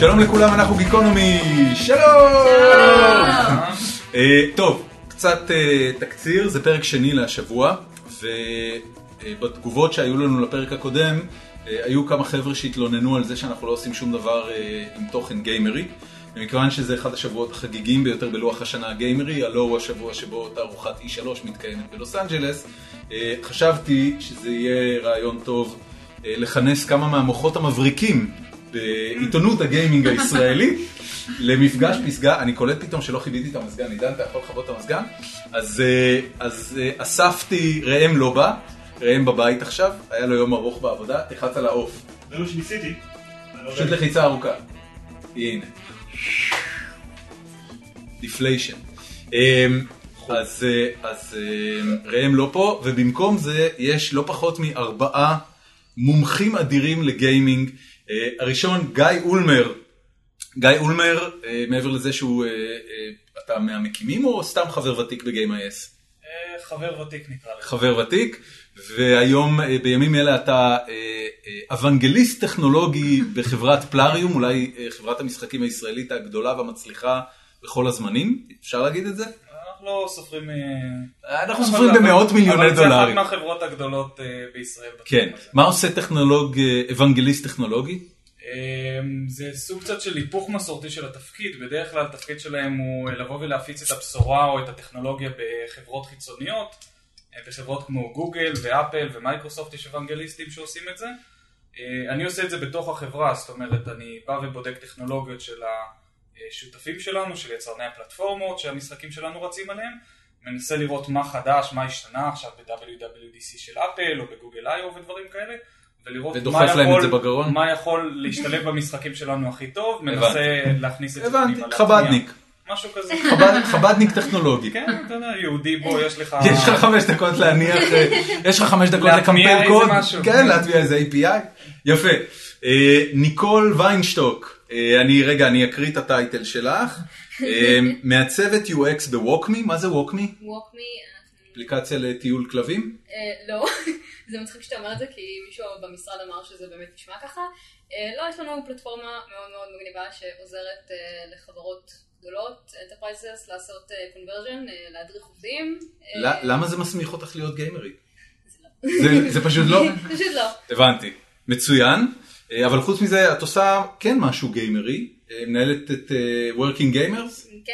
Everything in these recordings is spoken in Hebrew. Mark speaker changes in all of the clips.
Speaker 1: שלום לכולם, אנחנו גיקונומי! שלום! אה, טוב, קצת אה, תקציר, זה פרק שני להשבוע, ובתגובות שהיו לנו לפרק הקודם, אה, היו כמה חבר'ה שהתלוננו על זה שאנחנו לא עושים שום דבר אה, עם תוכן גיימרי. ומכיוון שזה אחד השבועות החגיגיים ביותר בלוח השנה הגיימרי, הלא הוא השבוע שבו תערוכת E3 מתקיימת בלוס אנג'לס, אה, חשבתי שזה יהיה רעיון טוב אה, לכנס כמה מהמוחות המבריקים בעיתונות הגיימינג הישראלי למפגש פסגה, אני קולט פתאום שלא כיביתי את המזגן, עידן אתה יכול לכבות את המזגן? אז, אה, אז אה, אספתי, ראם לא בא, ראם בבית עכשיו, היה לו יום ארוך בעבודה, תלחץ על העוף,
Speaker 2: זה מה שניסיתי. אני לא
Speaker 1: פשוט
Speaker 2: יודע.
Speaker 1: לחיצה ארוכה, הנה, דיפליישן. אמ, אז, אה, אז אה, ראם לא פה, ובמקום זה יש לא פחות מארבעה מומחים אדירים לגיימינג. אה, הראשון, גיא אולמר. גיא אולמר, אה, מעבר לזה שהוא, אה, אה, אתה מהמקימים או סתם חבר ותיק ב-game.is?
Speaker 2: אה, חבר ותיק נקרא לך.
Speaker 1: חבר ותיק, והיום, אה, בימים אלה אתה אה, אה, אוונגליסט טכנולוגי בחברת פלאריום, אולי אה, חברת המשחקים הישראלית הגדולה והמצליחה בכל הזמנים, אפשר להגיד את זה?
Speaker 2: אנחנו לא סופרים... אה,
Speaker 1: אנחנו
Speaker 2: אבל-
Speaker 1: סופרים
Speaker 2: אבל-
Speaker 1: במאות מיליוני
Speaker 2: אבל זה
Speaker 1: דולרים.
Speaker 2: אחת מהחברות הגדולות אה, בישראל. בתחום
Speaker 1: כן,
Speaker 2: הזה.
Speaker 1: מה עושה טכנולוג, אה, אוונגליסט טכנולוגי?
Speaker 2: אה, זה סוג קצת של היפוך מסורתי של התפקיד. בדרך כלל התפקיד שלהם הוא אה, לבוא ולהפיץ את הבשורה או את הטכנולוגיה בחברות חיצוניות, אה, בחברות כמו גוגל ואפל ומייקרוסופט יש אוונגליסטים שעושים את זה. אה, אני עושה את זה בתוך החברה, זאת אומרת, אני בא ובודק טכנולוגיות של השותפים שלנו, של יצרני הפלטפורמות שהמשחקים שלנו רצים עליהם, מנסה לראות מה חדש, מה השתנה עכשיו ב-WWDC של אפל או בגוגל איי-או ודברים כאלה, ולראות
Speaker 1: ודוחף
Speaker 2: מה
Speaker 1: להם את
Speaker 2: יכול,
Speaker 1: זה בגרון?
Speaker 2: מה יכול להשתלב במשחקים שלנו הכי טוב, מנסה להכניס את זה
Speaker 1: הבנתי,
Speaker 2: פנימה, להטמיע.
Speaker 1: חבדניק,
Speaker 2: משהו כזה.
Speaker 1: חבד- חבדניק טכנולוגי.
Speaker 2: כן, אתה יודע, יהודי בו יש לך...
Speaker 1: יש לך חמש דקות להניח, אה, יש לך חמש דקות
Speaker 2: אה, להטמיע
Speaker 1: לקמפיין
Speaker 2: איזה
Speaker 1: קוד,
Speaker 2: משהו.
Speaker 1: כן, להטמיע איזה API, יפה. אה, ניקול ויינשטוק, אה, אני רגע, אני אקריא את הטייטל שלך, אה, מעצבת UX בווקמי, מה זה ווקמי?
Speaker 3: walk me, אנחנו...
Speaker 1: אפליקציה לטיול כלבים?
Speaker 3: אה, לא, זה מצחיק שאתה אומר את זה, כי מישהו במשרד אמר שזה באמת נשמע ככה. אה, לא, יש לנו פלטפורמה מאוד מאוד מגניבה שעוזרת אה, לחברות גדולות, Enterprises, לעשות אה, conversion, אה, להדריך עובדים. אה,
Speaker 1: ל- למה זה מסמיך אותך להיות גיימרית?
Speaker 3: זה לא.
Speaker 1: זה- זה פשוט לא?
Speaker 3: פשוט לא.
Speaker 1: הבנתי. מצוין. אה, אבל חוץ מזה, את עושה כן משהו גיימרי, אה, מנהלת את אה, Working Gamers?
Speaker 3: כן?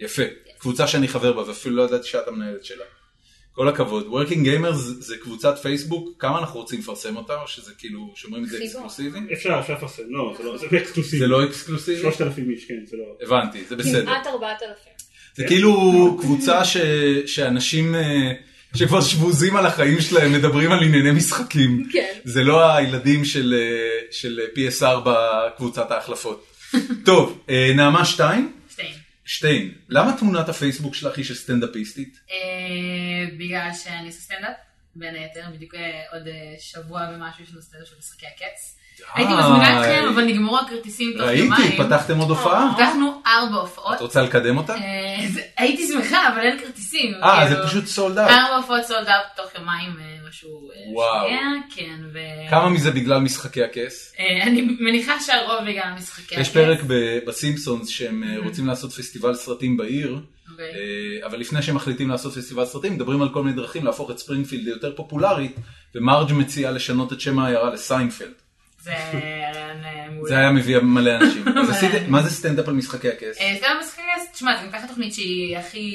Speaker 1: יפה. קבוצה שאני חבר בה, ואפילו לא ידעתי שאת המנהלת שלה. כל הכבוד. Working Gamers זה קבוצת פייסבוק, כמה אנחנו רוצים לפרסם אותה, או שזה כאילו, שומרים את זה
Speaker 3: חיבור.
Speaker 1: אקסקלוסיבי?
Speaker 4: אפשר, אפשר לפרסם, לא, זה לא, זה אקסקלוסיבי.
Speaker 1: זה לא אקסקלוסיבי?
Speaker 4: 3,000 איש, כן, זה לא...
Speaker 1: הבנתי, זה בסדר.
Speaker 3: כמעט 4,000.
Speaker 1: זה כאילו קבוצה ש... שאנשים אה, שכבר שבוזים על החיים שלהם מדברים על ענייני משחקים.
Speaker 3: כן.
Speaker 1: זה לא הילדים של, אה, של PSR בקבוצת ההחלפות. טוב, אה, נעמה שטיין?
Speaker 5: שתיים.
Speaker 1: שטיין, למה תמונת הפייסבוק שלך היא של סטנדאפיסטית?
Speaker 5: אה, בגלל שאני עושה סטנדאפ, בין היתר, בדיוק אה, עוד אה, שבוע ומשהו יש לנו סטנדאפ של משחקי הקץ. הייתי מזמינה אתכם, אבל נגמרו הכרטיסים תוך יומיים.
Speaker 1: אה, ראיתי, פתחתם עוד הופעה?
Speaker 5: פתחנו ארבע
Speaker 1: את
Speaker 5: הופעות.
Speaker 1: רוצה לקדם אותה?
Speaker 5: אה, זה- הייתי שמחה, אבל אין כרטיסים.
Speaker 1: אה, זה
Speaker 5: כאילו,
Speaker 1: פשוט סולד אאוט.
Speaker 5: ארבע הופעות סולד אאוט תוך יומיים, אה, משהו אה,
Speaker 1: וואו.
Speaker 5: שנייה, כן, ו-
Speaker 1: כמה מזה בגלל משחקי הכס?
Speaker 5: אה, אני מניחה שהרוב בגלל משחקי
Speaker 1: יש פרק ב- בסימפסונס שהם אה, רוצים לעשות פסטיבל סרטים בעיר,
Speaker 5: אוקיי.
Speaker 1: אה, אבל לפני שהם מחליטים לעשות פסטיבל סרטים, מדברים על כל מיני דרכים להפוך את ספרינגפילד ליותר פופולרית, ומרג' מציעה לשנות את שם העיירה לסיינפלד.
Speaker 5: זה רעיון אה, מעולה.
Speaker 1: זה היה מביא מלא אנשים. אז
Speaker 5: מלא.
Speaker 1: עשית- מה זה סטנדאפ על משחקי הכס?
Speaker 5: אה, סתם המשחקים, אז תשמע, זה גם ככה תוכנית שהיא הכי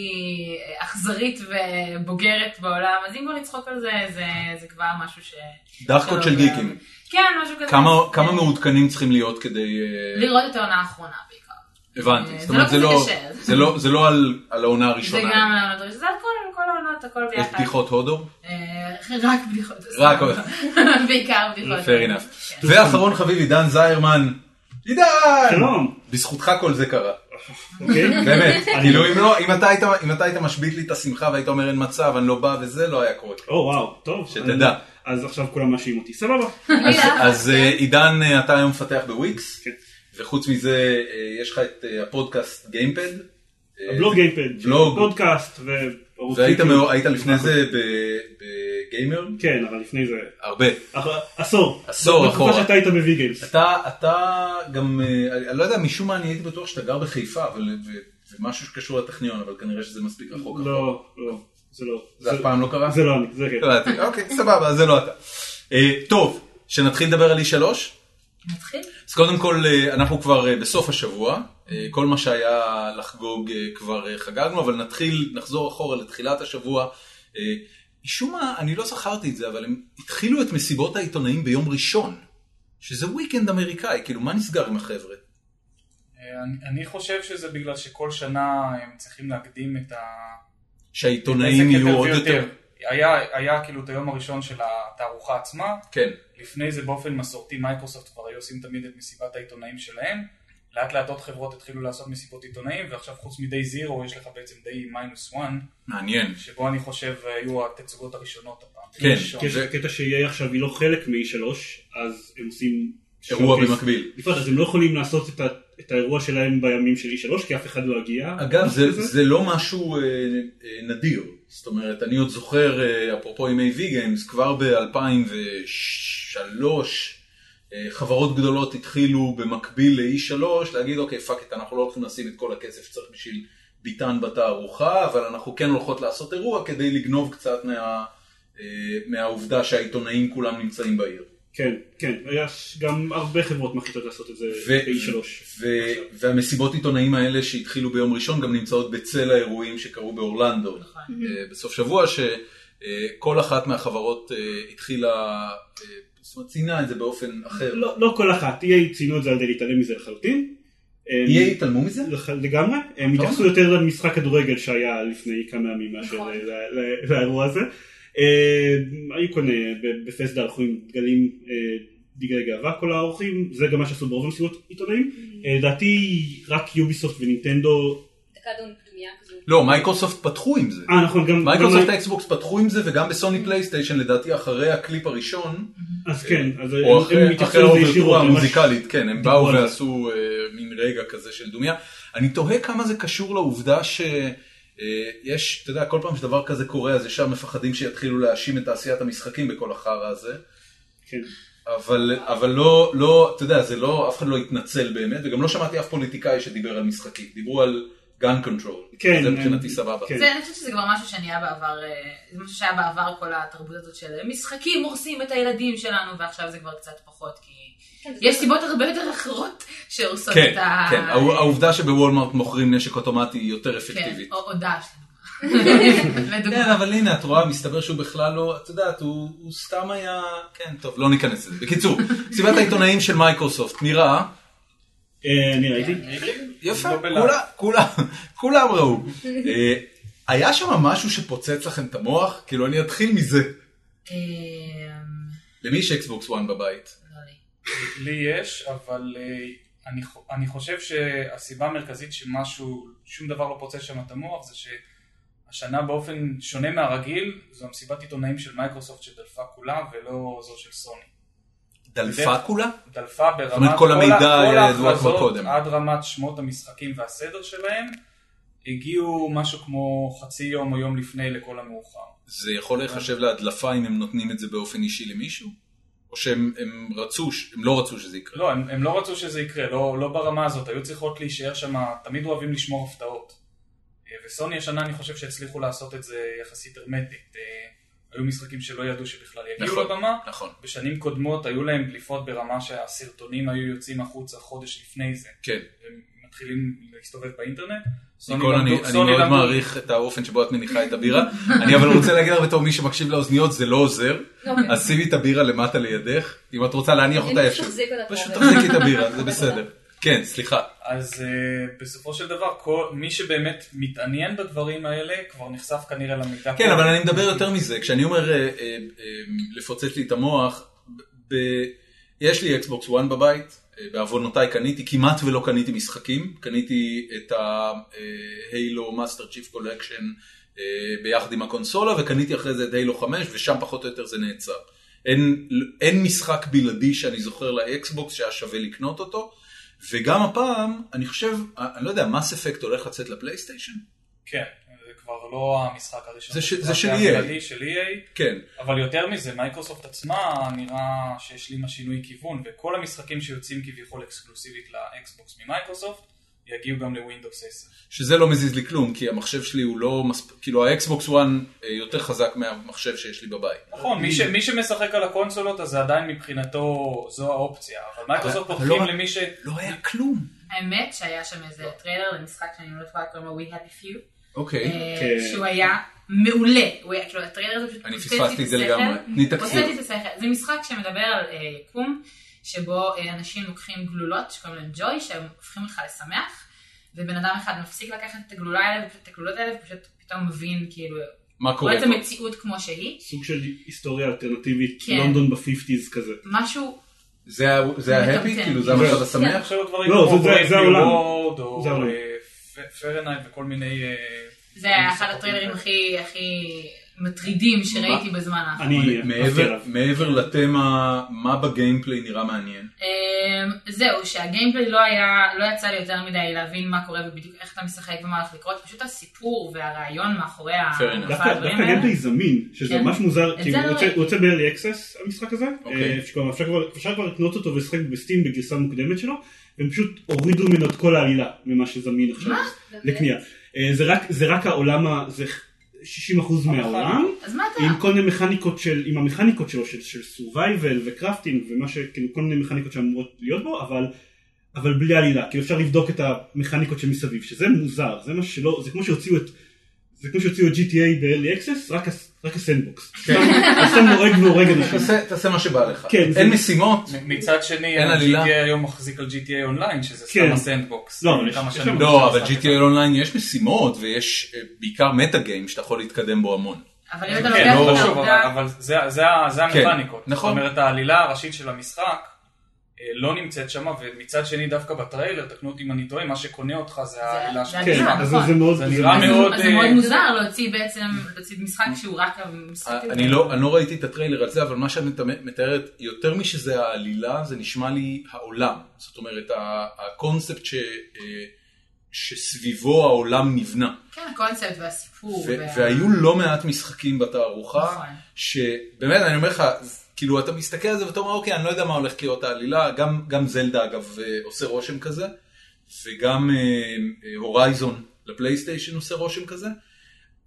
Speaker 5: אה, אכזרית ובוגרת בעולם, אז אם כבר לצחוק על זה, זה- זה כבר משהו ש...
Speaker 1: דחקות של
Speaker 5: שלא-
Speaker 1: גיקים.
Speaker 5: כן, משהו כזה.
Speaker 1: כמה-
Speaker 5: אה,
Speaker 1: כמה מעודכנים צריכים להיות כדי... אה,
Speaker 5: לראות את העונה האחרונה בעיקר.
Speaker 1: הבנתי.
Speaker 5: אה,
Speaker 1: זאת אומרת, זה לא-
Speaker 5: כזה קשה.
Speaker 1: זה לא- זה לא על- על העונה
Speaker 5: זה
Speaker 1: הראשונה.
Speaker 5: גם על העונות הראשונות, זה על כל- כל העונות, הכל
Speaker 1: יש
Speaker 5: ביחד.
Speaker 1: בדיחות הודו?
Speaker 5: אה, רק בדיחות.
Speaker 1: רק-
Speaker 5: בעיקר בדיחות.
Speaker 1: fair enough.
Speaker 5: כן.
Speaker 1: ואחרון חביב, עידן זיירמן. עידן!
Speaker 4: שלום,
Speaker 1: בזכותך כל זה קרה.
Speaker 4: אוקיי?
Speaker 1: באמת.
Speaker 4: אני-
Speaker 1: כאילו, אם לא, אם אתה היית- אם אתה היית משבית לי את השמחה והיית אומר אין מצב, אני לא בא וזה, לא היה קורה.
Speaker 4: או וואו, טוב.
Speaker 1: שתדע.
Speaker 4: אז- אז עכשיו כולם מאשים אותי, סבבה.
Speaker 1: אז-
Speaker 5: אה,
Speaker 1: אז אה, עידן, אה, אתה היום מפתח בוויקס,
Speaker 4: כן.
Speaker 1: וחוץ מזה אה, יש לך את אה, הפודקאסט גיימפד. אה,
Speaker 4: הבלוג גיימפד,
Speaker 1: בלוג.
Speaker 4: פודקאסט וערוץ
Speaker 1: והיית
Speaker 4: יוטיוב.
Speaker 1: מאו- היית לפני זה ב- גיימר?
Speaker 4: כן, אבל לפני זה...
Speaker 1: הרבה.
Speaker 4: אח- עשור.
Speaker 1: עשור אחורה.
Speaker 4: בתקופה שאתה היית בוויגלס.
Speaker 1: אתה, אתה גם, אה, אני לא יודע, משום מה אני הייתי בטוח שאתה גר בחיפה, אבל ו- זה משהו שקשור לטכניון, אבל כנראה שזה מספיק רחוק.
Speaker 4: לא, לא. זה לא.
Speaker 1: זה אף פעם לא קרה?
Speaker 4: זה לא אני, זה כן.
Speaker 1: לא ידעתי. אוקיי, סבבה, אז זה לא אתה. אה, טוב, שנתחיל לדבר על E3?
Speaker 5: נתחיל?
Speaker 1: אז קודם כל, אה, אנחנו כבר אה, בסוף השבוע, אה, כל מה שהיה לחגוג אה, כבר אה, חגגנו, אבל נתחיל, נחזור אחורה לתחילת השבוע. אה, משום מה, אני לא זכרתי את זה, אבל הם התחילו את מסיבות העיתונאים ביום ראשון, שזה וויקנד אמריקאי, כאילו, מה נסגר עם החבר'ה?
Speaker 2: אה, אני- אני חושב שזה בגלל שכל שנה הם צריכים להקדים את ה...
Speaker 1: שהעיתונאים
Speaker 2: עסק
Speaker 1: יהיו עוד
Speaker 2: ויותר.
Speaker 1: יותר...
Speaker 2: היה, היה כאילו את היום הראשון של התערוכה עצמה,
Speaker 1: כן,
Speaker 2: לפני זה באופן מסורתי מייקרוסופט כבר היו עושים תמיד את מסיבת העיתונאים שלהם, לאט לאט עוד חברות התחילו לעשות מסיבות עיתונאים, ועכשיו חוץ מ-day zero יש לך בעצם day minus one,
Speaker 1: מעניין.
Speaker 2: שבו אני חושב אה, היו התצוגות הראשונות הפעם.
Speaker 1: כן,
Speaker 2: ראשון.
Speaker 1: כי
Speaker 4: יש קטע שיהיה עכשיו היא לא חלק מ-E3, אז הם עושים...
Speaker 1: אירוע
Speaker 4: showcase.
Speaker 1: במקביל.
Speaker 4: נפרד, אז הם לא יכולים לעשות את ה- את האירוע שלהם בימים של E3, כי אף אחד לא הגיע.
Speaker 1: אגב, זה, זה לא משהו אה, אה, נדיר. זאת אומרת, אני עוד זוכר, אה, אפרופו ימי וי גיימס, כבר ב-2003, אה, חברות גדולות התחילו במקביל ל-E3 להגיד, אוקיי, פאק איט, אנחנו לא הולכים לשים את כל הכסף שצריך בשביל ביטן בתערוכה, אבל אנחנו כן הולכות לעשות אירוע כדי לגנוב קצת מה, אה, מהעובדה שהעיתונאים כולם נמצאים בעיר.
Speaker 4: כן, כן, יש גם הרבה חברות מחליטות לעשות את זה
Speaker 1: ו-
Speaker 4: ב-E3.
Speaker 1: ו-
Speaker 4: עכשיו.
Speaker 1: והמסיבות עיתונאים האלה שהתחילו ביום ראשון גם נמצאות בצל האירועים שקרו באורלנדו
Speaker 5: נכון.
Speaker 1: אה, בסוף שבוע שכל אחת מהחברות אה, התחילה, אה, זאת אומרת ציינה את זה באופן אחר.
Speaker 4: לא לא כל אחת, EA ציינו את זה על ידי להתעלם מזה לחלוטין. הם-
Speaker 1: יהיה התעלמו מזה?
Speaker 4: לח- לגמרי,
Speaker 1: אה,
Speaker 4: הם התייחסו יותר למשחק כדורגל שהיה לפני כמה ימים מאשר
Speaker 3: נכון.
Speaker 4: ל- ל- לאירוע הזה. אה, היו כל מיני, ב- בפסדה הלכו עם דגלים, אה, דגלי גאווה כל האורחים, זה גם מה שעשו ברוב המסיבות עיתונאים. אה, לדעתי רק יוביסופט ונינטנדו,
Speaker 3: דקה דון פנימיה כזו.
Speaker 1: לא, מייקרוסופט פתחו עם זה.
Speaker 4: אה נכון, גם,
Speaker 1: מייקרוסופט
Speaker 4: גם-
Speaker 1: האקסבוקס פתחו עם זה וגם בסוני פלייסטיישן לדעתי אחרי הקליפ הראשון,
Speaker 4: אז כן, אז
Speaker 1: או
Speaker 4: הם- הם
Speaker 1: אחרי אחרי
Speaker 4: התייחסו לזה
Speaker 1: האוברטורה
Speaker 4: ישירות, ממש-
Speaker 1: המוזיקלית, כן, הם
Speaker 4: דיברו
Speaker 1: באו
Speaker 4: על זה.
Speaker 1: ועשו אה, מין רגע כזה של דומיה. אני תוהה כמה זה קשור לעובדה ש... אה, יש, אתה יודע, כל פעם שדבר כזה קורה, אז ישר מפחדים שיתחילו להאשים את תעשיית המשחקים בכל החרא הזה.
Speaker 4: כן.
Speaker 1: אבל, אבל לא, לא, אתה יודע, זה לא, אף אחד לא התנצל באמת, וגם לא שמעתי אף פוליטיקאי שדיבר על משחקים, דיברו על גן קונטרול.
Speaker 4: כן,
Speaker 1: זה
Speaker 4: הם-
Speaker 1: מבחינתי סבבה.
Speaker 4: כן.
Speaker 5: זה, אני חושבת שזה כבר משהו שנהיה בעבר, אה, זה משהו שהיה בעבר כל התרבות הזאת של משחקים הורסים את הילדים שלנו, ועכשיו זה כבר קצת פחות, כי
Speaker 3: כן, זה
Speaker 5: יש
Speaker 3: בסדר.
Speaker 5: סיבות הרבה יותר אחרות שהורסות
Speaker 1: כן,
Speaker 5: את ה...
Speaker 1: כן, העו- העובדה שבוולמארט מוכרים נשק אוטומטי היא יותר
Speaker 5: כן,
Speaker 1: אפקטיבית.
Speaker 5: או או דש.
Speaker 1: כן,
Speaker 5: לדוגמה.
Speaker 1: אבל הנה, את רואה, מסתבר שהוא בכלל לא, את יודעת, הוא הוא סתם היה, כן, טוב, לא ניכנס לזה. בקיצור, מסיבת העיתונאים של מייקרוסופט נראה,
Speaker 4: אה, אני ראיתי.
Speaker 1: יפה,
Speaker 2: לא בלעד.
Speaker 1: כולם, כולם, כולם ראו. אה, היה שם משהו שפוצץ לכם את המוח? כאילו, אני אתחיל מזה.
Speaker 5: אמ,
Speaker 1: למי יש אקסבוקס 1 בבית?
Speaker 5: לא לי.
Speaker 2: לי יש, אבל אה, אני, חו- אני חושב שהסיבה המרכזית שמשהו, שום דבר לא פוצץ שם את המוח, זה שהשנה באופן שונה מהרגיל, זו המסיבת עיתונאים של מייקרוסופט שדלפה כולה, ולא זו של סוני.
Speaker 1: דלפה
Speaker 2: כן.
Speaker 1: כולה?
Speaker 2: דלפה ברמת
Speaker 1: אומרת, כל המידע
Speaker 2: כל
Speaker 1: היה ידוע כבר
Speaker 2: ההכרזות
Speaker 1: קודם.
Speaker 2: עד רמת שמות המשחקים והסדר שלהם, הגיעו משהו כמו חצי יום או יום לפני לכל המאוחר.
Speaker 1: זה יכול להיחשב להדלפה אם הם נותנים את זה באופן אישי למישהו? או שהם הם רצו, ש- הם לא רצו שזה יקרה?
Speaker 2: לא, הם, הם לא רצו שזה יקרה, לא, לא ברמה הזאת, היו צריכות להישאר שם, תמיד אוהבים לשמור הפתעות. אה, וסוני השנה אני חושב שהצליחו לעשות את זה יחסית הרמטית. אה, היו משחקים שלא ידעו שבכלל יגיעו
Speaker 1: נכון.
Speaker 2: לבמה.
Speaker 1: נכון,
Speaker 2: בשנים קודמות היו להם דליפות ברמה שהסרטונים היו יוצאים החוצה חודש לפני זה.
Speaker 1: כן.
Speaker 2: הם מתחילים להסתובב באינטרנט. סוני
Speaker 1: ניקול, אני,
Speaker 2: למדו-
Speaker 1: אני
Speaker 2: סוני
Speaker 1: מאוד
Speaker 2: למדו-
Speaker 1: מעריך את האופן שבו את מניחה את הבירה. אני אבל רוצה להגיד לך בתור מי שמקשיב לאוזניות, זה לא עוזר.
Speaker 3: אוקיי.
Speaker 1: אז שימי את הבירה למטה לידך, אם את רוצה להניח
Speaker 3: אני
Speaker 1: אותה איפשהו.
Speaker 3: פשוט תחזיק אותה
Speaker 1: פשוט
Speaker 3: קרובה.
Speaker 1: תחזיקי את הבירה, זה בסדר. כן, סליחה.
Speaker 2: אז uh, בסופו של דבר, כל, מי שבאמת מתעניין בדברים האלה, כבר נחשף כנראה למידע.
Speaker 1: כן,
Speaker 2: פה.
Speaker 1: אבל אני מדבר יותר מזה, כשאני אומר אה, אה, אה, לפוצץ לי את המוח, ב- ב- יש לי אקסבוקס 1 בבית, אה, בעוונותיי קניתי, כמעט ולא קניתי משחקים, קניתי את ה-Halo Master Chief Collection אה, ביחד עם הקונסולה, וקניתי אחרי זה את Halo 5, ושם פחות או יותר זה נעצר. אין, אין משחק בלעדי שאני זוכר לאקסבוקס שהיה שווה לקנות אותו, אה, וגם הפעם, אני חושב, אני לא יודע, מס אפקט הולך לצאת לפלייסטיישן?
Speaker 2: כן, זה כבר לא המשחק הראשון.
Speaker 1: זה ש- זה
Speaker 2: המשחק
Speaker 1: של EA.
Speaker 4: E
Speaker 2: הכללי של EA,
Speaker 1: כן.
Speaker 2: אבל יותר מזה, מייקרוסופט עצמה נראה שהשלימה שינוי כיוון, וכל המשחקים שיוצאים כביכול אקסקלוסיבית לאקסבוקס ממייקרוסופט, יגיעו גם לווינדוס 10.
Speaker 1: שזה לא מזיז לי כלום, כי המחשב שלי הוא לא מספיק, כאילו האקסבוקס 1 יותר חזק מהמחשב שיש לי בבית.
Speaker 2: נכון,
Speaker 4: Mm.
Speaker 2: מי, ש, מי שמשחק על הקונסולות, אז זה עדיין מבחינתו זו האופציה, אבל מייקרוסופט
Speaker 1: אבל- אבל
Speaker 2: פותחים
Speaker 1: לא-
Speaker 2: למי ש...
Speaker 1: לא היה כלום.
Speaker 5: האמת שהיה שם איזה טריילר למשחק שאני לא טועה, קוראים לו We Happy Few,
Speaker 1: אוקיי.
Speaker 5: אה,
Speaker 4: כן.
Speaker 5: שהוא היה מעולה, הוא היה, כאילו הטריילר הזה פשוט
Speaker 1: אני
Speaker 5: פוצץ
Speaker 1: פספסתי
Speaker 5: לי
Speaker 1: את זה
Speaker 5: השכל.
Speaker 1: לגמרי. תני תקציר.
Speaker 5: פוצץ לי את השכל. זה משחק שמדבר על אה, יקום, שבו אה, אנשים לוקחים גלולות שקוראים להם ג'וי, שהם הופכים לך לשמח, ובן אדם אחד מפסיק לקחת את הגלולה האלה, את הגלולות האלה, ופשוט פתאום מבין כאילו,
Speaker 1: מה קורה
Speaker 5: רואה את
Speaker 1: פה?
Speaker 5: המציאות כמו שהיא,
Speaker 4: סוג של היסטוריה אלטרנטיבית,
Speaker 5: כן.
Speaker 4: לונדון בפיפטיז כזה.
Speaker 5: משהו,
Speaker 1: זה ה- זה
Speaker 5: זה
Speaker 1: ההפי?
Speaker 5: מטמטם.
Speaker 1: כאילו זה המצב
Speaker 4: כן.
Speaker 5: כן.
Speaker 1: השמח?
Speaker 2: עכשיו הדברים
Speaker 4: לא,
Speaker 2: כמו
Speaker 4: זה- זה-
Speaker 2: Brave
Speaker 4: זה
Speaker 2: New
Speaker 4: העולם.
Speaker 2: World, או
Speaker 4: זה העולם.
Speaker 2: אה, ף- פרנייט וכל מיני... אה,
Speaker 5: זה היה אחד
Speaker 2: משחקים
Speaker 5: הטריילרים
Speaker 2: כאלה.
Speaker 5: הכי הכי מטרידים שראיתי בזמן האחרון.
Speaker 4: אני אהבתי
Speaker 1: נכון. מעבר-
Speaker 4: עליו.
Speaker 5: נכון,
Speaker 1: מעבר לתמה, מה בגיימפליי נראה מעניין?
Speaker 5: אמ, זהו, שהגיימפליי לא היה, לא יצא לי יותר מדי להבין מה קורה ובדיוק איך אתה משחק ומה הולך לקרות, פשוט הסיפור והרעיון מאחורי ה-
Speaker 1: Fair enough.
Speaker 5: כל
Speaker 4: דווקא
Speaker 5: הדברים
Speaker 4: דווקא
Speaker 5: האלה.
Speaker 4: גיימפלי זמין, שזה
Speaker 5: כן.
Speaker 4: ממש מוזר,
Speaker 5: את
Speaker 4: כי
Speaker 5: זה
Speaker 4: הוא
Speaker 5: לא
Speaker 4: יוצא-
Speaker 5: ראיתי.
Speaker 4: הוא יוצא ב-early access המשחק הזה,
Speaker 1: אוקיי.
Speaker 4: אה, שכבר אפשר כבר- אפשר כבר לקנות אותו ולשחק בסטים בגרסה מוקדמת שלו, והם פשוט הורידו ממנו את כל העלילה ממה שזמין עכשיו לקנייה. אה, זה רק- זה רק העולם, ה- זה 60% מהעולם,
Speaker 5: אז מה אתה...
Speaker 4: עם כל מיני מכניקות של, עם המכניקות שלו, של, של survival וקרפטינג ומה ש... כאילו כל מיני מכניקות שאמורות להיות בו, אבל, אבל בלי עלילה, כאילו אפשר לבדוק את המכניקות שמסביב, שזה מוזר, זה מה שלא, זה כמו שהוציאו את, זה כמו שהוציאו את GTA ב-early access, רק, הס- רק הסנדבוקס.
Speaker 2: כן.
Speaker 4: הסתם הורג והורג אנשים.
Speaker 1: תעשה- תעשה מה שבא לך.
Speaker 4: כן, זה-
Speaker 1: אין משימות?
Speaker 2: מ- מצד שני,
Speaker 1: אין עלילה.
Speaker 2: ה-GTA היום מחזיק על GTA אונליין, שזה
Speaker 4: כן.
Speaker 2: סתם הסנדבוקס.
Speaker 4: לא, אבל יש-
Speaker 2: כמה
Speaker 4: יש
Speaker 2: שנים
Speaker 4: שם-
Speaker 1: לא, אבל
Speaker 2: משחק אחד.
Speaker 1: GTA אונליין יש משימות ויש אה, בעיקר מטה גיים שאתה יכול להתקדם בו המון.
Speaker 5: אבל אם אתה
Speaker 2: כן,
Speaker 5: לוקח
Speaker 2: לא,
Speaker 5: את
Speaker 2: שוב, אבל,
Speaker 5: העובדה...
Speaker 2: אבל זה, זה, ה- זה
Speaker 1: כן,
Speaker 2: המכניקות.
Speaker 1: נכון.
Speaker 2: זאת אומרת, העלילה הראשית של המשחק אה, לא נמצאת שמה, ומצד שני דווקא בטריילר, תקנו אותי אם אני טועה, מה שקונה אותך זה העלילה של
Speaker 5: זה
Speaker 4: כן,
Speaker 5: נכון,
Speaker 4: אז
Speaker 5: נכון.
Speaker 4: זה מאוד,
Speaker 2: זה נראה
Speaker 5: אז-
Speaker 2: מאוד,
Speaker 5: אז זה
Speaker 2: אה,
Speaker 5: מאוד מוזר להוציא בעצם, להוציא משחק שהוא רק... המשחק הזה.
Speaker 1: אני לא, אני לא ראיתי את הטריילר על זה, אבל מה שאת מת- מתארת, יותר משזה העלילה, זה נשמע לי העולם. זאת אומרת, ה- הקונספט ש, אה, שסביבו העולם נבנה.
Speaker 5: כן, הקונספט והסיפור.
Speaker 1: ו-
Speaker 5: וה-
Speaker 1: והיו לא מעט משחקים בתערוכה,
Speaker 5: נכון.
Speaker 1: שבאמת, אני אומר לך, כאילו, אתה מסתכל על זה ואתה אומר, אוקיי, אני לא יודע מה הולך להיות העלילה, גם, גם זלדה, אגב, אה, עושה רושם כזה, וגם אה, אה, הורייזון לפלייסטיישן עושה רושם כזה.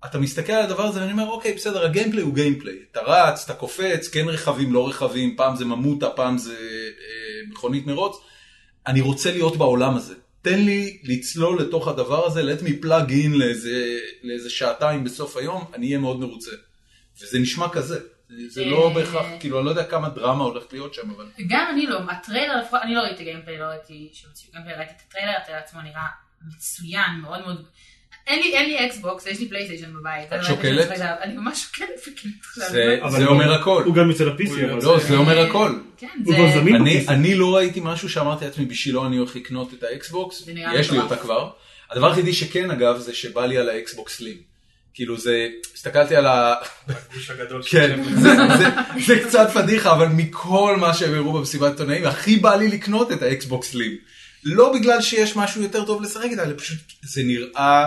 Speaker 1: אתה מסתכל על הדבר הזה ואני אומר, אוקיי, בסדר, הגיימפליי הוא גיימפליי. אתה רץ, אתה קופץ, כן רכבים, לא רכבים, פעם זה ממוטה, פעם זה אה, מכונית מרוץ. אני רוצה להיות בעולם הזה. תן לי לצלול לתוך הדבר הזה, let me plug in לאיזה, לאיזה שעתיים בסוף היום, אני אהיה מאוד מרוצה. וזה נשמע כזה. זה לא
Speaker 5: אה.
Speaker 1: בהכרח, כאילו, אני לא יודע כמה דרמה הולכת להיות שם, אבל...
Speaker 5: גם אני לא, הטריילר, לפחות- אני לא ראיתי גיימפליי, לא ראיתי שהוציאו גיימפליי, ראיתי את הטריילר, הטריילר עצמו נראה מצוין, מאוד מאוד... אין לי, אין לי אקסבוקס, יש לי פלייסטיישן בבית.
Speaker 1: את
Speaker 5: אני לא
Speaker 1: שוקלת?
Speaker 5: יודעת שאני- אני ממש שוקלת וכאילו... לא
Speaker 1: זה,
Speaker 4: אבל
Speaker 1: זה
Speaker 4: הוא-
Speaker 1: אומר הכל.
Speaker 4: הוא גם יוצא ל-PC,
Speaker 2: הוא
Speaker 4: אבל
Speaker 1: לא, זה אומר הכל.
Speaker 5: כן,
Speaker 4: הוא כבר
Speaker 5: זה...
Speaker 4: זמין
Speaker 1: אני,
Speaker 4: ב-PC.
Speaker 1: אני לא ראיתי משהו שאמרתי לעצמי, בשבילו אני הולך לקנות את האקסבוקס,
Speaker 5: זה נראה
Speaker 1: יש לי
Speaker 5: מטורף.
Speaker 1: אותה כבר. הדבר היחידי שכן, אגב, זה שבא לי על האקסבוקס סלים. כאילו זה, הסתכלתי על ה...
Speaker 2: הגוש הגדול
Speaker 1: כן,
Speaker 2: שלהם.
Speaker 1: זה, זה, זה קצת פדיחה, אבל מכל מה שהם הראו במסיבת עיתונאים, הכי בא לי לקנות את האקסבוקס סלים. לא בגלל שיש משהו יותר טוב לשחק איתה, אלא פשוט זה נראה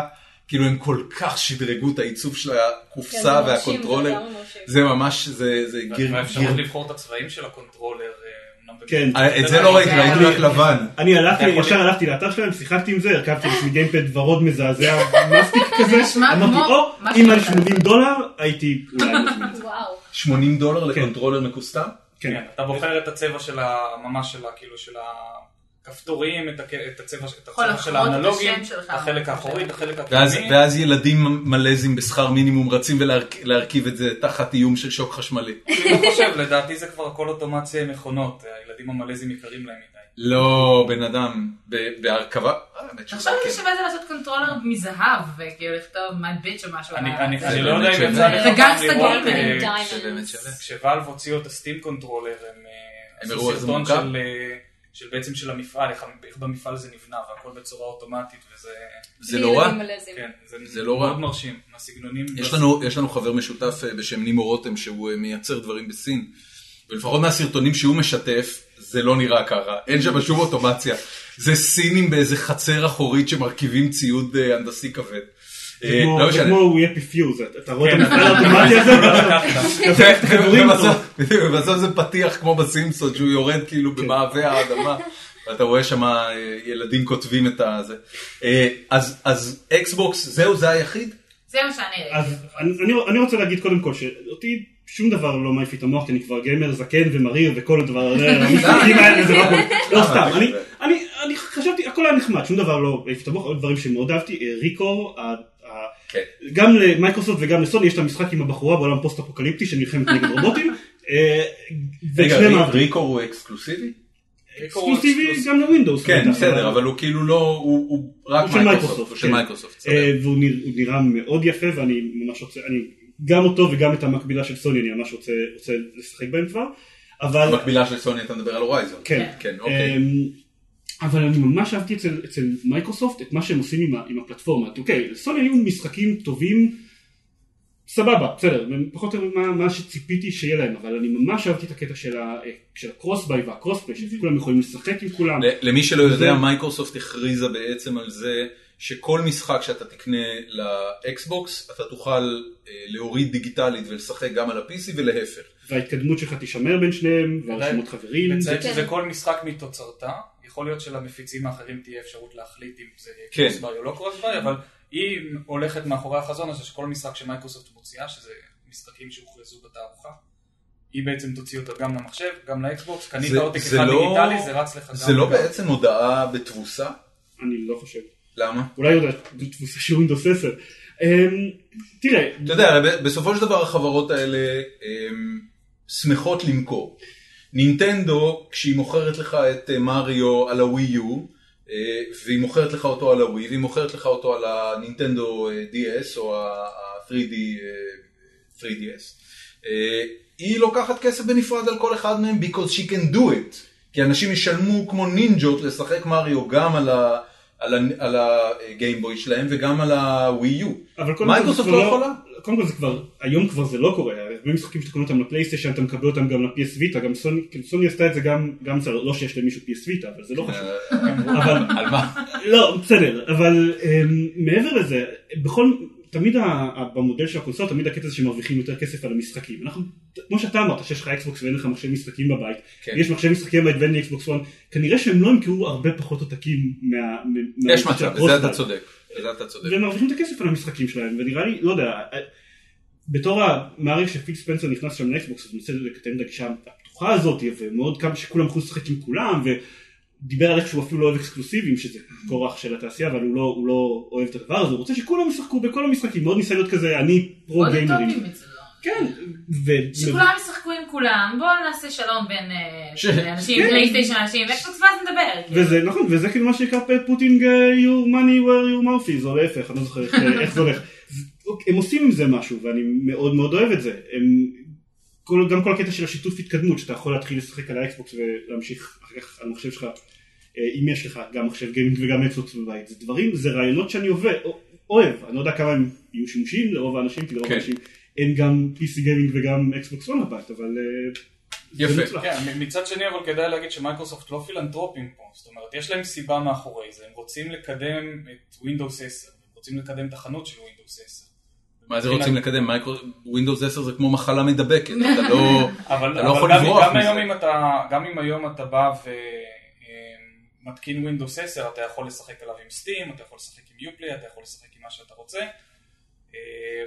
Speaker 1: כאילו הם כל כך שדרגו את העיצוב של הקופסה
Speaker 5: כן,
Speaker 1: והקונטרולר.
Speaker 5: לא
Speaker 1: זה ממש, זה, זה גיר...
Speaker 2: והאפשרות
Speaker 1: גיר-
Speaker 2: לבחור את הצבעים של הקונטרולר. אה, אמנם
Speaker 4: כן.
Speaker 2: במקום
Speaker 1: אה, את
Speaker 2: אחר,
Speaker 1: זה לא ראיתי,
Speaker 5: זה היה-
Speaker 1: ראיתי רק לבן.
Speaker 4: אני הלכתי,
Speaker 2: אתה יכול-
Speaker 4: ישר הלכתי לאתר שלהם, שיחקתי עם זה, הרכבתי לעצמי גיימפד ורוד מזעזע, מסטיק כזה,
Speaker 5: נשמע
Speaker 4: אמרתי,
Speaker 5: כמו
Speaker 4: או,
Speaker 5: מה
Speaker 4: אם על
Speaker 5: שאתה-
Speaker 4: 80 דולר, הייתי אולי מזמין את זה.
Speaker 3: וואו.
Speaker 1: 80 דולר
Speaker 4: כן.
Speaker 1: לקונטרולר מקוסטם?
Speaker 4: כן.
Speaker 2: כן, אתה בוחר את הצבע של ה... ממש של ה... כאילו של הכפתורים, את הכ- את הצבע את הצבע
Speaker 5: לחרות את
Speaker 2: של האנלוגים,
Speaker 5: השם שלך.
Speaker 2: את החלק האחורי, את החלק
Speaker 1: ואז,
Speaker 2: הקדמי.
Speaker 1: ואז ילדים מלזים בשכר מינימום רצים ולהרכיב את זה תחת איום של שוק חשמלי.
Speaker 2: אני לא חושב, לדעתי זה כבר הכל אוטומציה עם מכונות, הילדים המלזים יקרים להם מדי.
Speaker 5: אה,
Speaker 1: לא, בן אדם, ב- בהרכבה... אה, האמת שזה
Speaker 5: תחשוב אם
Speaker 1: כן.
Speaker 5: זה שווה זה לעשות קונטרולר מזהב, וכאילו לכתוב my bitch או משהו.
Speaker 2: אני-
Speaker 5: על ה-
Speaker 2: אני
Speaker 5: זה.
Speaker 2: אני לא יודע אם יצא
Speaker 1: זה
Speaker 2: לך פעם
Speaker 5: גנגסטה
Speaker 2: לראות,
Speaker 5: גיימר.
Speaker 2: אה,
Speaker 3: Diamonds.
Speaker 1: שבאמת שווה.
Speaker 2: כשוואלב הוציאו את הסטים קונטרולר, הם אה,
Speaker 1: הם הראו
Speaker 2: עשו
Speaker 1: איזה
Speaker 2: סרטון
Speaker 1: מורכב?
Speaker 2: של אה, של בעצם של המפעל, איך המ- איך במפעל זה נבנה והכל בצורה אוטומטית וזה,
Speaker 1: זה לא רע.
Speaker 2: כן, זה
Speaker 1: זה לא רע.
Speaker 2: מאוד מרשים, הסגנונים.
Speaker 1: יש לנו, יש לנו חבר משותף אה, בשם נימו רותם שהוא אה, מייצר דברים בסין. ולפחות מהסרטונים שהוא משתף, זה לא נראה ככה. אין שם שום אוטומציה. זה סינים באיזה חצר אחורית שמרכיבים ציוד אה, הנדסי כבד.
Speaker 4: זה
Speaker 1: אה,
Speaker 4: כמו-
Speaker 1: לא
Speaker 4: זה
Speaker 1: משנה.
Speaker 4: כמו הוא יהיה פיפיוז, אתה- אתה רואה את
Speaker 2: כן,
Speaker 4: המפעל
Speaker 2: אבל-
Speaker 4: האוטומטי הזה, ואתה- אתה עושה את הכדורים,
Speaker 1: ובסוף- בדיוק, ובסוף זה פתיח כמו בסימפסון שהוא יורד כאילו במעבה האדמה ואתה רואה שם ילדים כותבים את הזה. אה, אז- אז אקסבוקס זהו זה היחיד?
Speaker 5: זה מה שאני ראיתי.
Speaker 4: אז אני- אני- אני רוצה להגיד קודם כל שאותי שום דבר לא מעיף לי את המוח, כי אני כבר גמר זקן ומריר וכל הדבר הזה, המשחקים האלה זה לא-
Speaker 1: אה,
Speaker 4: לא
Speaker 1: אוקיי.
Speaker 4: סתם, אני- אני- אני חשבתי, הכל היה נחמד, שום דבר לא העיף לי את המוח, עוד דברים שמאוד אהבתי, אה, ריקו, ה- ה-
Speaker 1: כן.
Speaker 4: גם למייקרוסופט וגם לסוני יש את המשחק עם הבחורה בעולם פוסט אפוקליפטי שנלחמת נגד רובוטים. אה,
Speaker 1: רגע,
Speaker 4: ושניהם
Speaker 1: רי-
Speaker 4: אהבתי.
Speaker 1: ריקו הוא אקסקלוסיבי?
Speaker 4: אקסקלוסיבי גם לווינדוס.
Speaker 1: כן, בסדר, אבל הוא כאילו לא, הוא הוא רק
Speaker 4: הוא
Speaker 1: מייקרוסופט,
Speaker 4: של מייקרוסופט,
Speaker 1: הוא של
Speaker 4: כן.
Speaker 1: מייקרוסופט,
Speaker 4: אה,
Speaker 1: בסדר.
Speaker 4: והוא נרא- הוא נראה מאוד יפה ואני ממש רוצה, אני גם אותו וגם את המקבילה של סוני אני ממש רוצה רוצה לשחק בהם כבר. אבל
Speaker 1: המקבילה של סוני אתה מדבר על הורייזון.
Speaker 4: כן.
Speaker 1: כן, אוקיי.
Speaker 4: אמ, אבל אני ממש אהבתי אצל, אצל מייקרוסופט את מה שהם עושים עם, ה- עם הפלטפורמה. אוקיי, לסוני היו משחקים טובים, סבבה, בסדר, הם פחות או יותר מה, מה שציפיתי שיהיה להם, אבל אני ממש אהבתי את הקטע של, ה- אה, של הקרוסביי והקרוספליי, שכולם יכולים לשחק עם כולם.
Speaker 1: ל- למי שלא יודע,
Speaker 4: זה-
Speaker 1: מייקרוסופט הכריזה בעצם על זה שכל משחק שאתה תקנה לאקסבוקס, אתה תוכל אה, להוריד דיגיטלית ולשחק גם על ה-PC ולהפך.
Speaker 4: וההתקדמות שלך תישמר בין שניהם, והרשימות חברים.
Speaker 2: נציין
Speaker 3: כן.
Speaker 2: שזה כל משחק מתוצרתה, יכול להיות שלמפיצים האחרים תהיה אפשרות להחליט אם זה
Speaker 1: כן.
Speaker 2: קרוסביי או לא קרוסביי, אבל היא הולכת מאחורי החזון הזה שכל משחק שמייקרוסופט מוציאה, שזה משחקים שהוכרזו בתערוכה, היא בעצם תוציא אותו גם למחשב, גם לאקסבוקס, קנית
Speaker 1: זה-
Speaker 2: עותק
Speaker 1: זה
Speaker 2: אחד
Speaker 1: לא-
Speaker 2: דיגיטלי, זה רץ לך גם.
Speaker 1: זה לא
Speaker 2: וגם.
Speaker 1: בעצם הודעה בתבוסה?
Speaker 4: אני לא חושב.
Speaker 1: למה?
Speaker 4: אולי עוד תבוסה של Windows 10. אמ, תראה,
Speaker 1: אתה יודע, הרי ב- בסופו של דבר החברות האלה אמ, שמחות למכור. נינטנדו, כשהיא מוכרת לך את אה, מריו על הווי יו, אה, והיא מוכרת לך אותו על הווי, והיא מוכרת לך אותו על הנינטנדו אה, DS או ה-3D, אה, 3DS, אה, היא לוקחת כסף בנפרד על כל אחד מהם, because she can do it. כי אנשים ישלמו כמו נינג'ות לשחק מריו גם על ה... על ה- על הגיימבוי שלהם וגם על הווי יו.
Speaker 4: אבל קודם כל
Speaker 1: מייקרוסופט
Speaker 4: זה
Speaker 1: לא
Speaker 4: כבר
Speaker 1: יכולה?
Speaker 4: קודם כל זה כבר, היום כבר זה לא קורה, הרי הרבה משחקים שתקנו אותם לפלייסטיישן, אתה מקבל אותם גם ל-PS ויטה, גם סוני, כאילו סוני עשתה את זה גם, גם זה לא שיש למישהו PS ויטה, אבל זה לא חשוב. אבל,
Speaker 1: על מה?
Speaker 4: לא, בסדר, אבל אמ, מעבר לזה, בכל, תמיד ה, ה, במודל של הקונסול, תמיד הקטע זה שמרוויחים יותר כסף על המשחקים. אנחנו, כמו שאתה אמרת, שיש לך אקסבוקס ואין לך מחשב משחקים בבית,
Speaker 1: כן.
Speaker 4: יש מחשב משחקים בבית ואין לי אקסבוקס 1, כנראה שהם לא ימכרו הרבה פחות עותקים מה... מה-
Speaker 1: יש
Speaker 4: מה-
Speaker 1: מצב, בזה אתה צודק. בזה אתה צודק.
Speaker 4: והם מרוויחים את הכסף על המשחקים שלהם, ונראה לי, לא יודע, בתור המעריך שפיל ספנסר נכנס שם לאקסבוקס, אז הוא מנסה לקטן את הגישה הפתוחה הזאת, ומאוד כמה שכולם יכולים לשחק עם כולם, ודיבר על איך שהוא אפילו לא אוהב אקסקלוסיבים, שזה כורח של התעשייה, אבל הוא לא, הוא לא אוהב את הדבר הזה, הוא רוצה שכולם ישחקו בכל המשחקים, מאוד ניסיון להיות כזה, אני פרו
Speaker 5: עוד יותר
Speaker 4: גיימרים.
Speaker 5: ממצדו.
Speaker 4: כן, ו-
Speaker 5: שכולם ישחקו עם כולם, בואו נעשה שלום בין אה,
Speaker 1: ש-
Speaker 5: אנשים,
Speaker 4: כן.
Speaker 5: פלייסטיישן, אנשים, ואקסבוקס ואז נדבר. כאילו.
Speaker 4: וזה נכון, וזה כאילו מה שנקרא פוטינג your money where your mouth is, או להפך, אני לא זוכר איך- איך זה הולך. זה- אוקיי, הם עושים עם זה משהו, ואני מאוד מאוד אוהב את זה. הם, כל, גם כל הקטע של השיתוף התקדמות, שאתה יכול להתחיל לשחק על האקסבוקס ולהמשיך אחר כך על המחשב שלך, אה, אם יש לך גם מחשב גיימינג וגם אקסבוקס בבית. זה דברים, זה רעיונות שאני עובד, אוהב, אני לא יודע כמה הם יהיו שימושיים לרוב האנשים, כי לרוב
Speaker 1: כן.
Speaker 4: האנשים אין גם PC גיימינג וגם אקסבוקס און בבית, אבל... אה, זה
Speaker 1: יפה.
Speaker 4: מוצלח.
Speaker 2: כן, מ- מצד שני אבל כדאי להגיד שמייקרוסופט לא פילנטרופים פה, זאת אומרת יש להם סיבה מאחורי זה, הם רוצים לקדם את Windows 10, הם רוצים לקדם את החנות של Windows 10.
Speaker 1: מה זה רוצים לקדם? מייקרו- Windows 10 זה כמו מחלה מדבקת, אתה לא...
Speaker 2: אבל,
Speaker 1: אתה לא יכול
Speaker 2: אבל גם,
Speaker 1: לברוח
Speaker 2: גם
Speaker 1: מזה.
Speaker 2: היום אם אתה, גם אם היום אתה בא ומתקין Windows 10, אתה יכול לשחק עליו עם סטים, אתה יכול לשחק עם יופלי, אתה יכול לשחק עם מה שאתה רוצה. אה,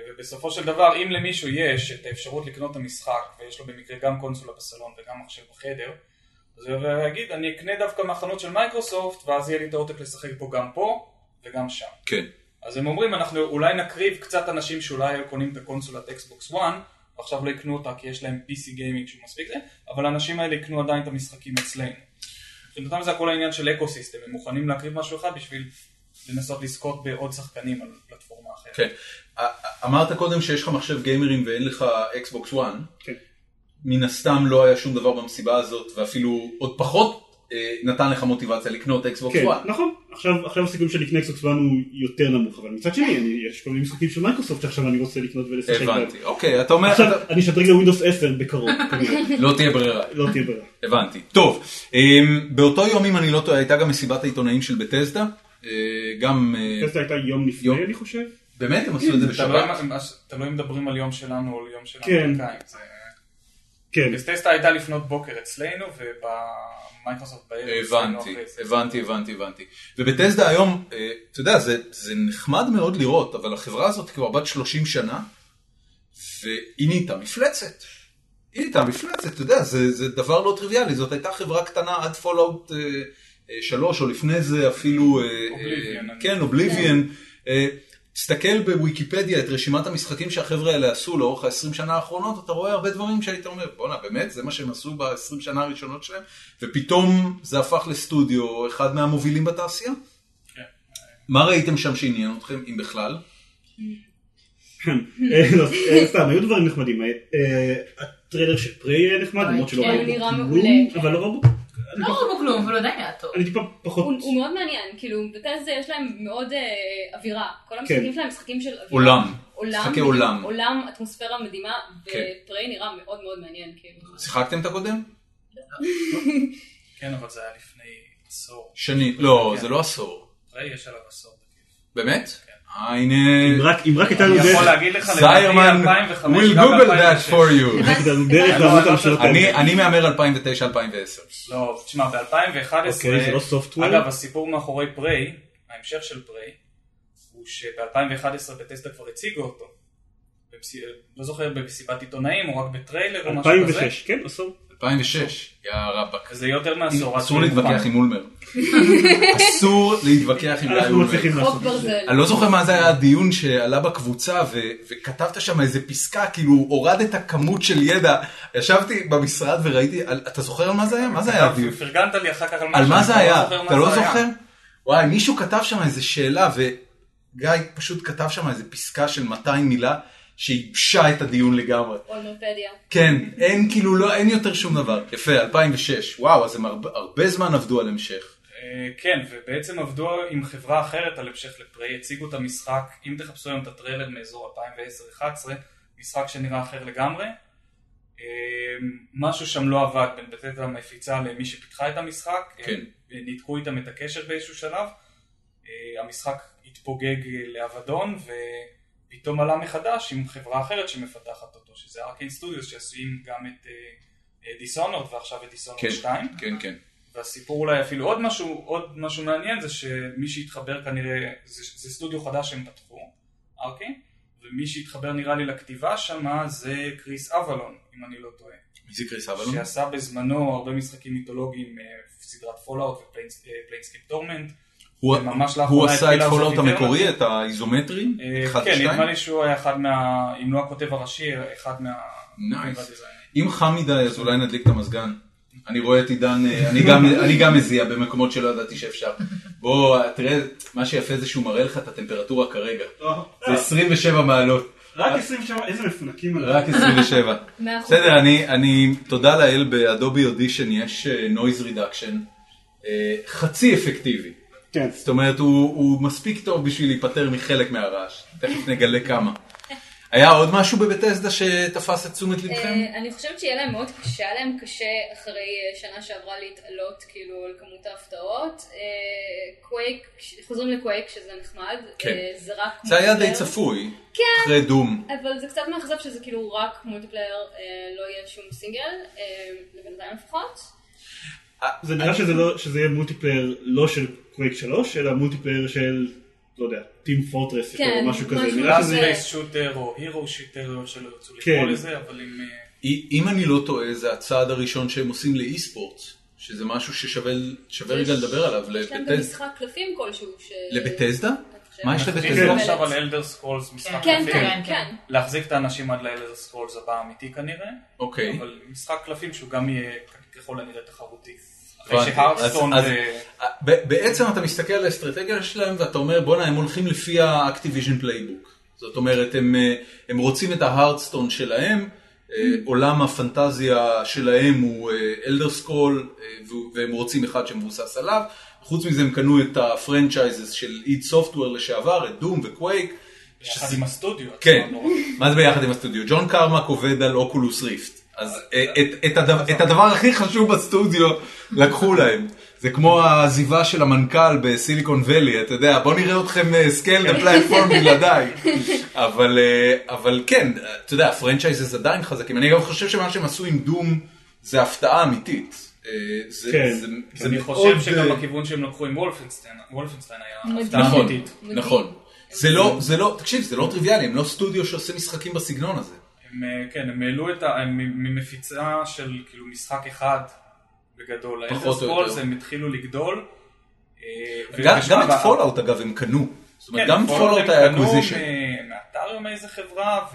Speaker 2: ובסופו של דבר, אם למישהו יש את האפשרות לקנות את המשחק, ויש לו במקרה גם קונסולה בסלון וגם מחשב בחדר, אז הוא יבוא ויגיד, אני אקנה דווקא מהחנות של מייקרוסופט, ואז יהיה לי את העותק לשחק בו גם פה וגם שם.
Speaker 1: כן.
Speaker 2: אז הם אומרים, אנחנו אולי נקריב קצת אנשים שאולי היו קונים את הקונסולת אקסבוקס 1, ועכשיו לא יקנו אותה כי יש להם PC גיימינג שהוא מספיק זה, אבל האנשים האלה יקנו עדיין את המשחקים אצלנו. מבחינתם זה הכל העניין של אקו סיסטם, הם מוכנים להקריב משהו אחד בשביל לנסות לזכות בעוד שחקנים על פלטפורמה אחרת.
Speaker 1: כן. א- א- אמרת קודם שיש לך מחשב גיימרים ואין לך אקסבוקס 1.
Speaker 4: כן.
Speaker 1: מן הסתם לא היה שום דבר במסיבה הזאת, ואפילו עוד פחות אה, נתן לך מוטיבציה לקנות אקסבוקס
Speaker 4: כן,
Speaker 1: 1.
Speaker 4: נכון, עכשיו, עכשיו הסיכום של לקנות אקסבוקס וואן הוא יותר נמוך, אבל מצד שני, אני, יש כל מיני משחקים של מייקרוסופט שעכשיו אני רוצה לקנות ולשחק בהם.
Speaker 1: הבנתי. אוקיי, אתה אומר,
Speaker 4: לא, עכשיו,
Speaker 1: אתה-
Speaker 4: אני אשדרג לווינדוס 10 בקרוב, כנראה,
Speaker 1: לא תהיה ברירה.
Speaker 4: לא תהיה ברירה.
Speaker 1: הבנתי. טוב, אמ, באותו יום, אם אני לא טועה, הייתה גם מסיבת העיתונאים של בטסדה. אה, גם... אה,
Speaker 4: טסלה הייתה יום
Speaker 1: יום.
Speaker 4: לפני, אני חושב.
Speaker 1: באמת הם עשו את כן, זה
Speaker 2: לא
Speaker 1: בשבת?
Speaker 2: תלוי אם מדברים על יום שלנו או על יום של
Speaker 4: כן.
Speaker 2: האמריקאים. זה-
Speaker 4: כן,
Speaker 2: אז טסטה הייתה לפנות בוקר אצלנו, ובמייקרוסופט בערב. אצלנו
Speaker 1: אה, הבנתי,
Speaker 2: אחרי זה.
Speaker 1: הבנתי, הבנתי, הבנתי. ובטסדה היום, אה, אתה יודע, זה, זה נחמד מאוד לראות, אבל החברה הזאת כבר בת 30 שנה, והיא נהייתה מפלצת. היא נהייתה מפלצת, אתה יודע, זה, זה דבר לא טריוויאלי, זאת הייתה חברה קטנה עד פולאאוט אה, אה, 3, או לפני זה אפילו... אה,
Speaker 2: Oblivion,
Speaker 1: אה,
Speaker 2: אני-
Speaker 1: כן, אובליביאן. אה, תסתכל בוויקיפדיה את רשימת המשחקים שהחבר'ה האלה עשו לאורך ה-20 שנה האחרונות, אתה רואה הרבה דברים שהיית אומר, בואנה באמת, זה מה שהם עשו ב-20 שנה הראשונות שלהם, ופתאום זה הפך לסטודיו, אחד מהמובילים בתעשייה.
Speaker 2: כן.
Speaker 1: מה ראיתם שם שעניין אתכם, אם בכלל?
Speaker 4: אה, לא, אה, סתם, היו דברים נחמדים. אה, אה, הטריילר של פריי היה נחמד,
Speaker 5: אוי,
Speaker 4: למרות שלא
Speaker 5: כן,
Speaker 4: ראיתי
Speaker 5: הוא
Speaker 3: אה, נראה
Speaker 4: כלום,
Speaker 3: מעולה.
Speaker 4: אבל לא ראו אני
Speaker 5: לא ראו בו כלום, אבל הוא עדיין היה טוב.
Speaker 4: אני טיפה פחות...
Speaker 3: הוא הוא מאוד מעניין, כאילו, בטסדה יש להם מאוד אה, אווירה. כל
Speaker 4: כן.
Speaker 3: המשחקים שלהם משחקים של אווירה.
Speaker 1: עולם.
Speaker 3: עולם.
Speaker 1: משחקי עולם.
Speaker 3: עולם, אטמוספירה מדהימה,
Speaker 1: כן.
Speaker 3: ופריי נראה מאוד מאוד מעניין, כאילו.
Speaker 1: שיחקתם את הקודם?
Speaker 2: כן, אבל זה היה לפני עשור.
Speaker 1: שני. לא,
Speaker 2: כן.
Speaker 1: זה לא עשור.
Speaker 2: ראי, יש עליו עשור. בכיף.
Speaker 1: באמת?
Speaker 2: כן.
Speaker 1: אה, הנה...
Speaker 4: אם רק- אם רק הייתה לנו
Speaker 2: אני יכול
Speaker 4: דרך-
Speaker 2: להגיד לך,
Speaker 1: זיירמן,
Speaker 2: לדעתי 2005,
Speaker 1: we'll
Speaker 2: גם
Speaker 1: Google that
Speaker 2: 2006.
Speaker 1: for you.
Speaker 4: רק הייתה לנו דרך לענות על השאלות
Speaker 1: אני-
Speaker 4: האלה.
Speaker 1: אני מהמר 2009-2010.
Speaker 2: לא, תשמע, ב-2011...
Speaker 4: אוקיי, זה לא software?
Speaker 2: אגב, הסיפור מאחורי פריי, ההמשך של פריי, הוא שב-2011 בטסטה כבר הציגו אותו. במס- לא זוכר במסיבת עיתונאים, או רק בטריילר או משהו כזה.
Speaker 4: 2006, כן, עשור.
Speaker 1: 2006. יא רבאק.
Speaker 2: וזה יותר מעשור. עד
Speaker 1: אסור
Speaker 2: שהוא
Speaker 1: להתווכח
Speaker 2: מוכן.
Speaker 1: עם אולמר. אסור להתווכח עם גיא
Speaker 4: אנחנו
Speaker 1: אולמר.
Speaker 4: מצליחים לעשות את
Speaker 3: חוק
Speaker 4: זה.
Speaker 3: ברזל.
Speaker 1: אני לא זוכר מה זה היה הדיון שעלה בקבוצה ו- וכתבת שם איזה פסקה, כאילו הורדת כמות של ידע. ישבתי במשרד וראיתי, על- אתה זוכר על מה זה היה? מה זה היה הדיון?
Speaker 2: אתה פרגנת לי אחר כך על משהו.
Speaker 1: על מה זה
Speaker 2: אני לא
Speaker 1: היה?
Speaker 2: זוכר מה
Speaker 1: אתה לא
Speaker 2: זה היה.
Speaker 1: זוכר? וואי, מישהו כתב שם איזה שאלה, וגיא פשוט כתב שם איזה פסקה של 200 מילה, שייבשה את הדיון לגמרי.
Speaker 3: אולמרפדיה.
Speaker 1: כן, אין כאילו, לא, אין יותר שום דבר. יפה, 2006. וואו, אז הם הרבה, הרבה זמן עבדו על המשך.
Speaker 2: אה, כן, ובעצם עבדו עם חברה אחרת על המשך לפריי, הציגו את המשחק, אם תחפשו היום את הטריילר מאזור 2010-2011, משחק שנראה אחר לגמרי. אה, משהו שם לא עבד בין בטטה המפיצה למי שפיתחה את המשחק,
Speaker 1: כן.
Speaker 2: הם, אה, ניתקו איתם את הקשר באיזשהו שלב, אה, המשחק התפוגג אה, לאבדון ופתאום עלה מחדש עם חברה אחרת שמפתחת אותו, שזה ארקיין סטודיוס שעשויים גם את דיסונורד ועכשיו את דיסונורד
Speaker 1: כן.
Speaker 2: 2.
Speaker 1: כן, כן.
Speaker 2: והסיפור אולי אפילו עוד משהו, עוד משהו מעניין זה שמי שהתחבר כנראה, זה, זה סטודיו חדש שהם פתחו, ארקי, ומי שהתחבר נראה לי לכתיבה שמה זה קריס אבלון, אם אני לא טועה,
Speaker 1: מי זה קריס אבלון?
Speaker 2: שעשה בזמנו הרבה משחקים מיתולוגיים, אה, סדרת אה, פולאאוט ופליינסקיפ טורמנט,
Speaker 1: הוא-
Speaker 2: ממש
Speaker 1: הוא
Speaker 2: לאחרונה
Speaker 1: עשה את
Speaker 2: התחילה לעשות
Speaker 1: פולאאוט
Speaker 2: איתנו.
Speaker 1: המקורי, את האיזומטרי?
Speaker 2: אה,
Speaker 1: אחד
Speaker 2: כן, נדמה
Speaker 1: ושתיים?
Speaker 2: לי שהוא היה אחד מה, אם לא הכותב הראשי, אחד מה...
Speaker 1: Nice.
Speaker 2: מהדיזיינרים.
Speaker 1: אם חם מדי, אז אולי נדליק את המזגן. אני רואה את עידן, אה, אני גם- אני גם מזיע במקומות שלא ידעתי שאפשר. בוא, תראה, מה שיפה זה שהוא מראה לך את הטמפרטורה כרגע.
Speaker 4: אה,
Speaker 1: זה 27 מעלות,
Speaker 4: רק 27, איזה מפונקים. אנחנו.
Speaker 1: רק 27.
Speaker 3: מאה אחוז.
Speaker 1: בסדר, אני, אני, תודה לאל, באדובי אודישן יש אה, נויז רידקשן אה, חצי אפקטיבי.
Speaker 4: כן.
Speaker 1: זאת אומרת, הוא, הוא מספיק טוב בשביל להיפטר מחלק מהרעש. תכף נגלה כמה. היה עוד משהו בבטסדה שתפס את תשומת לבכם?
Speaker 3: אה, אני חושבת שיהיה להם מאוד קשה, היה להם קשה אחרי אה, שנה שעברה להתעלות כאילו על כמות ההפתעות. אה, קווייק, חוזרים לקווייק שזה נחמד,
Speaker 1: כן.
Speaker 3: אה, זה רק
Speaker 1: זה היה די
Speaker 3: מולטיפלייר.
Speaker 1: צפוי,
Speaker 3: כן.
Speaker 1: אחרי דום.
Speaker 3: אבל זה קצת מאכזב שזה כאילו רק מולטיפלייר, אה, לא יהיה שום סינגל, אה, לבינתיים לפחות.
Speaker 4: זה נראה שזה לא- שזה יהיה מולטיפלייר לא של קווייק 3, אלא מולטיפלייר של, לא יודע, טים פורטרס
Speaker 3: כן,
Speaker 4: או משהו כזה.
Speaker 3: משהו
Speaker 4: נראה
Speaker 2: לאסט
Speaker 4: שזה...
Speaker 3: כזה.
Speaker 2: פלייס שוטר או לא הירו שיטר, שלא ירצו
Speaker 4: כן.
Speaker 2: לקרוא לזה, אבל אם... אה,
Speaker 1: אם אני לא טועה, זה הצעד הראשון שהם עושים לאי ספורטס, שזה משהו ששווה שווה רגע
Speaker 3: יש-
Speaker 1: לדבר עליו.
Speaker 3: יש להם
Speaker 1: לבטס-
Speaker 3: גם משחק קלפים כלשהו. ש-
Speaker 1: לבטסדה?
Speaker 3: אני חושבת.
Speaker 1: מה יש
Speaker 2: אנחנו
Speaker 1: לבטסדה?
Speaker 2: מדברים
Speaker 3: כן.
Speaker 2: עכשיו על אלדר סקרולס משחק
Speaker 3: כן,
Speaker 2: קלפים.
Speaker 3: כן, כן.
Speaker 2: להחזיק את האנשים עד לאלדר סקרולס הבא אמיתי כנראה,
Speaker 1: אוקיי.
Speaker 2: אבל משחק קלפים שהוא גם יהיה ככל הנראה תחרותי. אחרי
Speaker 1: הבנתי.
Speaker 2: שהרדסטון
Speaker 1: אז- אז-
Speaker 2: ו-
Speaker 1: ב- בעצם אתה מסתכל על האסטרטגיה שלהם ואתה אומר בואנה הם הולכים לפי האקטיביז'ן פלייבוק. זאת אומרת הם, אה, הם רוצים את ההרדסטון שלהם, אה, עולם הפנטזיה שלהם הוא אה, אלדר סקרול והם רוצים אחד שמבוסס עליו. חוץ מזה הם קנו את הפרנצ'ייזס של איד סופטוור לשעבר, את דום וקווייק.
Speaker 2: יחד עם הסטודיו.
Speaker 1: כן,
Speaker 2: עצמו, נורא.
Speaker 1: מה זה ביחד עם הסטודיו? ג'ון קרמק עובד על אוקולוס ריפט. אז אה, את- את הדבר- את הדבר הכי חשוב בסטודיו לקחו להם. זה כמו העזיבה של המנכ"ל בסיליקון ואלי, אתה יודע, בוא נראה אתכם סקייל הפלטפורם בלעדיי. אבל, אה, אבל כן, אתה יודע, הפרנצ'ייזס עדיין חזקים. אני גם חושב שמה שהם עשו עם דום זה הפתעה אמיתית. אה, זה,
Speaker 4: כן.
Speaker 1: זה, זה
Speaker 2: אני
Speaker 1: מאוד,
Speaker 2: חושב
Speaker 1: אה,
Speaker 2: שגם בכיוון שהם לקחו עם וולפנשטיין, וולפנשטיין היה
Speaker 3: מדהים.
Speaker 2: הפתעה
Speaker 1: נכון,
Speaker 2: אמיתית.
Speaker 3: מדהים.
Speaker 1: נכון. זה לא, זה לא, תקשיב, זה לא טריוויאלי, הם לא סטודיו שעושה משחקים בסגנון הזה.
Speaker 2: הם, אה, כן, הם העלו את ה... הם מ- ממפיצה של כאילו משחק אחד בגדול.
Speaker 1: פחות
Speaker 2: האלדר
Speaker 1: או
Speaker 2: סקרולס,
Speaker 1: יותר.
Speaker 2: הם התחילו לגדול. אה,
Speaker 1: גם
Speaker 2: ובשלב
Speaker 1: גם את
Speaker 2: ה-
Speaker 1: פולאאוט אגב הם קנו. זאת
Speaker 2: כן,
Speaker 1: אומרת, גם את
Speaker 2: פולאאוט
Speaker 1: פולאאוט היה
Speaker 2: הם קנו אה,
Speaker 1: אקוויזישן.
Speaker 2: מ- מאתר או מאיזה חברה,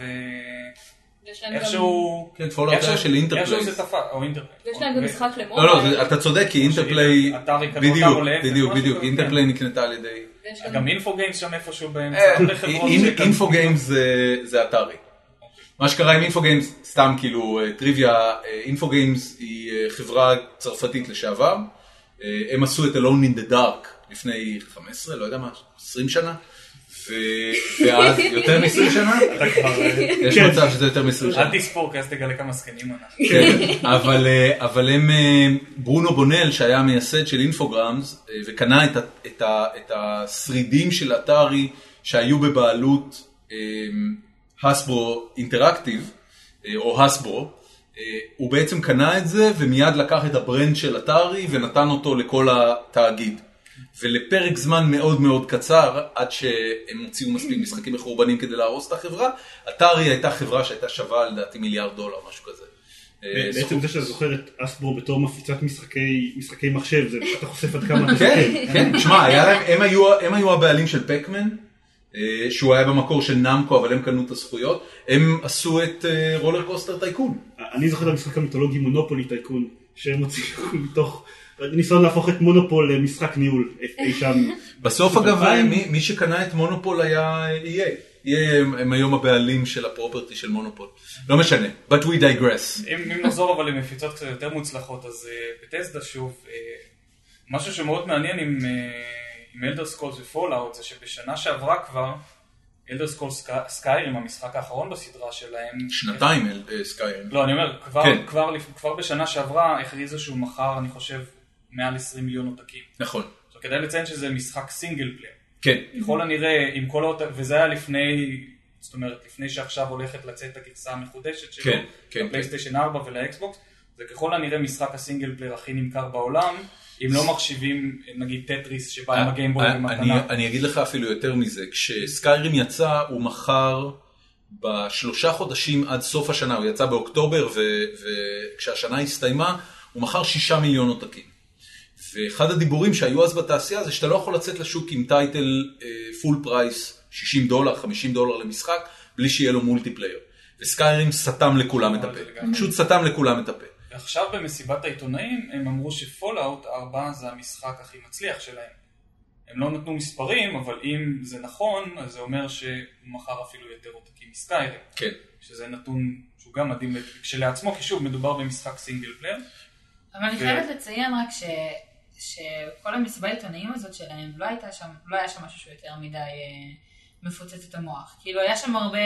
Speaker 3: יש להם גם...
Speaker 2: ואיכשהו...
Speaker 1: כן, פולאאוט היה של אינטרפלייס.
Speaker 2: איכשהו זה תפס, או אוקיי. אינטרפלייס.
Speaker 3: ויש להם גם משחק
Speaker 1: לא,
Speaker 3: למובייל.
Speaker 1: לא, זה- אתה צודק, כי אינטרפליי,
Speaker 2: אתר יקנו אותם
Speaker 1: בדיוק,
Speaker 2: או להפך,
Speaker 1: בדיוק,
Speaker 2: משהו
Speaker 1: בדיוק,
Speaker 2: כזה,
Speaker 1: אינטרפליי נקנתה על ידי...
Speaker 3: ויש גם-
Speaker 2: אה, גם אינפו גיימס שם איפשהו באמצע,
Speaker 1: אה,
Speaker 2: הרבה חברות
Speaker 1: אינ-
Speaker 2: שקנו-
Speaker 1: אינפוגיימס זה- זה אתרי. מה שקרה עם אינפוגיימס, סתם כאילו אה, טריוויה, אה, אינפוגיימס היא אה, חברה צרפתית לשעבר. אה, הם עשו את Alone in the Dark לפני 15, לא יודע מה, 20 שנה. ו- ואז יותר מ-20 שנה,
Speaker 2: אתה כבר, אה,
Speaker 1: יש
Speaker 4: כן.
Speaker 1: מצב שזה יותר מ-20 שנה.
Speaker 2: אל תספור, כי אז תגלה כמה זקנים אנחנו.
Speaker 1: כן, אבל, אה, אבל הם, אה, ברונו בונל שהיה המייסד של אינפוגרמס אה, וקנה את, ה- את, ה- את השרידים של אתרי שהיו בבעלות אה, הסברו אינטראקטיב אה, או הסברו, אה, הוא בעצם קנה את זה ומיד לקח את הברנד של אתרי ונתן אותו לכל התאגיד. ולפרק זמן מאוד מאוד קצר, עד שהם הוציאו מספיק משחקים מחורבנים כדי להרוס את החברה, אתרי הייתה חברה שהייתה שווה לדעתי מיליארד דולר, משהו כזה. אה,
Speaker 4: בעצם זה שאתה זוכר את אסברו בתור מפיצת משחקי משחקי מחשב, זה אתה חושף עד כמה אתה
Speaker 1: כן, כן, שמע, היה להם- הם היו- הם היו הבעלים של פקמן, אה, שהוא היה במקור של נמקו, אבל הם קנו את הזכויות, הם עשו את אה, רולר קוסטר טייקון.
Speaker 4: אני זוכר את המשחק המיתולוגי מונופולי טייקון, שהם הוציאו מתוך ניסיון להפוך את מונופול למשחק ניהול אי שם.
Speaker 1: בסוף אגב, אה,
Speaker 4: אלפיים.
Speaker 1: מי- מי שקנה את מונופול היה E EA. EA הם- הם היום הבעלים של הפרופרטי של מונופול. לא משנה, but we digress.
Speaker 2: אם אם נחזור אבל למפיצות קצת יותר מוצלחות, אז אה, בטסדה שוב, אה, משהו שמאוד מעניין עם, אה, עם אלדר סקולס ופולאאוט זה שבשנה שעברה כבר, אלדר סקולס סקיירים, המשחק האחרון בסדרה שלהם,
Speaker 1: שנתיים אה, סקיירים.
Speaker 2: לא, אני אומר, כבר,
Speaker 1: כן.
Speaker 2: כן. כבר, לפ- כבר בשנה שעברה הכריזו שהוא מכר, אני חושב, מעל 20 מיליון עותקים.
Speaker 1: נכון.
Speaker 2: עכשיו כדאי לציין שזה משחק סינגל פלייר.
Speaker 1: כן.
Speaker 2: ככל הנראה, עם כל האות... וזה היה לפני, זאת אומרת, לפני שעכשיו הולכת לצאת הגרסה המחודשת שלו,
Speaker 1: כן, כן,
Speaker 2: לפלייסטיישן 4 ולאקסבוקס, זה ככל הנראה משחק הסינגל פלייר הכי נמכר בעולם, אם לא מחשיבים נגיד טטריס שבא עם הגיימבוי
Speaker 1: אה, אני- אה-
Speaker 2: במתנה.
Speaker 1: אני אגיד לך אפילו יותר מזה, כשסקיירים יצא הוא מכר בשלושה חודשים עד סוף השנה, הוא יצא באוקטובר וכשהשנה הסתיימה הוא מכר שישה מיליון עותקים. ואחד הדיבורים שהיו אז בתעשייה זה שאתה לא יכול לצאת לשוק עם טייטל אה, פול פרייס 60 דולר, 50 דולר למשחק, בלי שיהיה לו מולטיפלייר. וסקיירים סתם לכולם את הפה,
Speaker 2: לגמרי.
Speaker 1: פשוט סתם לכולם את הפה.
Speaker 2: ועכשיו במסיבת העיתונאים הם אמרו שפולאאוט 4 זה המשחק הכי מצליח שלהם. הם לא נתנו מספרים, אבל אם זה נכון, אז זה אומר שהוא מכר אפילו יותר עותקים מסקיירים.
Speaker 1: כן.
Speaker 2: שזה נתון שהוא גם מדהים כשלעצמו, כי שוב, מדובר במשחק סינגל פלייר.
Speaker 5: אבל אני
Speaker 1: כן.
Speaker 2: ו-
Speaker 5: חייבת לציין רק ש... שכל המסיבת העיתונאים הזאת שלהם, לא, הייתה שם, לא היה שם משהו שהוא יותר מדי אה, מפוצץ את המוח. כאילו, היה שם הרבה,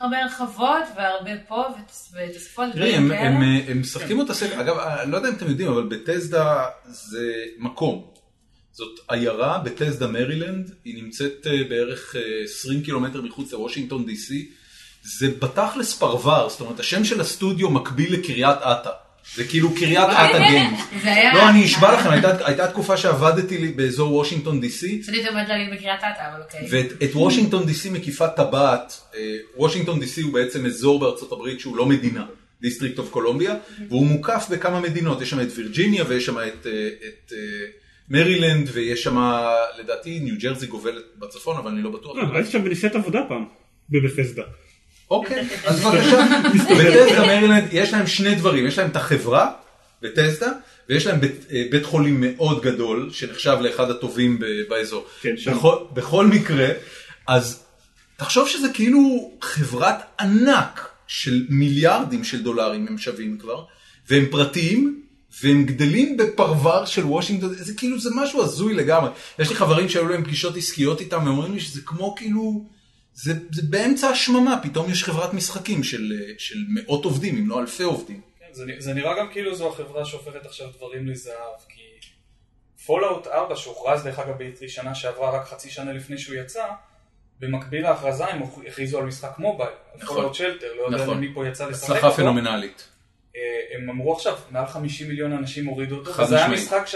Speaker 5: הרבה הרחבות והרבה פה ותוס, ותוספות.
Speaker 1: תראי,
Speaker 5: דברים
Speaker 1: הם, אה,
Speaker 5: כאלה.
Speaker 1: הם, הם משחקים אותה סדר, אגב, אני לא יודע אם אתם יודעים, אבל בטסדה זה מקום. זאת עיירה, בטסדה מרילנד, היא נמצאת אה, בערך אה, 20 קילומטר מחוץ לוושינגטון די סי. זה בתכלס פרבר, זאת אומרת, השם של הסטודיו מקביל לקריית אתא. זה כאילו קריית אתא גיימס.
Speaker 5: זה היה...
Speaker 1: לא, אני אשבע לכם, הייתה- הייתה תקופה שעבדתי לי באזור וושינגטון די סי,
Speaker 5: חשבתי יותר בעד להגיד בקריית אתא, אבל אוקיי.
Speaker 1: ואת את וושינגטון די סי מקיפה טבעת, אה, וושינגטון די סי הוא בעצם אזור בארצות הברית שהוא לא מדינה, דיסטריקט אוף קולומביה, והוא מוקף בכמה מדינות, יש שם את וירג'יניה ויש שם את, אה, את אה, מרילנד ויש שם לדעתי ניו ג'רזי גובלת בצפון אבל אני לא בטוח.
Speaker 4: לא, הייתי שם בנסיעת עבודה פעם, בבפסדה.
Speaker 1: אוקיי, אז בבקשה, בטסדה מרילנד יש להם שני דברים, יש להם את החברה בטסדה ויש להם בית, אה, בית חולים מאוד גדול שנחשב לאחד הטובים ב- באזור. נכון?
Speaker 4: כן, שם.
Speaker 1: בכל, בכל מקרה, אז תחשוב שזה כאילו חברת ענק של מיליארדים של דולרים הם שווים כבר, והם פרטיים. והם גדלים בפרבר של וושינגטון, זה כאילו זה משהו הזוי לגמרי. יש לי חברים שהיו להם פגישות עסקיות איתם, והם אומרים לי שזה כמו כאילו, זה, זה באמצע השממה, פתאום יש חברת משחקים של, אה, של מאות עובדים, אם לא אלפי עובדים.
Speaker 2: כן, זה, נ- זה נראה גם כאילו זו החברה שהופכת עכשיו דברים לזהב, כי פולאאוט 4 שהוכרז דרך אגב ב-E3 שנה שעברה רק חצי שנה לפני שהוא יצא, במקביל להכרזה הם הכריזו על משחק מובייל,
Speaker 1: נכון.
Speaker 2: פולאאוט שלטר, לא יודע
Speaker 1: נכון.
Speaker 2: למי פה יצא לשחק.
Speaker 1: הצלחה
Speaker 2: אותו.
Speaker 1: פנומנלית.
Speaker 2: אה, הם אמרו עכשיו, מעל 50 מיליון אנשים הורידו אותו,
Speaker 1: חד
Speaker 2: וזה היה
Speaker 1: משמעית.
Speaker 2: משחק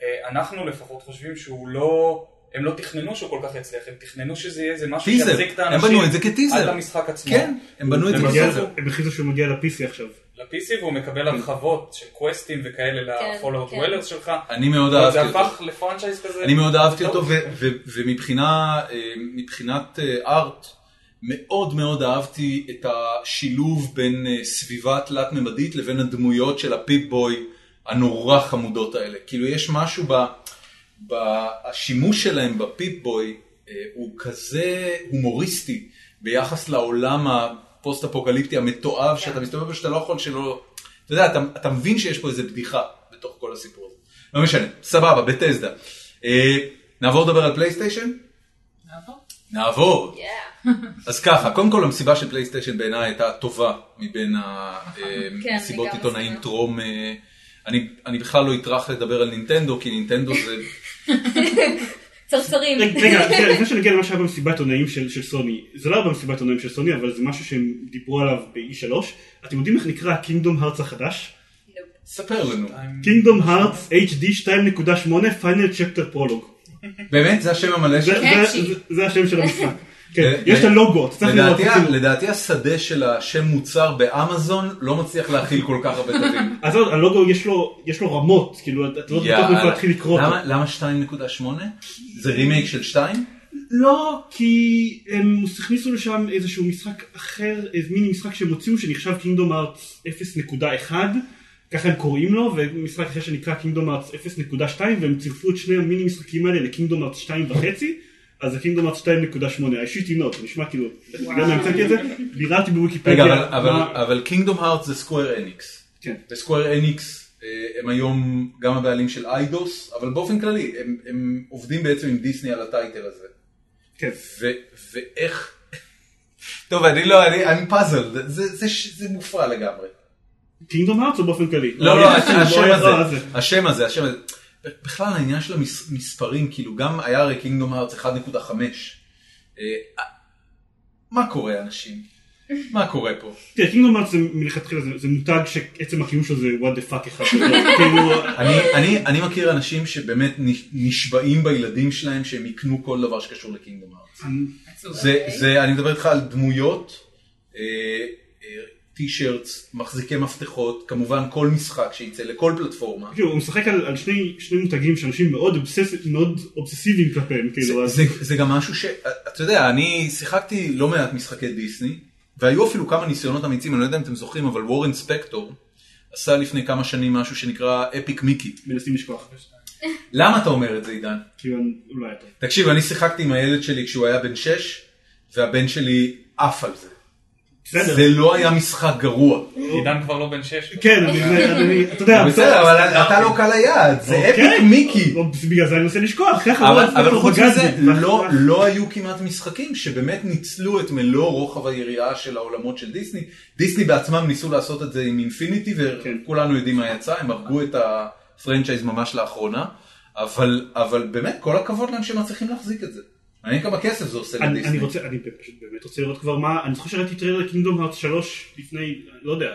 Speaker 2: שאנחנו לפחות חושבים שהוא לא, הם לא תכננו שהוא כל כך יצליח, הם תכננו שזה יהיה איזה משהו
Speaker 1: טיזר,
Speaker 2: שיחזיק את
Speaker 1: הם
Speaker 2: האנשים
Speaker 1: בנו את זה כטיזר.
Speaker 2: עד למשחק עצמו.
Speaker 1: כן, הם בנו את זה
Speaker 4: הם מגיע-
Speaker 1: בסדר.
Speaker 4: הם הכריזו שהוא מגיע ל-PC עכשיו.
Speaker 2: ל-PC והוא
Speaker 1: כן.
Speaker 2: מקבל הרחבות של קווסטים וכאלה
Speaker 3: כן,
Speaker 2: לפולאאוט
Speaker 3: כן.
Speaker 2: ווילרס שלך.
Speaker 1: אני מאוד
Speaker 2: זה
Speaker 1: אהבתי אותו.
Speaker 2: הפך לפרנצ'ייז כזה.
Speaker 1: אני מאוד אהבתי
Speaker 2: טוב.
Speaker 1: אותו, ו- ו- ומבחינה אה, מבחינת אה, ארט, מאוד מאוד אהבתי את השילוב בין אה, סביבה תלת-ממדית לבין הדמויות של הפיפ בוי הנורא חמודות האלה. כאילו יש משהו ב... ב- השימוש שלהם בפיפ בוי אה, הוא כזה הומוריסטי ביחס לעולם הפוסט-אפוקליפטי המתועב שאתה מסתובב בו שאתה לא יכול שלא... אתה יודע, אתה, אתה מבין שיש פה איזה בדיחה בתוך כל הסיפור הזה. לא משנה, סבבה, בטסדה. אה, נעבור לדבר על פלייסטיישן?
Speaker 5: נעבור.
Speaker 1: נעבור.
Speaker 3: Yeah.
Speaker 1: אז ככה, קודם כל המסיבה של פלייסטיישן בעיניי הייתה הטובה מבין
Speaker 3: כן,
Speaker 1: המסיבות
Speaker 3: לגמרי
Speaker 1: עיתונאים
Speaker 3: מסכימה.
Speaker 1: טרום... אה, אני, אני בכלל לא אטרח לדבר על נינטנדו, כי נינטנדו זה...
Speaker 3: צרצרים.
Speaker 4: רגע, רגע, שנייה, לפני שנגיע למה שהיה במסיבת עונאים של של סוני, זה לא היה במסיבת עונאים של סוני, אבל זה משהו שהם דיברו עליו ב-E3. אתם יודעים איך נקרא הקינגדום הארץ החדש?
Speaker 3: Nope.
Speaker 1: ספר לנו.
Speaker 4: קינגדום הארץ HD 2.8 פיינל צ'פטר פרולוג.
Speaker 1: באמת? זה השם המלא
Speaker 4: זה
Speaker 1: שלו?
Speaker 3: כן.
Speaker 5: קאצ'י.
Speaker 4: זה- זה השם של המשחק.
Speaker 1: ו-
Speaker 4: כן, יש את הלוגו, אתה צריך לראות כאילו,
Speaker 1: לדעתי,
Speaker 4: את הצילום.
Speaker 1: לדעתי השדה של השם מוצר באמזון לא מצליח להכיל כל כך הרבה תווים.
Speaker 4: אז עוד, הלוגו יש לו, יש לו רמות, כאילו אתה לא בטוח מאיפה להתחיל לקרוא אותו.
Speaker 1: למה- למה 2.8? זה רימייק של 2?
Speaker 4: לא, כי הם הכניסו לשם איזשהו משחק אחר, איזה מיני משחק שהם הוציאו שנחשב קינגדום ארץ 0.1, ככה הם קוראים לו, ומשחק אחר שנקרא קינגדום ארץ 0.2, והם צירפו את שני המיני משחקים האלה לקינגדום ארץ 2.5. אז זה קינגדום ארץ 2.8, I shoot you not, נשמע כאילו, גם המצאתי את זה, ביררתי
Speaker 1: רגע,
Speaker 4: בוויקיפדיה,
Speaker 1: אבל- אבל-
Speaker 4: כן. מה-
Speaker 1: אבל קינגדום הארט זה סקוואר אניקס.
Speaker 4: כן.
Speaker 1: וסקוואר אניקס אה, הם היום גם הבעלים של איידוס, אבל באופן כללי הם- הם עובדים בעצם עם דיסני על הטייטל הזה.
Speaker 4: כן.
Speaker 1: ו- ואיך... טוב, אני לא, אני- אני פאזל, זה- זה- זה ש- זה מופרע לגמרי.
Speaker 4: קינגדום ארץ או באופן כללי?
Speaker 1: לא, לא, השם
Speaker 4: היה רע,
Speaker 1: הזה, השם הזה, השם הזה. בכלל העניין של המספרים, כאילו גם היה הרי קינגדום הארץ 1.5. אה, מה קורה אנשים? מה קורה פה?
Speaker 4: תראה, קינגדום ארץ זה מלכתחילה, זה- זה מותג שעצם הקיום שלו זה what the fuck אחד. כאילו,
Speaker 1: אני, אני, אני מכיר אנשים שבאמת נש- נשבעים בילדים שלהם שהם יקנו כל דבר שקשור לקינגדום הארץ.
Speaker 5: עצוב.
Speaker 1: זה, זה, אני מדבר איתך על דמויות, אה, אה, טישרטס, מחזיקי מפתחות, כמובן כל משחק שייצא לכל פלטפורמה.
Speaker 4: כאילו, הוא משחק על, על שני, שני מותגים שאנשים מאוד, אובסס, מאוד אובססיביים כלפיהם, כאילו, אז...
Speaker 1: זה, זה, זה גם משהו ש... אתה יודע, אני שיחקתי לא מעט משחקי דיסני, והיו אפילו כמה ניסיונות אמיצים, אני לא יודע אם אתם זוכרים, אבל וורן ספקטור עשה לפני כמה שנים משהו שנקרא אפיק מיקי.
Speaker 4: מנסים לשכוח,
Speaker 1: למה אתה אומר את זה, עידן?
Speaker 4: כאילו, אולי אתה.
Speaker 1: תקשיב, אני שיחקתי עם הילד שלי כשהוא היה בן 6, והבן שלי עף על זה.
Speaker 4: בסדר.
Speaker 1: זה לא היה משחק גרוע.
Speaker 2: עידן כבר לא בן שש.
Speaker 4: כן, אני, אני, אני, אתה יודע,
Speaker 1: בסדר, אבל אתה לא קל היעד, זה
Speaker 4: אוקיי.
Speaker 1: אפיק מיקי.
Speaker 4: לא, בגלל זה אני מנסה לשכוח, ככה,
Speaker 1: אבל
Speaker 4: לא, אנחנו
Speaker 1: אבל חוץ מזה,
Speaker 4: בגדנו.
Speaker 1: לא- לא היו כמעט משחקים שבאמת ניצלו את מלוא רוחב היריעה של העולמות של דיסני. דיסני בעצמם ניסו לעשות את זה עם אינפיניטי,
Speaker 4: כן.
Speaker 1: וכולנו יודעים מה יצא, הם הרגו את הפרנצ'ייז ממש לאחרונה, אבל אבל באמת, כל הכבוד להם שהם מצליחים להחזיק את זה. מעניין כמה כסף זה עושה
Speaker 4: אני, אני
Speaker 1: לדיסני.
Speaker 4: רוצה, אני פשוט באמת רוצה לראות כבר מה, אני זוכר שראיתי טריילר קינגדום הארץ 3 לפני, לא יודע,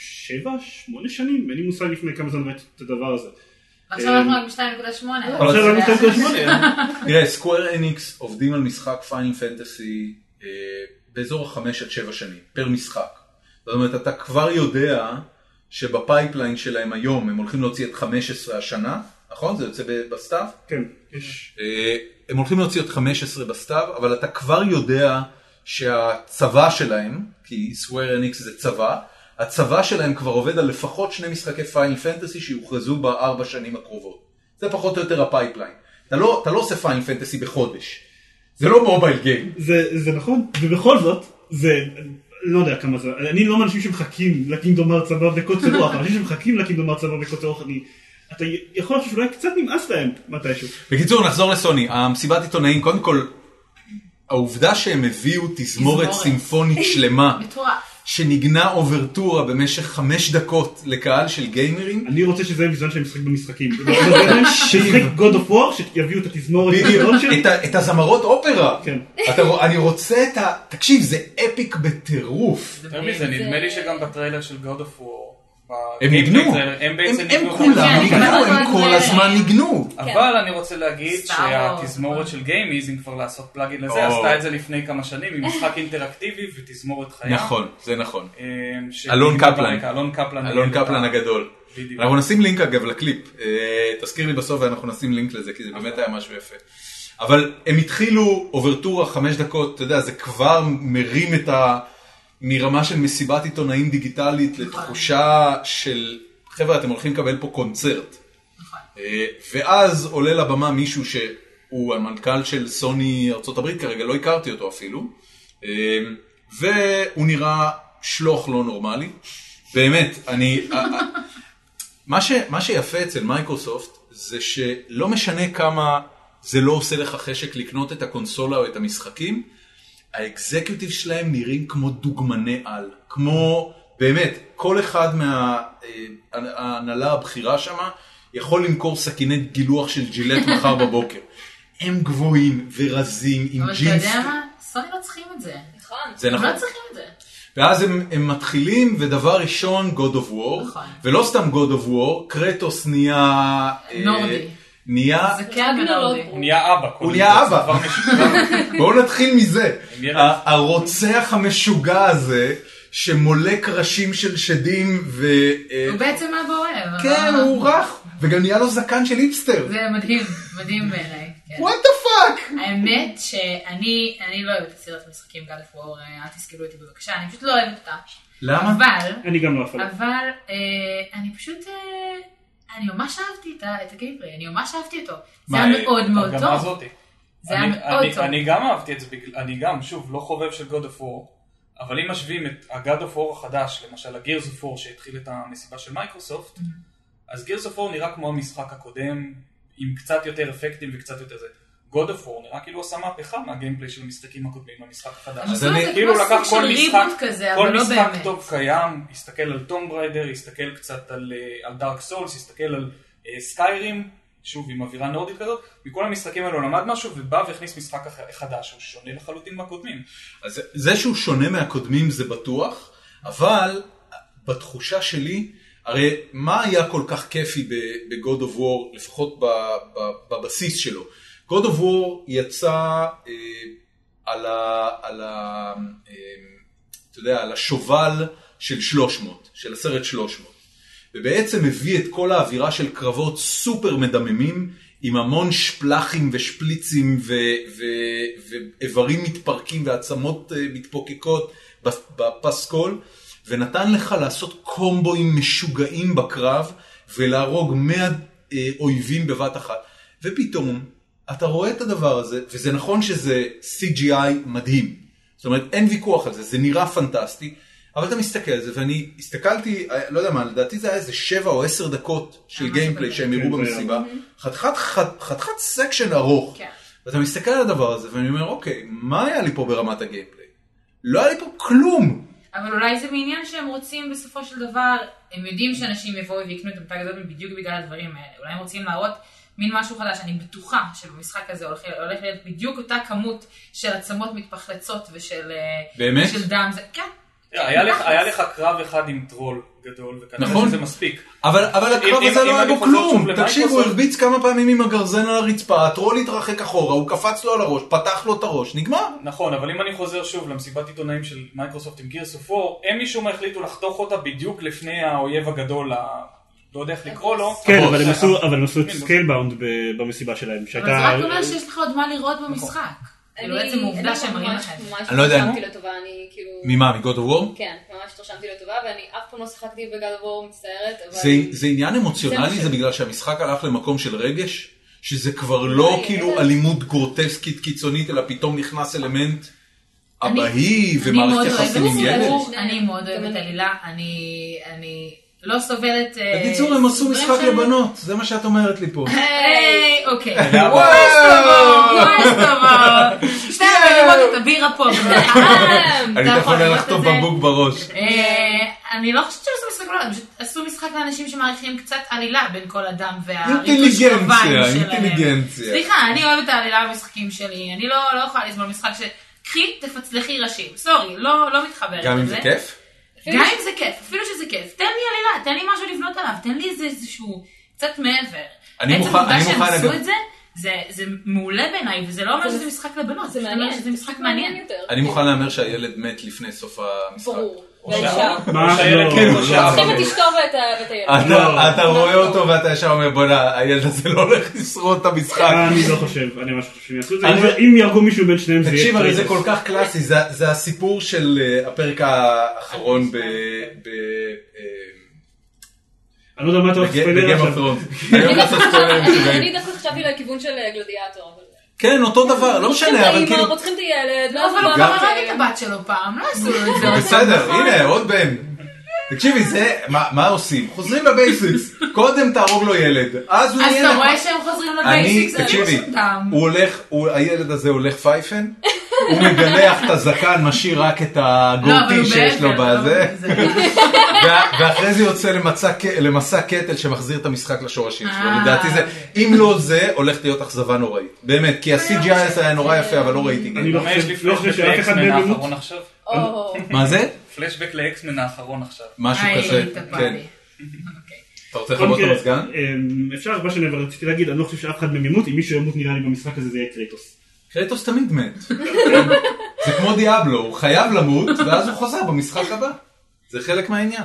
Speaker 4: שבע, שמונה שנים, אין לי מושג לפני כמה זמן ראיתי את הדבר הזה.
Speaker 5: ועכשיו אנחנו רק ב-2.8.
Speaker 1: אבל
Speaker 4: עכשיו אני
Speaker 5: לא
Speaker 4: נותן את השמונה.
Speaker 1: תראה, סקוואר אניקס עובדים על משחק פיינל פנטסי אה, באזור החמש עד שבע שנים, פר משחק. זאת אומרת, אתה כבר יודע שבפייפליין שלהם היום הם הולכים להוציא את 15 השנה, נכון? זה יוצא ב- בסתיו?
Speaker 4: כן, יש.
Speaker 1: אה, הם הולכים להוציא את 15 בסתיו, אבל אתה כבר יודע שהצבא שלהם, כי סקוואר אניקס זה צבא, הצבא שלהם כבר עובד על לפחות שני משחקי פיינל פנטסי שיוכרזו בארבע שנים הקרובות. זה פחות או יותר הפייפליין. אתה לא, אתה לא עושה פיינל פנטסי בחודש. זה לא מובייל גיים.
Speaker 4: זה, זה נכון, ובכל זאת, זה, לא יודע כמה זה, אני לא מאנשים שמחכים לקינגדום ארץ הבא בקוצר רוח, אנשים שמחכים לקינגדום ארץ הבא בקוצר רוח, אני, אתה יכול לחשוב שאולי קצת נמאס להם מתישהו.
Speaker 1: בקיצור, נחזור לסוני. המסיבת עיתונאים, קודם כל, העובדה שהם הביאו תזמורת
Speaker 5: תזמורת.
Speaker 1: סימפונית שלמה,
Speaker 5: מטורף.
Speaker 1: שניגנה אוברטורה במשך חמש דקות לקהל של גיימרים.
Speaker 4: אני רוצה שזה יהיה בזמן שהם משחק במשחקים. לא, משחק God of War, שיביאו את התזמורת. אוקיי?
Speaker 1: בדיוק, את ה- את הזמרות אופרה.
Speaker 4: כן.
Speaker 1: אתה רוא- אני רוצה את ה... תקשיב, זה אפיק בטירוף.
Speaker 2: יותר מזה,
Speaker 3: כן.
Speaker 2: נדמה לי שגם בטריילר של God of War,
Speaker 1: הם
Speaker 2: ב-
Speaker 1: ניגנו.
Speaker 2: בטריילר, הם
Speaker 1: הם
Speaker 2: בעצם
Speaker 1: הם
Speaker 2: ניגנו.
Speaker 1: כולם
Speaker 5: כן,
Speaker 1: ניגנו,
Speaker 5: כולם
Speaker 1: הם כל
Speaker 5: ניגנו.
Speaker 1: הזמן ניגנו.
Speaker 5: כן.
Speaker 2: אבל אני רוצה להגיד
Speaker 5: Star Wars.
Speaker 2: שהתזמורת של גיימיז, אם כבר לעשות פלאגין לזה,
Speaker 1: או.
Speaker 2: עשתה את זה לפני כמה שנים, עם משחק אינטראקטיבי ותזמורת חיה.
Speaker 1: נכון, זה נכון.
Speaker 2: אמ, ש-
Speaker 1: אלון
Speaker 2: ברקע,
Speaker 1: קפלן.
Speaker 2: אלון קפלן.
Speaker 1: אלון
Speaker 2: ניגן
Speaker 1: קפלן
Speaker 2: אותה.
Speaker 1: הגדול.
Speaker 2: בדיוק.
Speaker 1: אנחנו נשים לינק אגב לקליפ, אה, תזכיר לי בסוף ואנחנו נשים לינק לזה, כי זה באמת היה משהו יפה. אבל הם התחילו אוברטורה חמש דקות, אתה יודע, זה כבר מרים את ה... מרמה של מסיבת עיתונאים דיגיטלית לתחושה של, חבר'ה, אתם הולכים לקבל פה קונצרט. אה, ואז עולה לבמה מישהו שהוא המנכ"ל של סוני ארה"ב כרגע, לא הכרתי אותו אפילו, אה, והוא נראה שלוח לא נורמלי. באמת, אני... אה, אה, מה, ש, מה שיפה אצל מייקרוסופט זה שלא משנה כמה זה לא עושה לך חשק לקנות את הקונסולה או את המשחקים, האקזקיוטיב שלהם נראים כמו דוגמני על, כמו באמת, כל אחד מההנהלה הבכירה שם יכול למכור סכינת גילוח של ג'ילט מחר בבוקר. הם גבוהים ורזים עם
Speaker 5: אבל אתה
Speaker 1: ג'ינס.
Speaker 5: יודע מה? סוני לא צריכים את זה.
Speaker 3: נכון.
Speaker 1: זה
Speaker 5: הם
Speaker 1: נכון.
Speaker 5: לא צריכים את זה.
Speaker 1: ואז הם, הם מתחילים, ודבר ראשון, God of War,
Speaker 5: נכון.
Speaker 1: ולא סתם God of War, קרטוס נהיה... אה,
Speaker 5: נורדי.
Speaker 1: נהיה...
Speaker 5: זה כן בנורדי.
Speaker 2: הוא נהיה אבא.
Speaker 1: הוא נהיה אבא.
Speaker 2: כבר משוגע.
Speaker 1: בואו נתחיל מזה.
Speaker 2: עם ילד.
Speaker 1: ה- הרוצח המשוגע הזה, שמולק ראשים של שדים, ו... אה,
Speaker 5: הוא בעצם אבא אוהב.
Speaker 1: כן,
Speaker 5: אבל- לא,
Speaker 1: הוא רך, וגם נהיה לו זקן של היפסטר.
Speaker 5: זה מדהים, מדהים בעיניי. כן.
Speaker 1: וואט דה פאק!
Speaker 5: האמת שאני אני לא אוהבת את סדרת המשחקים גל אוף וור, אה, אל תסגלו אותי בבקשה, אני פשוט לא אוהבת אותה.
Speaker 1: למה?
Speaker 5: אבל,
Speaker 4: אני גם לא אפילו.
Speaker 5: אבל אה, אני פשוט, אה, אני ממש אהבתי את ה- את הגיימפלי, אני ממש אהבתי אותו. זה
Speaker 1: מה,
Speaker 5: היה מאוד
Speaker 2: אה,
Speaker 5: מאוד
Speaker 2: גם
Speaker 5: טוב.
Speaker 2: הזאתי.
Speaker 5: זה היה
Speaker 2: אני-
Speaker 5: מאוד
Speaker 2: אני-
Speaker 5: טוב.
Speaker 2: אני גם אהבתי את זה, בגלל- אני גם, שוב, לא חובב של God of War, אבל אם משווים את ה-God of War החדש, למשל ה-Gears of War שהתחיל את המסיבה של מייקרוסופט,
Speaker 5: Mm-hmm.
Speaker 2: אז Gears of War נראה כמו המשחק הקודם, עם קצת יותר אפקטים וקצת יותר זה. God of War נראה כאילו עשה מהפכה מהגיימפליי של המשחקים הקודמים למשחק
Speaker 1: אז
Speaker 5: אני
Speaker 2: החדש.
Speaker 1: זה
Speaker 5: חושבת
Speaker 1: אני-
Speaker 5: שזה
Speaker 2: כאילו
Speaker 5: כמו
Speaker 2: לקח
Speaker 5: לא סוג
Speaker 2: כל
Speaker 5: של
Speaker 2: משחק,
Speaker 5: ריבוט כזה, אבל
Speaker 2: כל
Speaker 5: לא
Speaker 2: משחק
Speaker 5: באמת.
Speaker 2: טוב קיים, הסתכל על טום בריידר, הסתכל קצת על, אה, על דארק סולס, הסתכל על אה, סקיירים, שוב עם אווירה נורדית כזאת, מכל המשחקים האלו הוא למד משהו ובא והכניס משחק אח- חדש, הוא שונה לחלוטין מהקודמים.
Speaker 1: אז זה שהוא שונה מהקודמים זה בטוח, אבל בתחושה שלי, הרי מה היה כל כך כיפי ב- ב-God of War, לפחות ב- ב- בבסיס שלו? God of War יצא אה, על, ה, על, ה, אה, אתה יודע, על השובל של 300, של הסרט 300. ובעצם הביא את כל האווירה של קרבות סופר מדממים, עם המון שפלחים ושפליצים ו- ו- ואיברים מתפרקים ועצמות אה, מתפוקקות בס- בפסקול, ונתן לך לעשות קומבואים משוגעים בקרב, ולהרוג 100 אה, אויבים בבת אחת. ופתאום, אתה רואה את הדבר הזה, וזה נכון שזה CGI מדהים. זאת אומרת, אין ויכוח על זה, זה נראה פנטסטי, אבל אתה מסתכל על זה, ואני הסתכלתי, אה, לא יודע מה, לדעתי זה היה איזה שבע או עשר דקות של
Speaker 5: ממש
Speaker 1: גיימפליי
Speaker 5: כזה.
Speaker 1: שהם הראו
Speaker 4: כן, זה היה.
Speaker 1: במסיבה, חתיכת חת- חתיכת סקשן ארוך,
Speaker 5: כן.
Speaker 1: ואתה מסתכל על הדבר הזה, ואני אומר, אוקיי, מה היה לי פה ברמת הגיימפליי? לא היה לי פה כלום.
Speaker 5: אבל אולי זה מעניין שהם רוצים בסופו של דבר, הם יודעים שאנשים יבואו ויקנו את המותג הזאת בדיוק בגלל הדברים האלה. אולי הם רוצים להראות מין משהו חדש. אני בטוחה שבמשחק הזה הולך, הולך להיות בדיוק אותה כמות של עצמות מתפחלצות ושל אה,
Speaker 1: באמת?
Speaker 5: של דם. זה, כן.
Speaker 2: היה לך- היה לך קרב אחד עם טרול גדול, וכנראה
Speaker 1: נכון.
Speaker 2: שזה מספיק.
Speaker 1: אבל, אבל הקרב
Speaker 2: אם-
Speaker 1: הזה
Speaker 2: אם-
Speaker 1: לא
Speaker 2: אם
Speaker 1: היה
Speaker 2: אני
Speaker 1: בו
Speaker 2: חוזר שוב
Speaker 1: כלום. תקשיב, הוא
Speaker 2: למייקרוסופט-
Speaker 1: הרביץ כמה פעמים עם הגרזן על הרצפה, הטרול התרחק אחורה, הוא קפץ לו על הראש, פתח לו את הראש, נגמר.
Speaker 2: נכון, אבל אם אני חוזר שוב למסיבת עיתונאים של מייקרוסופט עם Gears of War, הם משום מה החליטו לחתוך אותה בדיוק לפני האויב הגדול, ה- לא יודע איך לקרוא לו.
Speaker 4: כן,
Speaker 1: הבוס.
Speaker 4: אבל הם עשו- אבל הם עשו את
Speaker 2: כן, בוס.
Speaker 4: סקיילבאונד ב- במסיבה שלהם,
Speaker 5: אבל זה
Speaker 4: שהייתה...
Speaker 5: רק אומר שיש לך עוד מה לראות במשחק. כאילו
Speaker 3: נכון. אני-
Speaker 5: בעצם העובדה
Speaker 3: אני
Speaker 5: שהם מראים
Speaker 3: ממש-
Speaker 5: לכם.
Speaker 3: ממש
Speaker 1: אני לא יודע.
Speaker 3: התרשמתי לטובה, אני כאילו...
Speaker 1: ממה, מגוד וור?
Speaker 3: כן, ממש התרשמתי לטובה, ואני אף פעם לא שיחקתי בגל וור, מצטערת, אבל...
Speaker 1: זה, זה עניין
Speaker 3: זה
Speaker 1: אמוציונלי,
Speaker 3: מה
Speaker 1: זה
Speaker 3: ש-
Speaker 1: בגלל שהמשחק הלך למקום של רגש, שזה כבר לא
Speaker 3: אוי,
Speaker 1: כאילו
Speaker 3: איזה-
Speaker 1: אלימות גרוטסקית קיצונית, אלא פתאום נכנס אלמנט
Speaker 5: אני-
Speaker 1: אבהי
Speaker 5: אני מאוד
Speaker 1: ומערכת יחסים עם
Speaker 5: אוהבת
Speaker 3: סיפור.
Speaker 1: ילד.
Speaker 5: סיפור, אני מאוד
Speaker 3: גם
Speaker 5: אוהבת
Speaker 3: אני.
Speaker 5: עלילה, אני אני לא סובלת... אה,
Speaker 1: בקיצור, הם עשו
Speaker 5: סיפורים
Speaker 1: משחק
Speaker 5: של-
Speaker 1: לבנות, זה מה שאת אומרת לי פה.
Speaker 5: היי, אוקיי.
Speaker 1: וואו!
Speaker 5: וואי, סבבה. שתי המילים עוד לנו את הבירה פה.
Speaker 1: אני
Speaker 5: אתה
Speaker 1: לא יכול
Speaker 5: לראות
Speaker 1: לחטוף
Speaker 5: נכון, את זה.
Speaker 1: בקבוק בראש.
Speaker 5: אה, אני לא חושבת שעשו משחק גלולות, הם פשוט עשו משחק לאנשים שמעריכים קצת עלילה בין כל אדם והריטוש
Speaker 1: אינטליגנציה,
Speaker 5: שלהם.
Speaker 1: אינטליגנציה.
Speaker 5: סליחה, אני אוהבת את העלילה במשחקים שלי, אני לא לא יכולה לסבול משחק ש... קחי, תפצלחי ראשים, סורי, לא לא מתחברת
Speaker 1: גם אם
Speaker 5: לזה.
Speaker 1: זה כיף?
Speaker 5: גם אם זה כיף, אפילו שזה כיף, תן לי עלילה, תן לי משהו לבנות עליו, תן לי איזה איזשהו קצת מעבר.
Speaker 1: אני
Speaker 5: עצם
Speaker 1: מוכן-
Speaker 5: העובדה
Speaker 1: אני
Speaker 5: שהם
Speaker 1: מוכן
Speaker 5: עשו
Speaker 1: לגב-
Speaker 5: את זה, זה, זה מעולה בעיניי, וזה לא אומר שזה משחק לבנות,
Speaker 3: זה מעניין,
Speaker 5: זה משחק מעניין.
Speaker 3: יותר.
Speaker 1: אני מוכן להמר שהילד מת לפני סוף המשחק.
Speaker 3: כן. ברור.
Speaker 2: או
Speaker 3: ואפשר.
Speaker 2: שה-
Speaker 4: מה?
Speaker 2: או שהילד
Speaker 4: לא.
Speaker 2: כן, או
Speaker 1: כן,
Speaker 2: שהאבא
Speaker 3: צריכים את
Speaker 2: מת.
Speaker 3: אשתו ואת ה- ואת הילד.
Speaker 1: אתה- אתה
Speaker 3: לא.
Speaker 1: רואה אותו ואתה ישר אומר בוא'נה, הילד הזה לא הולך לשרוד את המשחק.
Speaker 4: אני לא חושב, אני ממש חושב שהם יעשו את זה.
Speaker 1: אני-
Speaker 4: אם- אם יהרגו מישהו בין שניהם זה יהיה...
Speaker 1: תקשיב, הרי זה
Speaker 4: טרייטוס.
Speaker 1: כל כך קלאסי, זה- זה הסיפור של אה, הפרק האחרון ב... ב- אה,
Speaker 4: אני לא יודע מה אתה הולך
Speaker 1: בג-
Speaker 4: לספיילר
Speaker 1: בגיים
Speaker 4: עכשיו.
Speaker 1: אוף תרון. אני הולך לעשות ספוילרים
Speaker 3: אני-
Speaker 1: משוגעים.
Speaker 3: אני דווקא חשבתי לכיוון של אה, גלדיאטור, אבל...
Speaker 1: כן, אותו דבר, לא
Speaker 3: פותחים את
Speaker 1: משנה, אבל
Speaker 3: האימא,
Speaker 1: כאילו...
Speaker 3: פותחים אה, את הילד,
Speaker 5: לא, אבל הוא
Speaker 1: גם-
Speaker 5: כבר הרג
Speaker 3: "אה,
Speaker 5: את הבת שלו פעם, לא עשו את זה. עוד
Speaker 1: בסדר,
Speaker 5: פעם,
Speaker 1: הנה, עוד בן. תקשיבי, זה, מה מה עושים? חוזרים לבייסיקס. קודם תהרוג לו ילד, אז הוא
Speaker 5: אז
Speaker 1: יהיה
Speaker 5: אתה
Speaker 1: נחמד.
Speaker 5: רואה שהם חוזרים
Speaker 1: אני,
Speaker 5: לבייסיק, זה לא
Speaker 1: תקשיבי,
Speaker 5: מסודם.
Speaker 1: הוא הולך, הוא- הילד הזה הולך פייפן, הוא מגלח את הזקן, משאיר רק
Speaker 5: לא,
Speaker 1: את הגורטי שיש לו בזה, וה- ואחרי זה יוצא למצע ק- למסע קטל שמחזיר את המשחק לשורשים שלו.
Speaker 5: אה,
Speaker 1: לדעתי זה,
Speaker 5: אוקיי.
Speaker 1: אם לא זה, הולכת להיות אכזבה נוראית. באמת, כי ה-CGI היה נורא יפה, אבל לא ראיתי.
Speaker 4: אני לא
Speaker 2: מה יש
Speaker 4: חושב-
Speaker 2: לי
Speaker 4: לא חושב
Speaker 2: פלשבק
Speaker 4: שאף אחד
Speaker 2: לאקסמן
Speaker 4: מהם ימות.
Speaker 2: האחרון עכשיו?
Speaker 3: או,
Speaker 1: מה זה?
Speaker 2: פלשבק לאקסמן האחרון עכשיו.
Speaker 1: משהו כזה, כן. אתה רוצה
Speaker 4: בכל
Speaker 1: לכבות את
Speaker 4: מקרה,
Speaker 1: המזגן?
Speaker 4: אוקיי, אמ, אפשר, מה שאני אבל רציתי להגיד, אני לא חושב שאף אחד מהם ימות, אם מישהו ימות נראה לי במשחק הזה זה יהיה קרייטוס.
Speaker 1: קרטוס תמיד מת. זה כמו דיאבלו, הוא חייב למות, ואז הוא חוזר במשחק הבא. זה חלק מהעניין.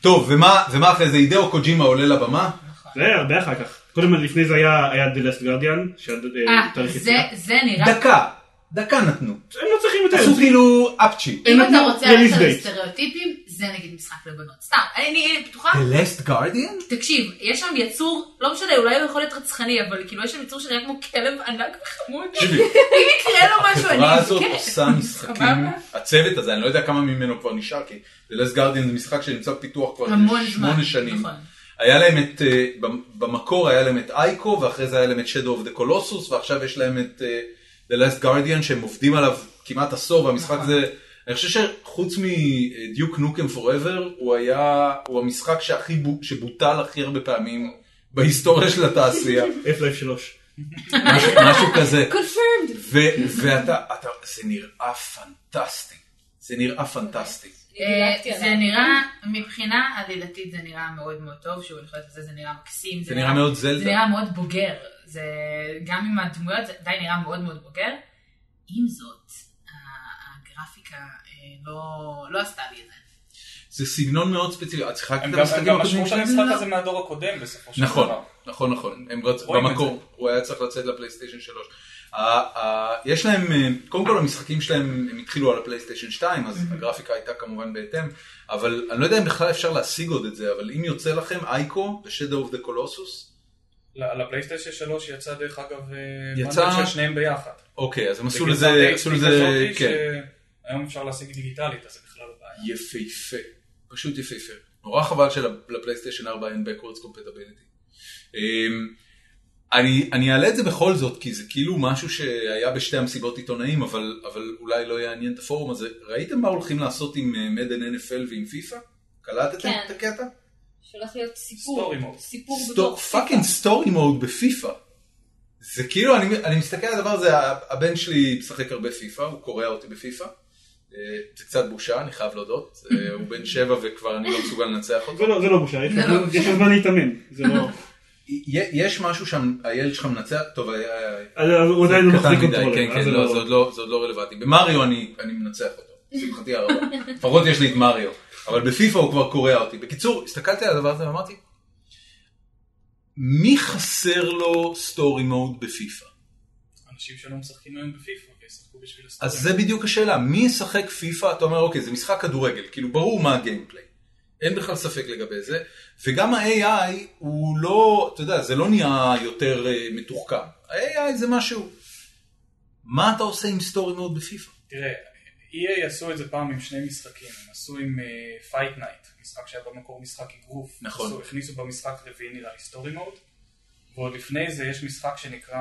Speaker 1: טוב, ומה ומה אחרי זה? אידאו קוג'ימה עולה לבמה?
Speaker 4: זה היה הרבה אחר כך. קודם לפני זה היה היה The Last Guardian, שהיה אה,
Speaker 5: אה,
Speaker 4: תאריך
Speaker 5: זה-
Speaker 4: יציאה.
Speaker 5: זה נראה...
Speaker 1: דקה, דקה נתנו.
Speaker 4: הם לא צריכים יותר.
Speaker 1: עשו כאילו אפצ'י.
Speaker 5: אם אתה
Speaker 4: נתנו
Speaker 5: רוצה
Speaker 4: release
Speaker 5: ללכת על
Speaker 4: date.
Speaker 5: סטריאוטיפים, זה נגיד משחק לבנות. סתם, אני בטוחה.
Speaker 1: The Last Guardian?
Speaker 5: תקשיב, יש שם יצור, לא משנה, אולי הוא יכול להיות רצחני, אבל כאילו יש שם יצור שנראה כמו כלב ענק וחמוד.
Speaker 1: תקשיבי,
Speaker 5: אם יקרה לו משהו, אני
Speaker 1: החברה הזאת
Speaker 5: אבכה.
Speaker 1: עושה משחקים,
Speaker 5: סבבה?
Speaker 1: הצוות הזה, אני לא יודע כמה ממנו כבר נשאר, כי The Last Guardian זה משחק שנמצא בפיתוח כבר
Speaker 5: המון זמן.
Speaker 1: שמונה שנים.
Speaker 5: נכון.
Speaker 1: היה להם את, אה, במ- במקור היה להם את אייקו, ואחרי זה היה להם את Shadow of the Colossus, ועכשיו יש להם את אה, The Last Guardian שהם עובדים עליו כמעט עשור, והמשחק
Speaker 5: נכון.
Speaker 1: זה, אני חושב שחוץ מדיוק נוקם פוראבר, הוא היה, הוא המשחק שהכי, בו- שבוטל הכי הרבה פעמים בהיסטוריה של התעשייה,
Speaker 4: F-Life 3.
Speaker 1: משהו, משהו כזה.
Speaker 3: confirmed.
Speaker 1: ו- ואתה, אתה, זה נראה פנטסטי, זה נראה פנטסטי.
Speaker 5: אה,
Speaker 3: דילגתי
Speaker 5: זה
Speaker 3: עליו.
Speaker 5: נראה, מבחינה עלילתית זה נראה מאוד מאוד טוב, שוב, אני חושבת שזה זה נראה מקסים,
Speaker 1: זה נראה מאוד
Speaker 5: זה
Speaker 1: זלדה.
Speaker 5: נראה מאוד בוגר, זה גם עם הדמויות זה עדיין נראה מאוד מאוד בוגר. עם זאת, ה- הגרפיקה אה, לא- לא עשתה לי את זה.
Speaker 1: זה סגנון מאוד ספציפי, את שיחקת
Speaker 2: הם
Speaker 1: את
Speaker 2: גם- הם
Speaker 1: המשחקים
Speaker 2: גם
Speaker 1: הקודמים
Speaker 2: משכו את
Speaker 1: שלהם?
Speaker 2: המשחק הזה מהדור הקודם בסופו של
Speaker 1: נכון,
Speaker 2: דבר.
Speaker 1: נכון, נכון. הם רצ...
Speaker 2: רואים את
Speaker 1: במקור, הוא היה צריך לצאת לפלייסטיישן 3. ה- ה- יש להם, אה, קודם כל המשחקים שלהם, הם התחילו על הפלייסטיישן 2, אז
Speaker 2: Mm-hmm.
Speaker 1: הגרפיקה הייתה כמובן בהתאם, אבל אני לא יודע אם בכלל אפשר להשיג עוד את זה, אבל אם יוצא לכם אייקו ו-Shadow of the Colossus,
Speaker 2: ל- לפלייסטיישן 3 יצא דרך אגב אה,
Speaker 1: יצא-
Speaker 2: בנדל של שניהם ביחד.
Speaker 1: אוקיי, אז הם עשו
Speaker 2: בגרסת
Speaker 1: לזה,
Speaker 2: ה-
Speaker 1: עשו
Speaker 2: HD
Speaker 1: לזה,
Speaker 2: כזאתי
Speaker 1: כן,
Speaker 2: שהיום אפשר להשיג דיגיטלית, אז זה בכלל לא בעיה.
Speaker 1: יפהפה, פשוט יפהפה. נורא חבל שלפלייסטיישן 4 אין backwards compatibility. אמ, אני, אני אעלה את זה בכל זאת, כי זה כאילו משהו שהיה בשתי המסיבות עיתונאים, אבל, אבל אולי לא יעניין את הפורום הזה. ראיתם מה הולכים לעשות עם אה, מדן NFL ועם פיפא? קלטתם
Speaker 3: כן.
Speaker 1: את הקטע?
Speaker 3: שהולך להיות סיפור,
Speaker 2: סטורי מוד.
Speaker 3: סיפור
Speaker 1: סטור-
Speaker 3: בתוך
Speaker 1: פאקינג סטורי מוד בפיפא. זה כאילו, אני, אני מסתכל על הדבר הזה, ה- הבן שלי משחק הרבה פיפא, הוא קורע אותי בפיפא. אה, זה קצת בושה, אני חייב להודות. אה, הוא בן שבע וכבר אני לא מסוגל לנצח אותו.
Speaker 4: זה לא- זה לא בושה, יש
Speaker 5: זה לא
Speaker 4: יש לו זמן להתאמן. זה לא...
Speaker 1: י- יש משהו שם, הילד שלך מנצח, טוב, אה, היה- היה-
Speaker 4: אז הוא עדיין לא
Speaker 1: קטן
Speaker 4: מחזיק
Speaker 1: מדי,
Speaker 4: קונטרולר.
Speaker 1: כן,
Speaker 4: אז
Speaker 1: כן, לא, זה עוד לא- זה עוד לא רלוונטי. במריו אני אני מנצח אותו, לשמחתי הרבה. לפחות יש לי את מריו, אבל בפיפא הוא כבר קורע אותי. בקיצור, הסתכלתי על הדבר הזה ואמרתי, מי חסר לו סטורי מוד בפיפא?
Speaker 2: אנשים שלא משחקים היום בפיפ"א וישחקו בשביל הסטורי.
Speaker 1: אז זה בדיוק השאלה, מי ישחק פיפא? אתה אומר, אוקיי, זה משחק כדורגל, כאילו ברור מה הגיימפליי. אין בכלל ספק לגבי זה, וגם ה-AI הוא לא, אתה יודע, זה לא נהיה יותר אה, מתוחכם. ה-AI זה משהו. מה אתה עושה עם סטורי מאוד בפיפא?
Speaker 2: תראה, EA עשו את זה פעם עם שני משחקים, הם עשו עם פייט נייט, משחק שהיה במקור משחק אגרוף.
Speaker 1: נכון.
Speaker 2: עשו- הכניסו במשחק רביעי נראה לי סטורי מוד, ועוד לפני זה יש משחק שנקרא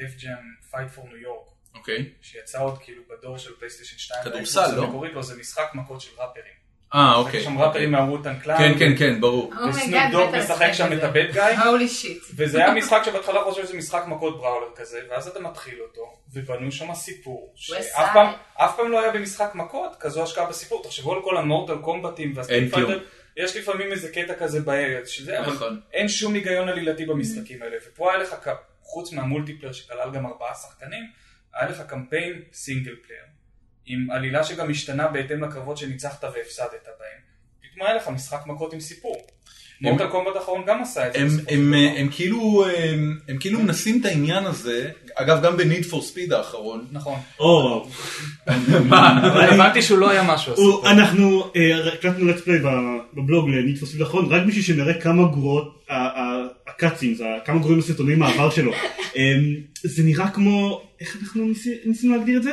Speaker 2: Def Jam Fight for New York,
Speaker 1: אוקיי.
Speaker 2: שיצא עוד כאילו בדור של פלייסטיישן 2.
Speaker 1: כדורסל,
Speaker 2: והאקסבוקס
Speaker 1: לא?
Speaker 2: המקורי, לא, זה משחק מכות של ראפרים.
Speaker 1: אה, אוקיי.
Speaker 2: יש שם ראפרים מהווטן קלאן.
Speaker 1: כן, כן, כן,
Speaker 3: Oh
Speaker 2: אה,
Speaker 1: ברור.
Speaker 2: וסנופ דוג משחק שם את הבד גאי.
Speaker 5: הולי שיט.
Speaker 2: וזה היה משחק שבהתחלה חושב שזה משחק מכות בראולר כזה, ואז אתה מתחיל אותו, ובנו שם סיפור,
Speaker 5: West
Speaker 2: שאף
Speaker 5: Side.
Speaker 2: פעם, אף פעם לא היה במשחק מכות כזו השקעה בסיפור, תחשבו על כל המורטל קומבטים
Speaker 1: אין
Speaker 2: והסטריט
Speaker 1: כלום.
Speaker 2: פייטר, יש לפעמים איזה קטע כזה בערב, שזה, אבל
Speaker 1: נכון.
Speaker 2: אין שום היגיון עלילתי במשחקים האלה, ופה היה לך, ק- חוץ מהמולטיפלייר שכלל גם ארבעה שחקנים, היה לך קמפיין סינגל פלייר, עם עלילה שגם השתנה בהתאם לקרבות שניצחת והפסדת בהם, פתאום היה לך משחק מכות עם סיפור. מורטל קומבט האחרון גם עשה את זה.
Speaker 1: הם,
Speaker 2: בסופו של
Speaker 1: הם,
Speaker 2: דבר.
Speaker 1: הם, הם כאילו הם, הם כאילו מנסים את העניין הזה, אגב גם ב-Need for Speed האחרון,
Speaker 2: נכון.
Speaker 4: או,
Speaker 2: אבל הבנתי שהוא לא היה משהו.
Speaker 4: הוא- אנחנו אה, הקלטנו let's play ב- בבלוג לנתפוס נכון רק בשביל שנראה כמה גרועות ה- ה- הקאצים, זה ה- כמה גרועים הסרטונים מהעבר שלו. אה, זה נראה כמו, איך אנחנו ניס- ניסינו להגדיר את זה?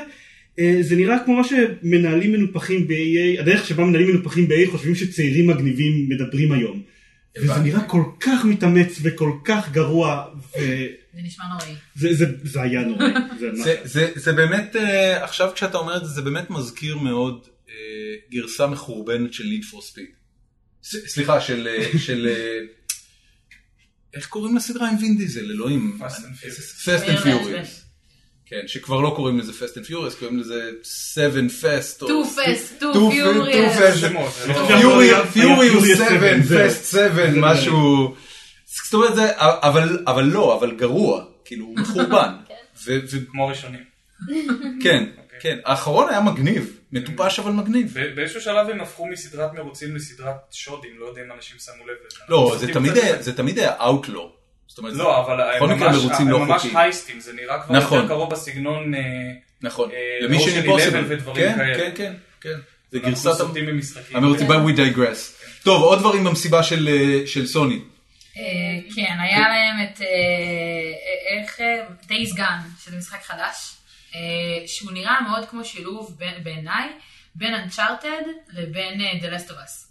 Speaker 4: אה, זה נראה כמו מה שמנהלים מנופחים ב-EA, הדרך שבה מנהלים מנופחים ב-EA חושבים שצעירים מגניבים מדברים היום. וזה
Speaker 1: הבנתי.
Speaker 4: נראה כל כך מתאמץ וכל כך גרוע,
Speaker 5: זה נשמע נוראי.
Speaker 4: וזה היה נורא. זה ממש
Speaker 1: זה, זה, זה באמת, אה, עכשיו כשאתה אומר את זה, זה באמת מזכיר מאוד אה, גרסה מחורבנת של Need for Speed. ס- סליחה, של... אה, של אה, איך קוראים לסדרה עם וין דיזל? אלוהים. אה,
Speaker 2: Fast and Furious.
Speaker 1: Fast and
Speaker 5: אני יודעת,
Speaker 1: Furious. כן, שכבר לא קוראים לזה Fast and Furious, קוראים לזה 7 Fast. או-
Speaker 5: Too fast, too
Speaker 1: Too
Speaker 5: furious.
Speaker 1: Too Fast.
Speaker 2: שמות, זה לא-
Speaker 1: פיורי-
Speaker 4: היה-
Speaker 1: פיוריוס
Speaker 4: היה פיוריוס
Speaker 1: 7,
Speaker 4: seven, זהו.
Speaker 1: פסט 7, משהו. זאת אומרת, זה- אבל אבל לא, אבל גרוע, כאילו הוא מחורבן. ו- ו-
Speaker 2: כמו ראשונים.
Speaker 1: כן,
Speaker 2: אוקיי.
Speaker 1: כן, האחרון היה מגניב, מטופש אבל מגניב.
Speaker 2: ב- באיזשהו שלב הם הפכו מסדרת מרוצים לסדרת שודים, לא יודע אם אנשים שמו לב לזה.
Speaker 1: לא,
Speaker 2: אנחנו
Speaker 1: זה
Speaker 2: משחקים
Speaker 1: תמיד
Speaker 2: קצת-
Speaker 1: היה- זה תמיד היה Outlaw. זאת אומרת, זה-
Speaker 2: לא, אבל הם
Speaker 1: בכל מקרה
Speaker 2: ממש-
Speaker 1: מרוצים לא
Speaker 2: הם ממש
Speaker 1: חוקיים.
Speaker 2: הייסטים, זה נראה כבר
Speaker 1: נכון.
Speaker 2: יותר קרוב בסגנון... אה,
Speaker 1: נכון,
Speaker 2: אה,
Speaker 1: למי
Speaker 2: Ocean
Speaker 1: שנפוסל.
Speaker 2: Eleven ודברים
Speaker 1: כן,
Speaker 2: כאלה.
Speaker 1: כן, כן, כן. זה
Speaker 2: אנחנו כן.
Speaker 1: גרסת
Speaker 2: סוטים כן. במשחקים.
Speaker 1: המרוצים, but we digress. טוב, עוד דברים במסיבה של, אה, של סוני.
Speaker 5: אה, כן, היה להם את, אה, אה, איך, דייז גן, שזה משחק חדש, אה, שהוא נראה מאוד כמו שילוב בין- בעיניי, בין אנצ'ארטד לבין אה, The Last of Us.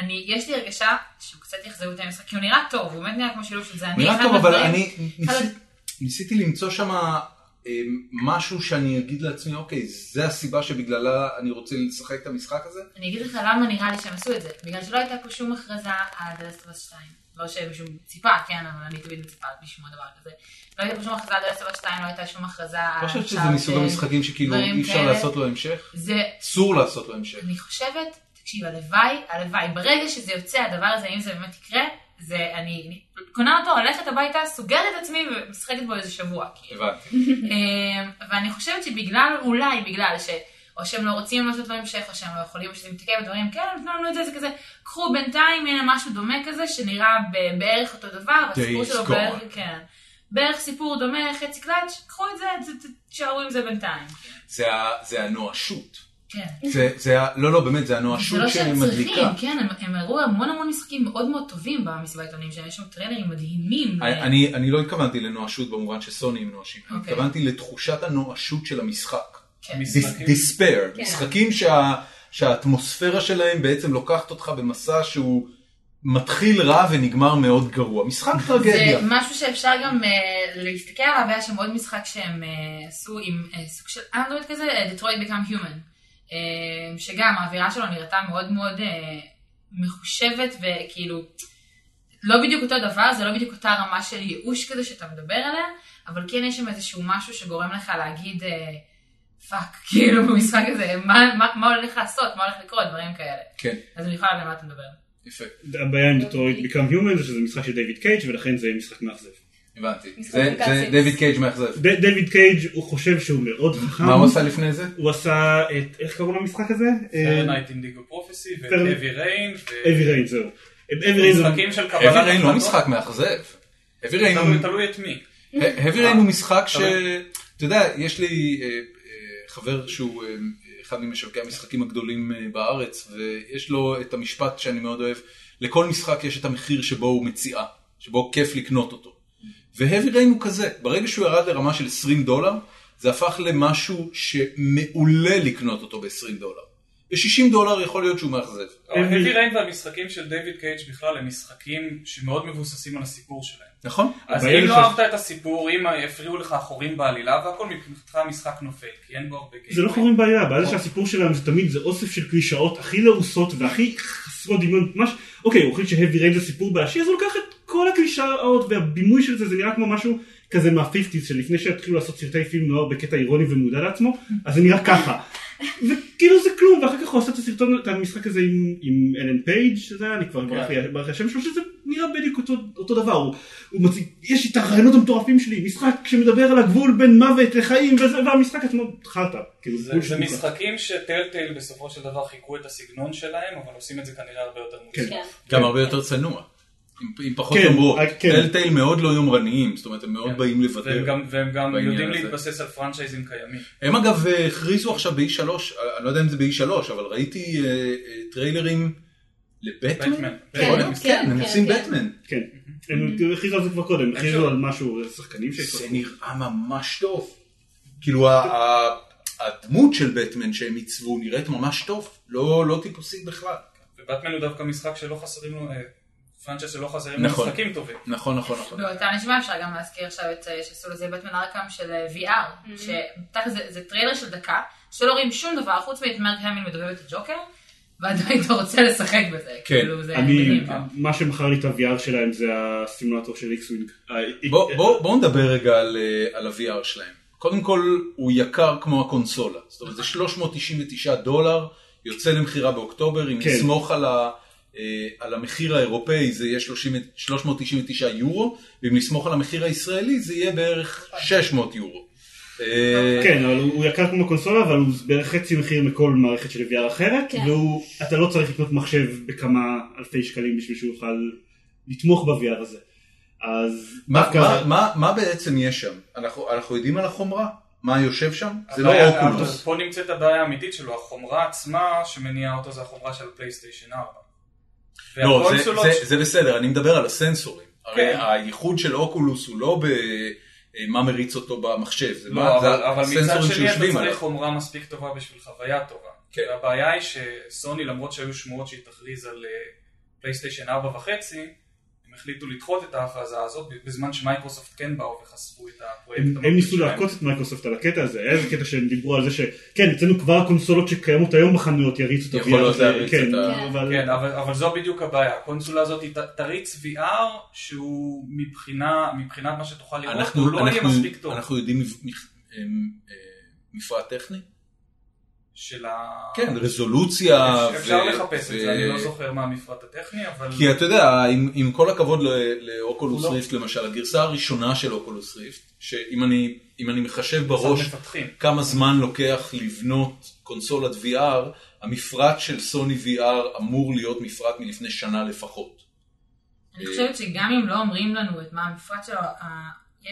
Speaker 5: אני, יש לי הרגשה שהוא קצת יחזרו את המשחק, כי הוא נראה טוב, הוא באמת נראה כמו שילוב של זה. אני
Speaker 1: נראה
Speaker 5: אחד
Speaker 1: טוב, אבל
Speaker 5: מהדברים-
Speaker 1: אני ניס-
Speaker 5: אבל-
Speaker 1: ניסיתי למצוא שם אה, משהו שאני אגיד לעצמי, אוקיי, זה הסיבה שבגללה אני רוצה לשחק את המשחק הזה?
Speaker 5: אני אגיד לך למה נראה לי שהם עשו את זה. בגלל שלא הייתה פה שום הכרזה על The Last of Us 2. לא שמישהו ציפה, כן, אבל אני תמיד מצפה לשמוע דבר כזה. לא הייתה פה שום הכרזה על The Last of Us 2, לא הייתה שום הכרזה על...
Speaker 1: אני לא חושבת שזה
Speaker 5: Uncharted,
Speaker 1: מסוג המשחקים שכאילו
Speaker 5: אה, דברים
Speaker 1: אי אפשר
Speaker 5: כאלה.
Speaker 1: לעשות לו המשך?
Speaker 5: זה,
Speaker 1: אסור לעשות לו המשך.
Speaker 5: אני חושבת, תקשיב, הלוואי, הלוואי, ברגע שזה יוצא, הדבר הזה, אם זה באמת יקרה, זה אני, אני קונה אותו, הולכת הביתה, סוגרת את עצמי ומשחקת בו איזה שבוע, כאילו.
Speaker 1: הבנתי.
Speaker 5: אמ, ואני חושבת שבגלל, אולי בגלל ש... או שהם לא רוצים לעשות בהמשך, או שהם לא יכולים, או שזה מתעכב ודברים כאלה, נתנו לנו את זה, זה כזה, קחו בינתיים, הנה משהו דומה כזה, שנראה ב- בערך אותו דבר, והסיפור
Speaker 1: Days
Speaker 5: שלו
Speaker 1: Gone.
Speaker 5: בערך, כן. בערך סיפור דומה, חצי קלאץ', קחו את זה, ת- ת- תישארו עם זה בינתיים.
Speaker 1: זה ה- זה הנואשות.
Speaker 5: כן.
Speaker 1: זה- זה ה- לא, לא, באמת, זה
Speaker 5: זה
Speaker 1: הנואשות
Speaker 5: לא שהם צריכים,
Speaker 1: שמדליקה.
Speaker 5: כן, הם- הם הראו המון המון משחקים מאוד מאוד טובים במסיבת העיתונים, שיש שם טריילרים מדהימים. אה,
Speaker 1: אני- אני אני לא התכוונתי לנואשות במובן שסוני הם נואשים, אני
Speaker 5: כאילו. אוקיי.
Speaker 1: התכוונתי לתחושת הנואשות של המשחק.
Speaker 5: כן.
Speaker 2: משחקים.
Speaker 1: דיספייר,
Speaker 3: כן.
Speaker 1: משחקים שה, שהאטמוספירה שלהם בעצם לוקחת אותך במסע שהוא מתחיל רע ונגמר מאוד גרוע. משחק טרגדיה.
Speaker 5: זה משהו שאפשר גם אה, להסתכל עליו, היה שם עוד משחק שהם אה, עשו עם אה, סוג של אנדרואיד כזה, Detroit Become Human, אה, שגם האווירה שלו נראתה מאוד מאוד אה, מחושבת וכאילו לא בדיוק אותו דבר, זה לא בדיוק אותה רמה של ייאוש כזה שאתה מדבר עליה, אבל כן יש שם איזשהו משהו שגורם לך להגיד אה, פאק, כאילו במשחק הזה, מה, מה, מה הולך לעשות, מה הולך לקרות, דברים כאלה.
Speaker 1: כן,
Speaker 5: אז אני יכולה להבין על מה אתה מדבר.
Speaker 1: יפה,
Speaker 4: הבעיה עם דטרויד Become Human זה שזה משחק של דיוויד קייג' ולכן זה משחק מאכזב.
Speaker 1: הבנתי.
Speaker 3: משחק
Speaker 1: זה
Speaker 3: של
Speaker 1: זה
Speaker 3: קאסים.
Speaker 1: דויד קייג' מאכזב.
Speaker 4: ד- דיוויד קייג' הוא חושב שהוא מאוד חכם.
Speaker 1: מה הוא עשה לפני זה?
Speaker 4: הוא עשה את, איך קראו למשחק הזה? אה,
Speaker 2: פרנייט אינדיגו פרופסי,
Speaker 4: Fair-
Speaker 2: ואבי ריין,
Speaker 4: אבי ריין, זהו. אבי ריין זה...
Speaker 2: ומשחקים של קבלת...
Speaker 1: האבי ריין לא
Speaker 2: החלטות.
Speaker 1: משחק מאכזב. האבי ריין הוא-
Speaker 2: תלוי- תלוי את מי.
Speaker 1: האבי ריין הוא משחק ש...
Speaker 2: אבל-
Speaker 1: אתה יודע, יש לי אה, אה, חבר שהוא אה, אחד משווקי המשחקים הגדולים אה, בארץ, ויש לו את המשפט שאני מאוד אוהב, לכל משחק יש את המחיר שבו הוא מציאה, שבו כיף לקנות אותו. והאבי ריין הוא כזה, ברגע שהוא ירד לרמה של 20 דולר, זה הפך למשהו שמעולה לקנות אותו ב-20 דולר. ב-60 דולר יכול להיות שהוא מאכזב.
Speaker 2: האבי ריין והמשחקים של דיוויד קייג' בכלל הם משחקים שמאוד מבוססים על הסיפור שלהם.
Speaker 1: נכון?
Speaker 2: אז
Speaker 4: הבעיה
Speaker 2: אם לא
Speaker 4: היא
Speaker 2: אהבת את הסיפור, אם הפריעו לך החורים בעלילה והכל, מבחינתך המשחק נופל, כי אין בו הרבה
Speaker 4: זה לא
Speaker 2: gameplay.
Speaker 4: חורים בעיה, הבעיה שהסיפור שלנו זה תמיד זה אוסף של קלישאות הכי לעוסות והכי חסרות דמיון, ממש, אוקיי, הוא החליט שהאבי ריין זה סיפור בעשי, אז הוא לוקח את כל הקלישאות והבימוי של זה, זה נראה כמו משהו כזה מהפיפטיז, שלפני שהתחילו לעשות סרטי פילם נוער בקטע אירוני ומודע לעצמו, אז זה נראה ככה. וכאילו זה כלום, ואחר כך הוא עשה את הסרטון, את המשחק הזה עם, עם אלן פייג' שזה היה, אני כבר ברח לי ברח לי השם שלו, שזה נראה בדיוק אותו, אותו דבר, הוא, הוא מציג, יש את הרעיונות המטורפים שלי, משחק שמדבר על הגבול בין מוות לחיים, וזה, והמשחק עצמו חרטא, כאילו
Speaker 2: זה-
Speaker 4: בול
Speaker 2: זה
Speaker 4: שטות.
Speaker 2: משחקים שטלטל בסופו של דבר חיכו את הסגנון שלהם, אבל עושים את זה כנראה הרבה יותר מוצלח.
Speaker 3: כן.
Speaker 1: גם הרבה יותר צנוע. עם- עם פחות
Speaker 4: כן,
Speaker 1: יומרות.
Speaker 4: אה, כן.
Speaker 1: טלטייל מאוד לא יומרניים, זאת אומרת הם מאוד
Speaker 2: כן.
Speaker 1: באים לבטל.
Speaker 2: והם גם- והם גם
Speaker 1: בעניין
Speaker 2: יודעים
Speaker 1: הזה.
Speaker 2: להתבסס על פרנצ'ייזים קיימים.
Speaker 1: הם אגב אה, הכריזו עכשיו ב-E3, אה, אני לא יודע אם זה ב-E3, אבל ראיתי אה, אה, טריילרים לבטמן.
Speaker 2: בטמן.
Speaker 1: יכול להיות?
Speaker 3: כן,
Speaker 1: כן, הם
Speaker 3: כן,
Speaker 1: עושים
Speaker 3: כן.
Speaker 1: בטמן.
Speaker 4: כן, הם הכריזו על זה כבר קודם, הכריזו על משהו, אה, שחקנים שיש
Speaker 1: זה נראה ממש טוב. כאילו ה- ה- הדמות של בטמן שהם עיצבו נראית ממש טוב, לא לא טיפוסית בכלל.
Speaker 2: ובטמן הוא דווקא משחק שלא חסרים לו, אה, פרנצ'ייז שלא חסרים לו
Speaker 1: נכון.
Speaker 2: משחקים טובים.
Speaker 1: נכון, נכון, נכון.
Speaker 5: באותה נשמה אפשר גם להזכיר עכשיו את אה, שעשו לזה בטמן ארקאם של אה, VR, שתכל'ס זה- זה טריילר של דקה, שלא רואים שום דבר חוץ מאת מרק המיל מדובב את הג'וקר, ועדיין אתה רוצה לשחק בזה,
Speaker 1: כן.
Speaker 5: כאילו זה...
Speaker 4: אני,
Speaker 5: מדהים.
Speaker 4: מה שמכר לי את ה-VR שלהם זה הסימולטור של איקסווינג.
Speaker 1: בוא- בוא- בואו נדבר רגע על, אה, על ה-VR שלהם. קודם כל, הוא יקר כמו הקונסולה. זאת אומרת, זה 399 דולר, יוצא למכירה באוקטובר, אם
Speaker 4: כן.
Speaker 1: נסמוך על, ה, אה, על המחיר האירופאי זה יהיה 30, 399 יורו, ואם נסמוך על המחיר הישראלי זה יהיה בערך 600 יורו. אה,
Speaker 4: כן, אבל הוא הוא יקר כמו קונסולה, אבל הוא בערך חצי מחיר מכל מערכת של VR אחרת,
Speaker 3: כן.
Speaker 4: והוא, אתה לא צריך לקנות מחשב בכמה אלפי שקלים בשביל שהוא יוכל לתמוך ב-VR הזה. אז
Speaker 1: מה,
Speaker 4: דווקא-
Speaker 1: מה, מה, מה בעצם יש שם? אנחנו, אנחנו יודעים על החומרה? מה יושב שם? זה לא
Speaker 2: הבעיה-
Speaker 1: אוקולוס.
Speaker 2: אבל פה נמצאת הבעיה האמיתית שלו, החומרה עצמה שמניעה אותו זה החומרה של פלייסטיישן 4.
Speaker 1: לא, זה,
Speaker 2: והקונסולות-
Speaker 1: זה, זה בסדר, אני מדבר על הסנסורים. הרי
Speaker 2: כן.
Speaker 1: הייחוד של אוקולוס הוא לא ב... אה, מה מריץ אותו במחשב, זה,
Speaker 2: לא,
Speaker 1: מה,
Speaker 2: אבל,
Speaker 1: זה
Speaker 2: אבל מצד
Speaker 1: הסנסורים
Speaker 2: שני אתה
Speaker 1: שיושבים
Speaker 2: צריך
Speaker 1: עליו.
Speaker 2: חומרה מספיק טובה בשביל חוויה טובה.
Speaker 1: כן.
Speaker 2: והבעיה היא שסוני, למרות שהיו שמועות שהיא תכריז על אה, פלייסטיישן 4 וחצי, הם החליטו לדחות את ההכרזה הזאת בזמן שמייקרוסופט כן באו וחשפו את הפרויקט.
Speaker 4: הם-
Speaker 2: המקביל
Speaker 4: הם ניסו
Speaker 2: שלהם.
Speaker 4: לעקוץ את מייקרוסופט על הקטע הזה, היה איזה קטע שהם דיברו על זה שכן, אצלנו כבר הקונסולות שקיימות היום בחנויות יריצו את ה-VR.
Speaker 1: יכולות
Speaker 4: הזה.
Speaker 1: להריץ
Speaker 4: כן,
Speaker 1: את
Speaker 3: ה-
Speaker 4: אבל-
Speaker 2: כן, אבל, אבל זו בדיוק הבעיה. הקונסולה הזאת היא ת- תריץ VR שהוא מבחינה, מבחינת מה שתוכל לראות, הוא לא יהיה מספיק טוב.
Speaker 1: אנחנו יודעים מפ- מפ- אמ, אה, מפרט טכני?
Speaker 2: של ה...
Speaker 1: כן, רזולוציה.
Speaker 2: אפשר
Speaker 1: ו-
Speaker 2: לחפש את
Speaker 1: ו-
Speaker 2: זה, אני לא זוכר מה המפרט הטכני, אבל...
Speaker 1: כי אתה יודע, עם, עם כל הכבוד ל- לאוקולוס
Speaker 2: הוא לא-
Speaker 1: ריפט למשל, הגרסה הראשונה של אוקולוס ריפט, שאם אני, אם אני מחשב
Speaker 2: קצת
Speaker 1: בראש
Speaker 2: מפתחים.
Speaker 1: כמה זמן לוקח לבנות קונסולת VR, המפרט של סוני VR אמור להיות מפרט מלפני שנה לפחות.
Speaker 5: אני חושבת שגם אם לא אומרים לנו את מה המפרט שלו, אה,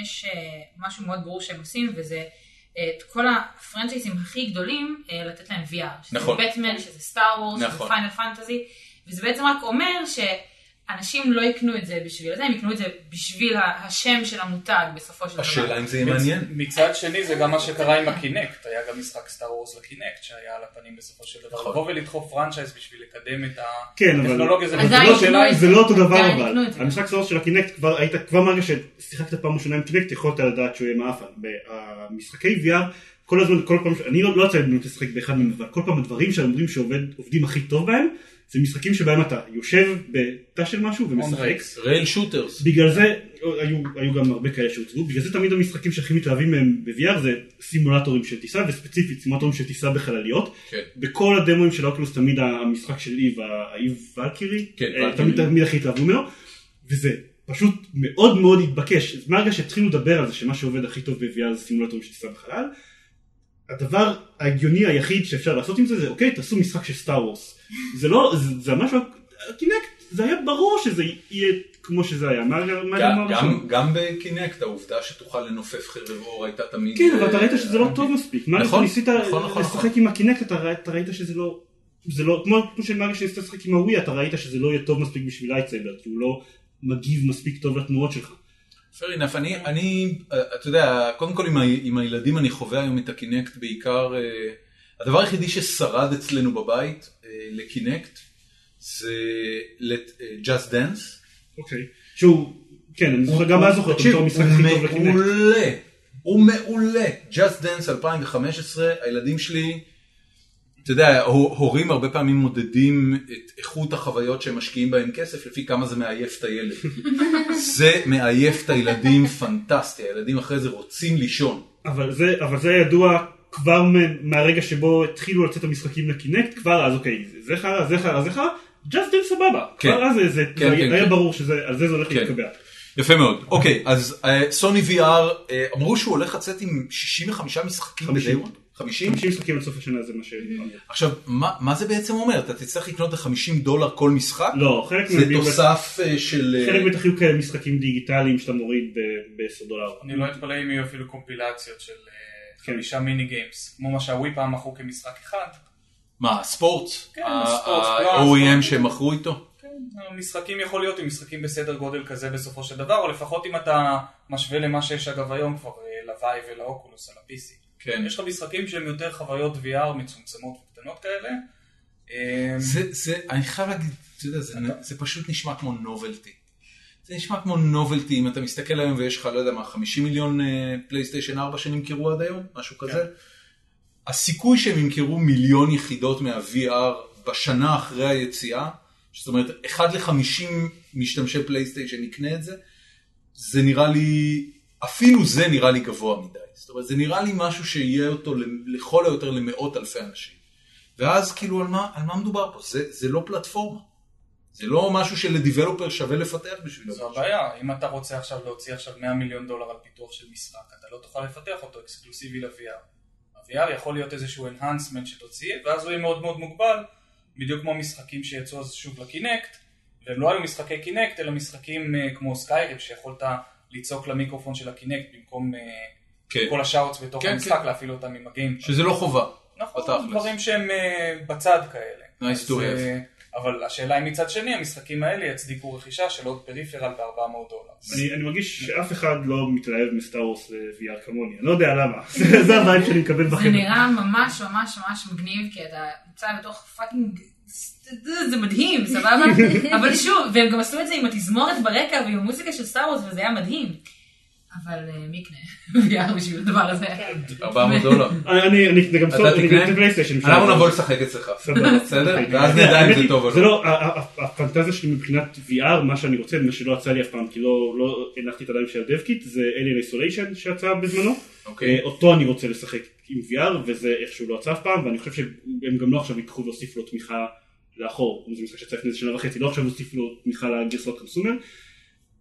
Speaker 5: יש אה, משהו מאוד ברור שהם עושים, וזה אה, את כל הפרנצ'ייזים הכי גדולים, אה, לתת להם VR. שזה
Speaker 1: נכון.
Speaker 5: בטמן, שזה סטאר וורס, שזה
Speaker 1: נכון.
Speaker 5: פיינל פנטזי, וזה בעצם רק אומר שאנשים לא יקנו את זה בשביל זה, הם יקנו את זה בשביל ה- השם של המותג בסופו של דבר.
Speaker 1: השאלה אם זה יהיה מעניין.
Speaker 2: מצד שני זה גם מה שקרה עם הקינקט, היה גם משחק סטאר וורס לקינקט שהיה על הפנים בסופו של דבר,
Speaker 1: נכון.
Speaker 2: לבוא ולדחוף פרנצ'ייז בשביל לקדם את
Speaker 4: כן, אבל-
Speaker 2: הטכנולוגיה זה
Speaker 5: עדיין
Speaker 2: נקודה
Speaker 5: יקנו
Speaker 2: שאלה,
Speaker 5: את
Speaker 4: זה לא אותו דבר
Speaker 5: עדיין
Speaker 4: אבל,
Speaker 5: יקנו את זה.
Speaker 4: המשחק סולר של הקינקט כבר היית, כבר מהרגע ששיחקת פעם ראשונה עם קינקט יכולת לדעת שהוא יהיה מאפן, המשחקי VR כל הזמן, כל פעם, ש- אני לא לא יצא לי באמת לשחק באחד מהם, אבל כל פעם הדברים שאומרים שעובדים הכי טוב בהם, זה משחקים שבהם אתה יושב בתא של משהו ומשחק,
Speaker 2: On-rails.
Speaker 1: רייל שוטרס.
Speaker 4: בגלל זה, לא, היו, היו גם הרבה כאלה שהוצגו, בגלל זה תמיד המשחקים שהכי מתלהבים מהם ב-VR זה סימולטורים של טיסה, וספציפית סימולטורים של טיסה בחלליות.
Speaker 1: כן.
Speaker 4: בכל הדמוים של אוקלוס תמיד המשחק של איב, האיב ולקירי,
Speaker 1: כן,
Speaker 4: אה,
Speaker 1: ולקירי.
Speaker 4: תמיד, תמיד הכי התלהבו ממנו, וזה פשוט מאוד מאוד התבקש. אז מהרגע שהתחילו לדבר על זה שמה שעובד הכי טוב ב-VR זה סימולטורים של טיסה בחלל, הדבר ההגיוני היחיד שאפשר לעשות עם זה זה אוקיי תעשו משחק של סטאר וורס זה לא זה, זה ממש לא הקינקט זה היה ברור שזה יהיה כמו שזה היה מה מה- מה
Speaker 1: גם-
Speaker 4: אמרנו
Speaker 1: גם-
Speaker 4: שם?
Speaker 1: גם בקינקט העובדה שתוכל לנופף חרב אור הייתה תמיד...
Speaker 4: כן אבל
Speaker 1: אה,
Speaker 4: אתה ראית שזה לא טוב מספיק מה
Speaker 1: נכון,
Speaker 4: ניסית
Speaker 1: נכון, נכון, נכון.
Speaker 4: לשחק עם הקינקט אתה ראית- אתה ראית שזה לא זה לא כמו כמו שמרגע שניסית לשחק עם הווי אתה ראית שזה לא יהיה טוב מספיק בשביל לייטסייבר כי הוא לא מגיב מספיק טוב לתנועות שלך
Speaker 1: fair enough, אני, אני, אה, אתה יודע, קודם כל עם, ה, עם הילדים אני חווה היום את הקינקט בעיקר, אה, הדבר היחידי ששרד אצלנו בבית אה, לקינקט זה לת- אה, Just Dance.
Speaker 4: אוקיי. שהוא, כן, אני זוכר, גם אז זוכר, אותו
Speaker 1: תקשיב,
Speaker 4: בתור המשחק הכי טוב
Speaker 1: הוא
Speaker 4: לקינקט.
Speaker 1: מעולה, הוא מעולה. Just Dance 2015, הילדים שלי, אתה יודע, הו- הורים הרבה פעמים מודדים את איכות החוויות שהם משקיעים בהם כסף לפי כמה זה מעייף את הילד. זה מעייף את הילדים פנטסטי, הילדים אחרי זה רוצים לישון.
Speaker 4: אבל זה, אבל זה ידוע כבר מ- מהרגע שבו התחילו לצאת המשחקים לקינקט, כבר אז אוקיי, זה- זה חרא, זה חרא, זה חרא, ג'אסט דן סבבה.
Speaker 1: כן.
Speaker 4: כבר אז זה- זה
Speaker 1: כן,
Speaker 4: זה
Speaker 1: כן,
Speaker 4: היה
Speaker 1: כן.
Speaker 4: ברור שעל זה זה הולך
Speaker 1: כן.
Speaker 4: להתקבע.
Speaker 1: יפה מאוד. אוקיי, אז אה, סוני VR, אה, אמרו שהוא הולך לצאת עם 65 משחקים
Speaker 4: חמישים.
Speaker 1: ב-day one? 50?
Speaker 4: 50 משחקים עד סוף השנה זה מה ש...
Speaker 1: עכשיו, מה, מה זה בעצם אומר? אתה תצטרך לקנות ב-50 דולר כל משחק?
Speaker 4: לא, חלק
Speaker 1: זה
Speaker 4: מהם-
Speaker 1: תוסף אה, של... אה,
Speaker 4: חלק בטח יהיו כאלה משחקים דיגיטליים שאתה מוריד ב-10 דולר.
Speaker 2: אני לא אתפלא אם יהיו אפילו קומפילציות של אה,
Speaker 4: כן.
Speaker 2: חמישה מיני גיימס, כמו מה שהווי פעם מכרו כמשחק אחד.
Speaker 1: מה, ספורטס?
Speaker 2: כן,
Speaker 1: ה-
Speaker 2: ספורטס,
Speaker 1: ה-
Speaker 2: קלאס,
Speaker 1: OEM
Speaker 2: ספורטס.
Speaker 1: שהם מכרו איתו?
Speaker 2: משחקים יכול להיות עם משחקים בסדר גודל כזה בסופו של דבר, או לפחות אם אתה משווה למה שיש אגב היום כבר אה, לוואי ולאוקולוס על ה-PC.
Speaker 1: כן.
Speaker 2: יש לך משחקים שהם יותר חוויות VR מצומצמות וקטנות כאלה. אה,
Speaker 1: זה, זה, אני חייב להגיד, אתה יודע, זה, זה פשוט נשמע כמו נובלטי. זה נשמע כמו נובלטי, אם אתה מסתכל היום ויש לך, לא יודע מה, 50 מיליון אה, פלייסטיישן 4 שנמכרו עד היום, משהו
Speaker 2: כן.
Speaker 1: כזה. הסיכוי שהם ימכרו מיליון יחידות מה-VR בשנה אחרי היציאה, זאת אומרת, 1 ל-50 משתמשי פלייסטיישן יקנה את זה, זה נראה לי, אפילו זה נראה לי גבוה מדי. זאת אומרת, זה נראה לי משהו שיהיה אותו ל- לכל היותר למאות אלפי אנשים. ואז כאילו על מה, על מה מדובר פה? זה, זה לא פלטפורמה. זה לא משהו שלדיבלופר שווה לפתח בשבילו.
Speaker 2: זו הבעיה, אם אתה רוצה עכשיו להוציא עכשיו 100 מיליון דולר על פיתוח של משחק, אתה לא תוכל לפתח אותו אקסקלוסיבי ל-VR. ה-VR יכול להיות איזשהו enhancement שתוציא, ואז הוא יהיה מאוד מאוד מוגבל, בדיוק כמו המשחקים שיצאו אז שוב לקינקט, והם לא היו משחקי קינקט, אלא משחקים אה, כמו סקיירים, שיכולת לצעוק למיקרופון של הקינקט במקום אה,
Speaker 1: כן.
Speaker 2: כל השאוטס בתוך
Speaker 1: כן,
Speaker 2: המשחק,
Speaker 1: כן.
Speaker 2: להפעיל אותם עם הגיים.
Speaker 1: שזה לא חובה.
Speaker 2: נכון,
Speaker 1: בתכלס.
Speaker 2: דברים שהם אה, בצד כאלה.
Speaker 1: Nice to
Speaker 2: אז, אה, אבל השאלה היא מצד שני, המשחקים האלה יצדיקו רכישה של עוד פריפרל ב-400 דולר.
Speaker 4: אני, אני מרגיש שאף אחד לא מתלהב מסטאר וורס ל-VR כמוני, אני לא יודע למה, זה, זה הווייב שאני מקבל
Speaker 1: לא
Speaker 5: זה
Speaker 4: בחדר.
Speaker 5: נראה ממש ממש ממש מגניב, כי אתה נמצא בתוך פאקינג... זה מדהים, סבבה? אבל שוב, והם גם עשו את זה עם התזמורת ברקע ועם המוזיקה של סטאר וורס, וזה היה מדהים. אבל אה, מי יקנה VR בשביל הדבר הזה?
Speaker 3: כן.
Speaker 1: 400 דולר.
Speaker 4: אני, אני, אני גם
Speaker 1: אתה
Speaker 4: סוף, אני גם
Speaker 1: תקנה?
Speaker 4: את הפלייסטיישן.
Speaker 1: אנחנו נבוא לשחק אצלך.
Speaker 4: סבבה.
Speaker 1: בסדר?
Speaker 4: אוקיי.
Speaker 1: ואז נדע
Speaker 4: האמת
Speaker 1: אם זה
Speaker 4: היא,
Speaker 1: טוב או
Speaker 4: זה
Speaker 1: לא.
Speaker 4: לא, ה- ה- ה- הפנטזיה שלי מבחינת VR, מה שאני רוצה, מה שלא יצא לי אף פעם, כי לא לא הנחתי את הידיים של הדבקיט, זה Alien Isolation שיצא בזמנו.
Speaker 1: אוקיי.
Speaker 4: אה, אותו אני רוצה לשחק עם VR, וזה איכשהו לא יצא אף פעם, ואני חושב שהם גם לא עכשיו ייקחו והוסיפו לו תמיכה לאחור. זה משחק שיצא לפני איזה שנה וחצי, לא עכשיו הוסיפו לו תמיכה לגרסות קונסומר.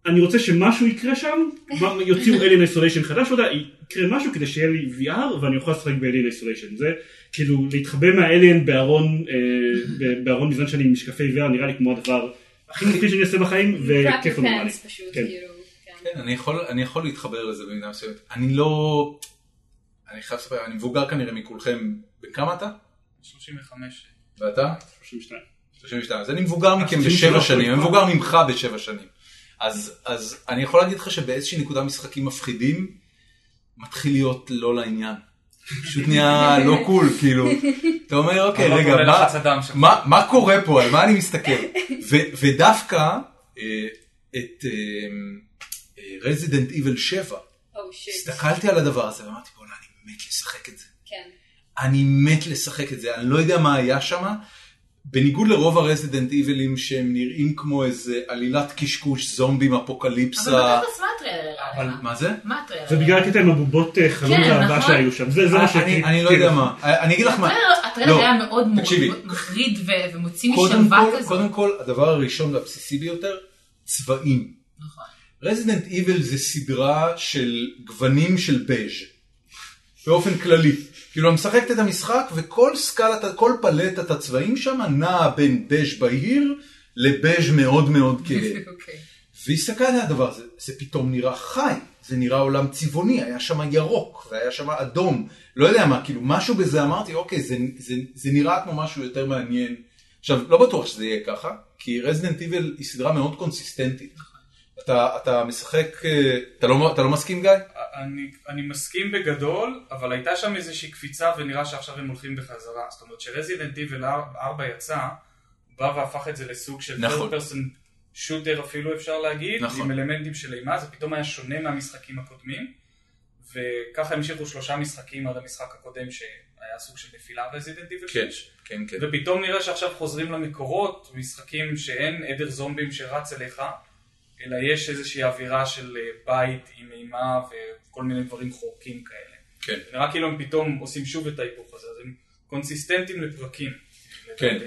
Speaker 4: אני רוצה שמשהו יקרה שם, מה- יוציאו Alien Isolation חדש, אתה יודע, יקרה משהו כדי שיהיה לי VR ואני אוכל לשחק ב-Alien Isolation. זה כאילו להתחבא מהאליין בארון, אה, ב- בארון מזמן שאני עם משקפי VR נראה לי כמו הדבר הכי מפחיד שאני אעשה בחיים, וכיף
Speaker 3: Crappy
Speaker 4: לנו נראה לי.
Speaker 3: pants פשוט,
Speaker 4: כן.
Speaker 3: כאילו, כן.
Speaker 1: כן, אני יכול- אני יכול להתחבר לזה במידה מסוימת. אני לא... אני חייב לספר, אני מבוגר כנראה מכולכם. בן כמה אתה?
Speaker 2: 35.
Speaker 1: ואתה?
Speaker 4: 32.
Speaker 1: 32. אז אני מבוגר מכם בשבע
Speaker 4: 33,
Speaker 1: שנים, אני
Speaker 4: כבר.
Speaker 1: מבוגר ממך בשבע שנים. אז, אז אני יכול להגיד לך שבאיזושהי נקודה משחקים מפחידים, מתחיל להיות לא לעניין. פשוט נהיה לא קול, כאילו. אתה אומר, אוקיי,
Speaker 2: אבל לא
Speaker 1: רגע,
Speaker 2: כולל
Speaker 1: מה,
Speaker 2: לחץ הדם שלך.
Speaker 1: מה, מה קורה פה, על מה אני מסתכל? ו, ודווקא אה, את רזידנט איבל 7,
Speaker 3: Oh, shit.
Speaker 1: הסתכלתי על הדבר הזה ואמרתי, בוא'נה, אני מת לשחק את זה.
Speaker 3: כן.
Speaker 1: אני מת לשחק את זה, אני לא יודע מה היה שם. בניגוד לרוב הרזידנט איבלים שהם נראים כמו איזה עלילת קשקוש זומבים
Speaker 5: אבל
Speaker 1: אפוקליפסה.
Speaker 5: בתכלס מה הטריילר? היה לך?
Speaker 1: מה זה?
Speaker 5: מה הטריילר?
Speaker 4: זה בגלל הקטע עם הבובות אה, חלום
Speaker 5: כן,
Speaker 4: ראווה
Speaker 5: נכון.
Speaker 4: שהיו שם, זה כן. זה מה
Speaker 1: אני-
Speaker 4: ש...
Speaker 1: אני- אני לא יודע מה, אני אגיד לך מה.
Speaker 5: הטריילר- הטריילר
Speaker 1: לא,
Speaker 5: היה מאוד מור-
Speaker 1: תקשיבי.
Speaker 5: מחריד ו- ומוציא
Speaker 1: קודם
Speaker 5: משלווה
Speaker 1: כל,
Speaker 5: כזאת.
Speaker 1: קודם כל, הדבר הראשון והבסיסי ביותר, צבעים.
Speaker 5: נכון.
Speaker 1: רזידנט איבל זה סדרה של גוונים של בז' באופן כללי. כאילו, את משחקת את המשחק וכל סקלת, כל פלטת הצבעים שם נעה בין בז' בהיר לבז' מאוד מאוד כהה.
Speaker 5: אוקיי.
Speaker 1: והסתכלתי על הדבר הזה, זה פתאום נראה חי, זה נראה עולם צבעוני, היה שם ירוק, והיה שם אדום, לא יודע מה, כאילו משהו בזה אמרתי, אוקיי, זה, זה, זה נראה כמו משהו יותר מעניין. עכשיו, לא בטוח שזה יהיה ככה, כי רזידנט איבל היא סדרה מאוד קונסיסטנטית. אתה, אתה משחק, אה, אתה לא, אתה לא מסכים גיא?
Speaker 2: אני, אני מסכים בגדול, אבל הייתה שם איזושהי קפיצה ונראה שעכשיו הם הולכים בחזרה. זאת אומרת שרזידנט איבל 4 יצא, הוא בא והפך את זה לסוג של
Speaker 1: נכון.
Speaker 2: third person shooter אפילו אפשר להגיד,
Speaker 1: נכון.
Speaker 2: עם אלמנטים של אימה, זה פתאום היה שונה מהמשחקים הקודמים, וככה המשיכו שלושה משחקים עד המשחק הקודם שהיה סוג של נפילה רזידנט איבל
Speaker 1: כן, כן.
Speaker 2: ופתאום נראה שעכשיו חוזרים למקורות, משחקים שאין עדר זומבים שרץ אליך, אלא יש איזושהי אווירה של אה, בית עם אימה וכל מיני דברים חורקים כאלה.
Speaker 1: כן.
Speaker 2: נראה כאילו הם פתאום עושים שוב את ההיפוך הזה, אז הם קונסיסטנטים לפרקים.
Speaker 1: כן,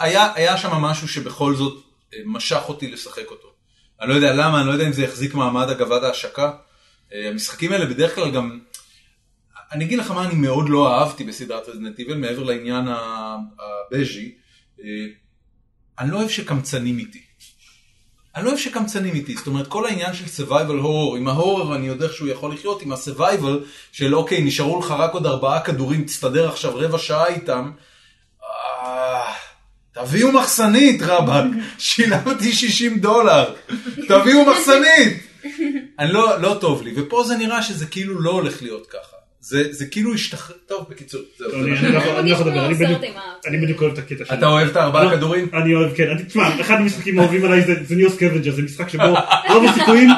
Speaker 1: והיה שם משהו שבכל זאת אה, משך אותי לשחק אותו. אני לא יודע למה, אני לא יודע אם זה יחזיק מעמד אגב עד ההשקה. אה, המשחקים האלה בדרך כלל גם... אני אגיד לך מה אני מאוד לא אהבתי בסדרת רזנט איבל, מעבר לעניין ה- הבז'י. אה, אני לא אוהב שקמצנים איתי. אני לא אוהב שקמצנים איתי, זאת אומרת כל העניין של survival horror, עם ההורר אני יודע שהוא יכול לחיות, עם ה-survival של אוקיי נשארו לך רק עוד ארבעה כדורים, תסתדר עכשיו רבע שעה איתם, אה, תביאו מחסנית רבאק, שילמתי 60 דולר, תביאו מחסנית. אני לא, לא טוב לי, ופה זה נראה שזה כאילו לא הולך להיות ככה. זה, זה כאילו השתחרר, טוב בקיצור, זהו, זה
Speaker 4: אני-
Speaker 1: מה ש-
Speaker 4: אני לא יכול- אני לא
Speaker 3: מרגיש
Speaker 4: יכול לדבר,
Speaker 3: כמו
Speaker 4: אני
Speaker 3: סרט
Speaker 4: בדיוק-
Speaker 3: אימה.
Speaker 4: אני בדיוק אוהב את הקטע שלו.
Speaker 1: אתה אוהב את הארבעה
Speaker 4: לא,
Speaker 1: כדורים?
Speaker 4: אני אוהב, כן. אני- תשמע, אחד המשחקים האהובים עליי זה- זה ניאו סקוונג'ר, זה משחק שבו רוב הסיכויים,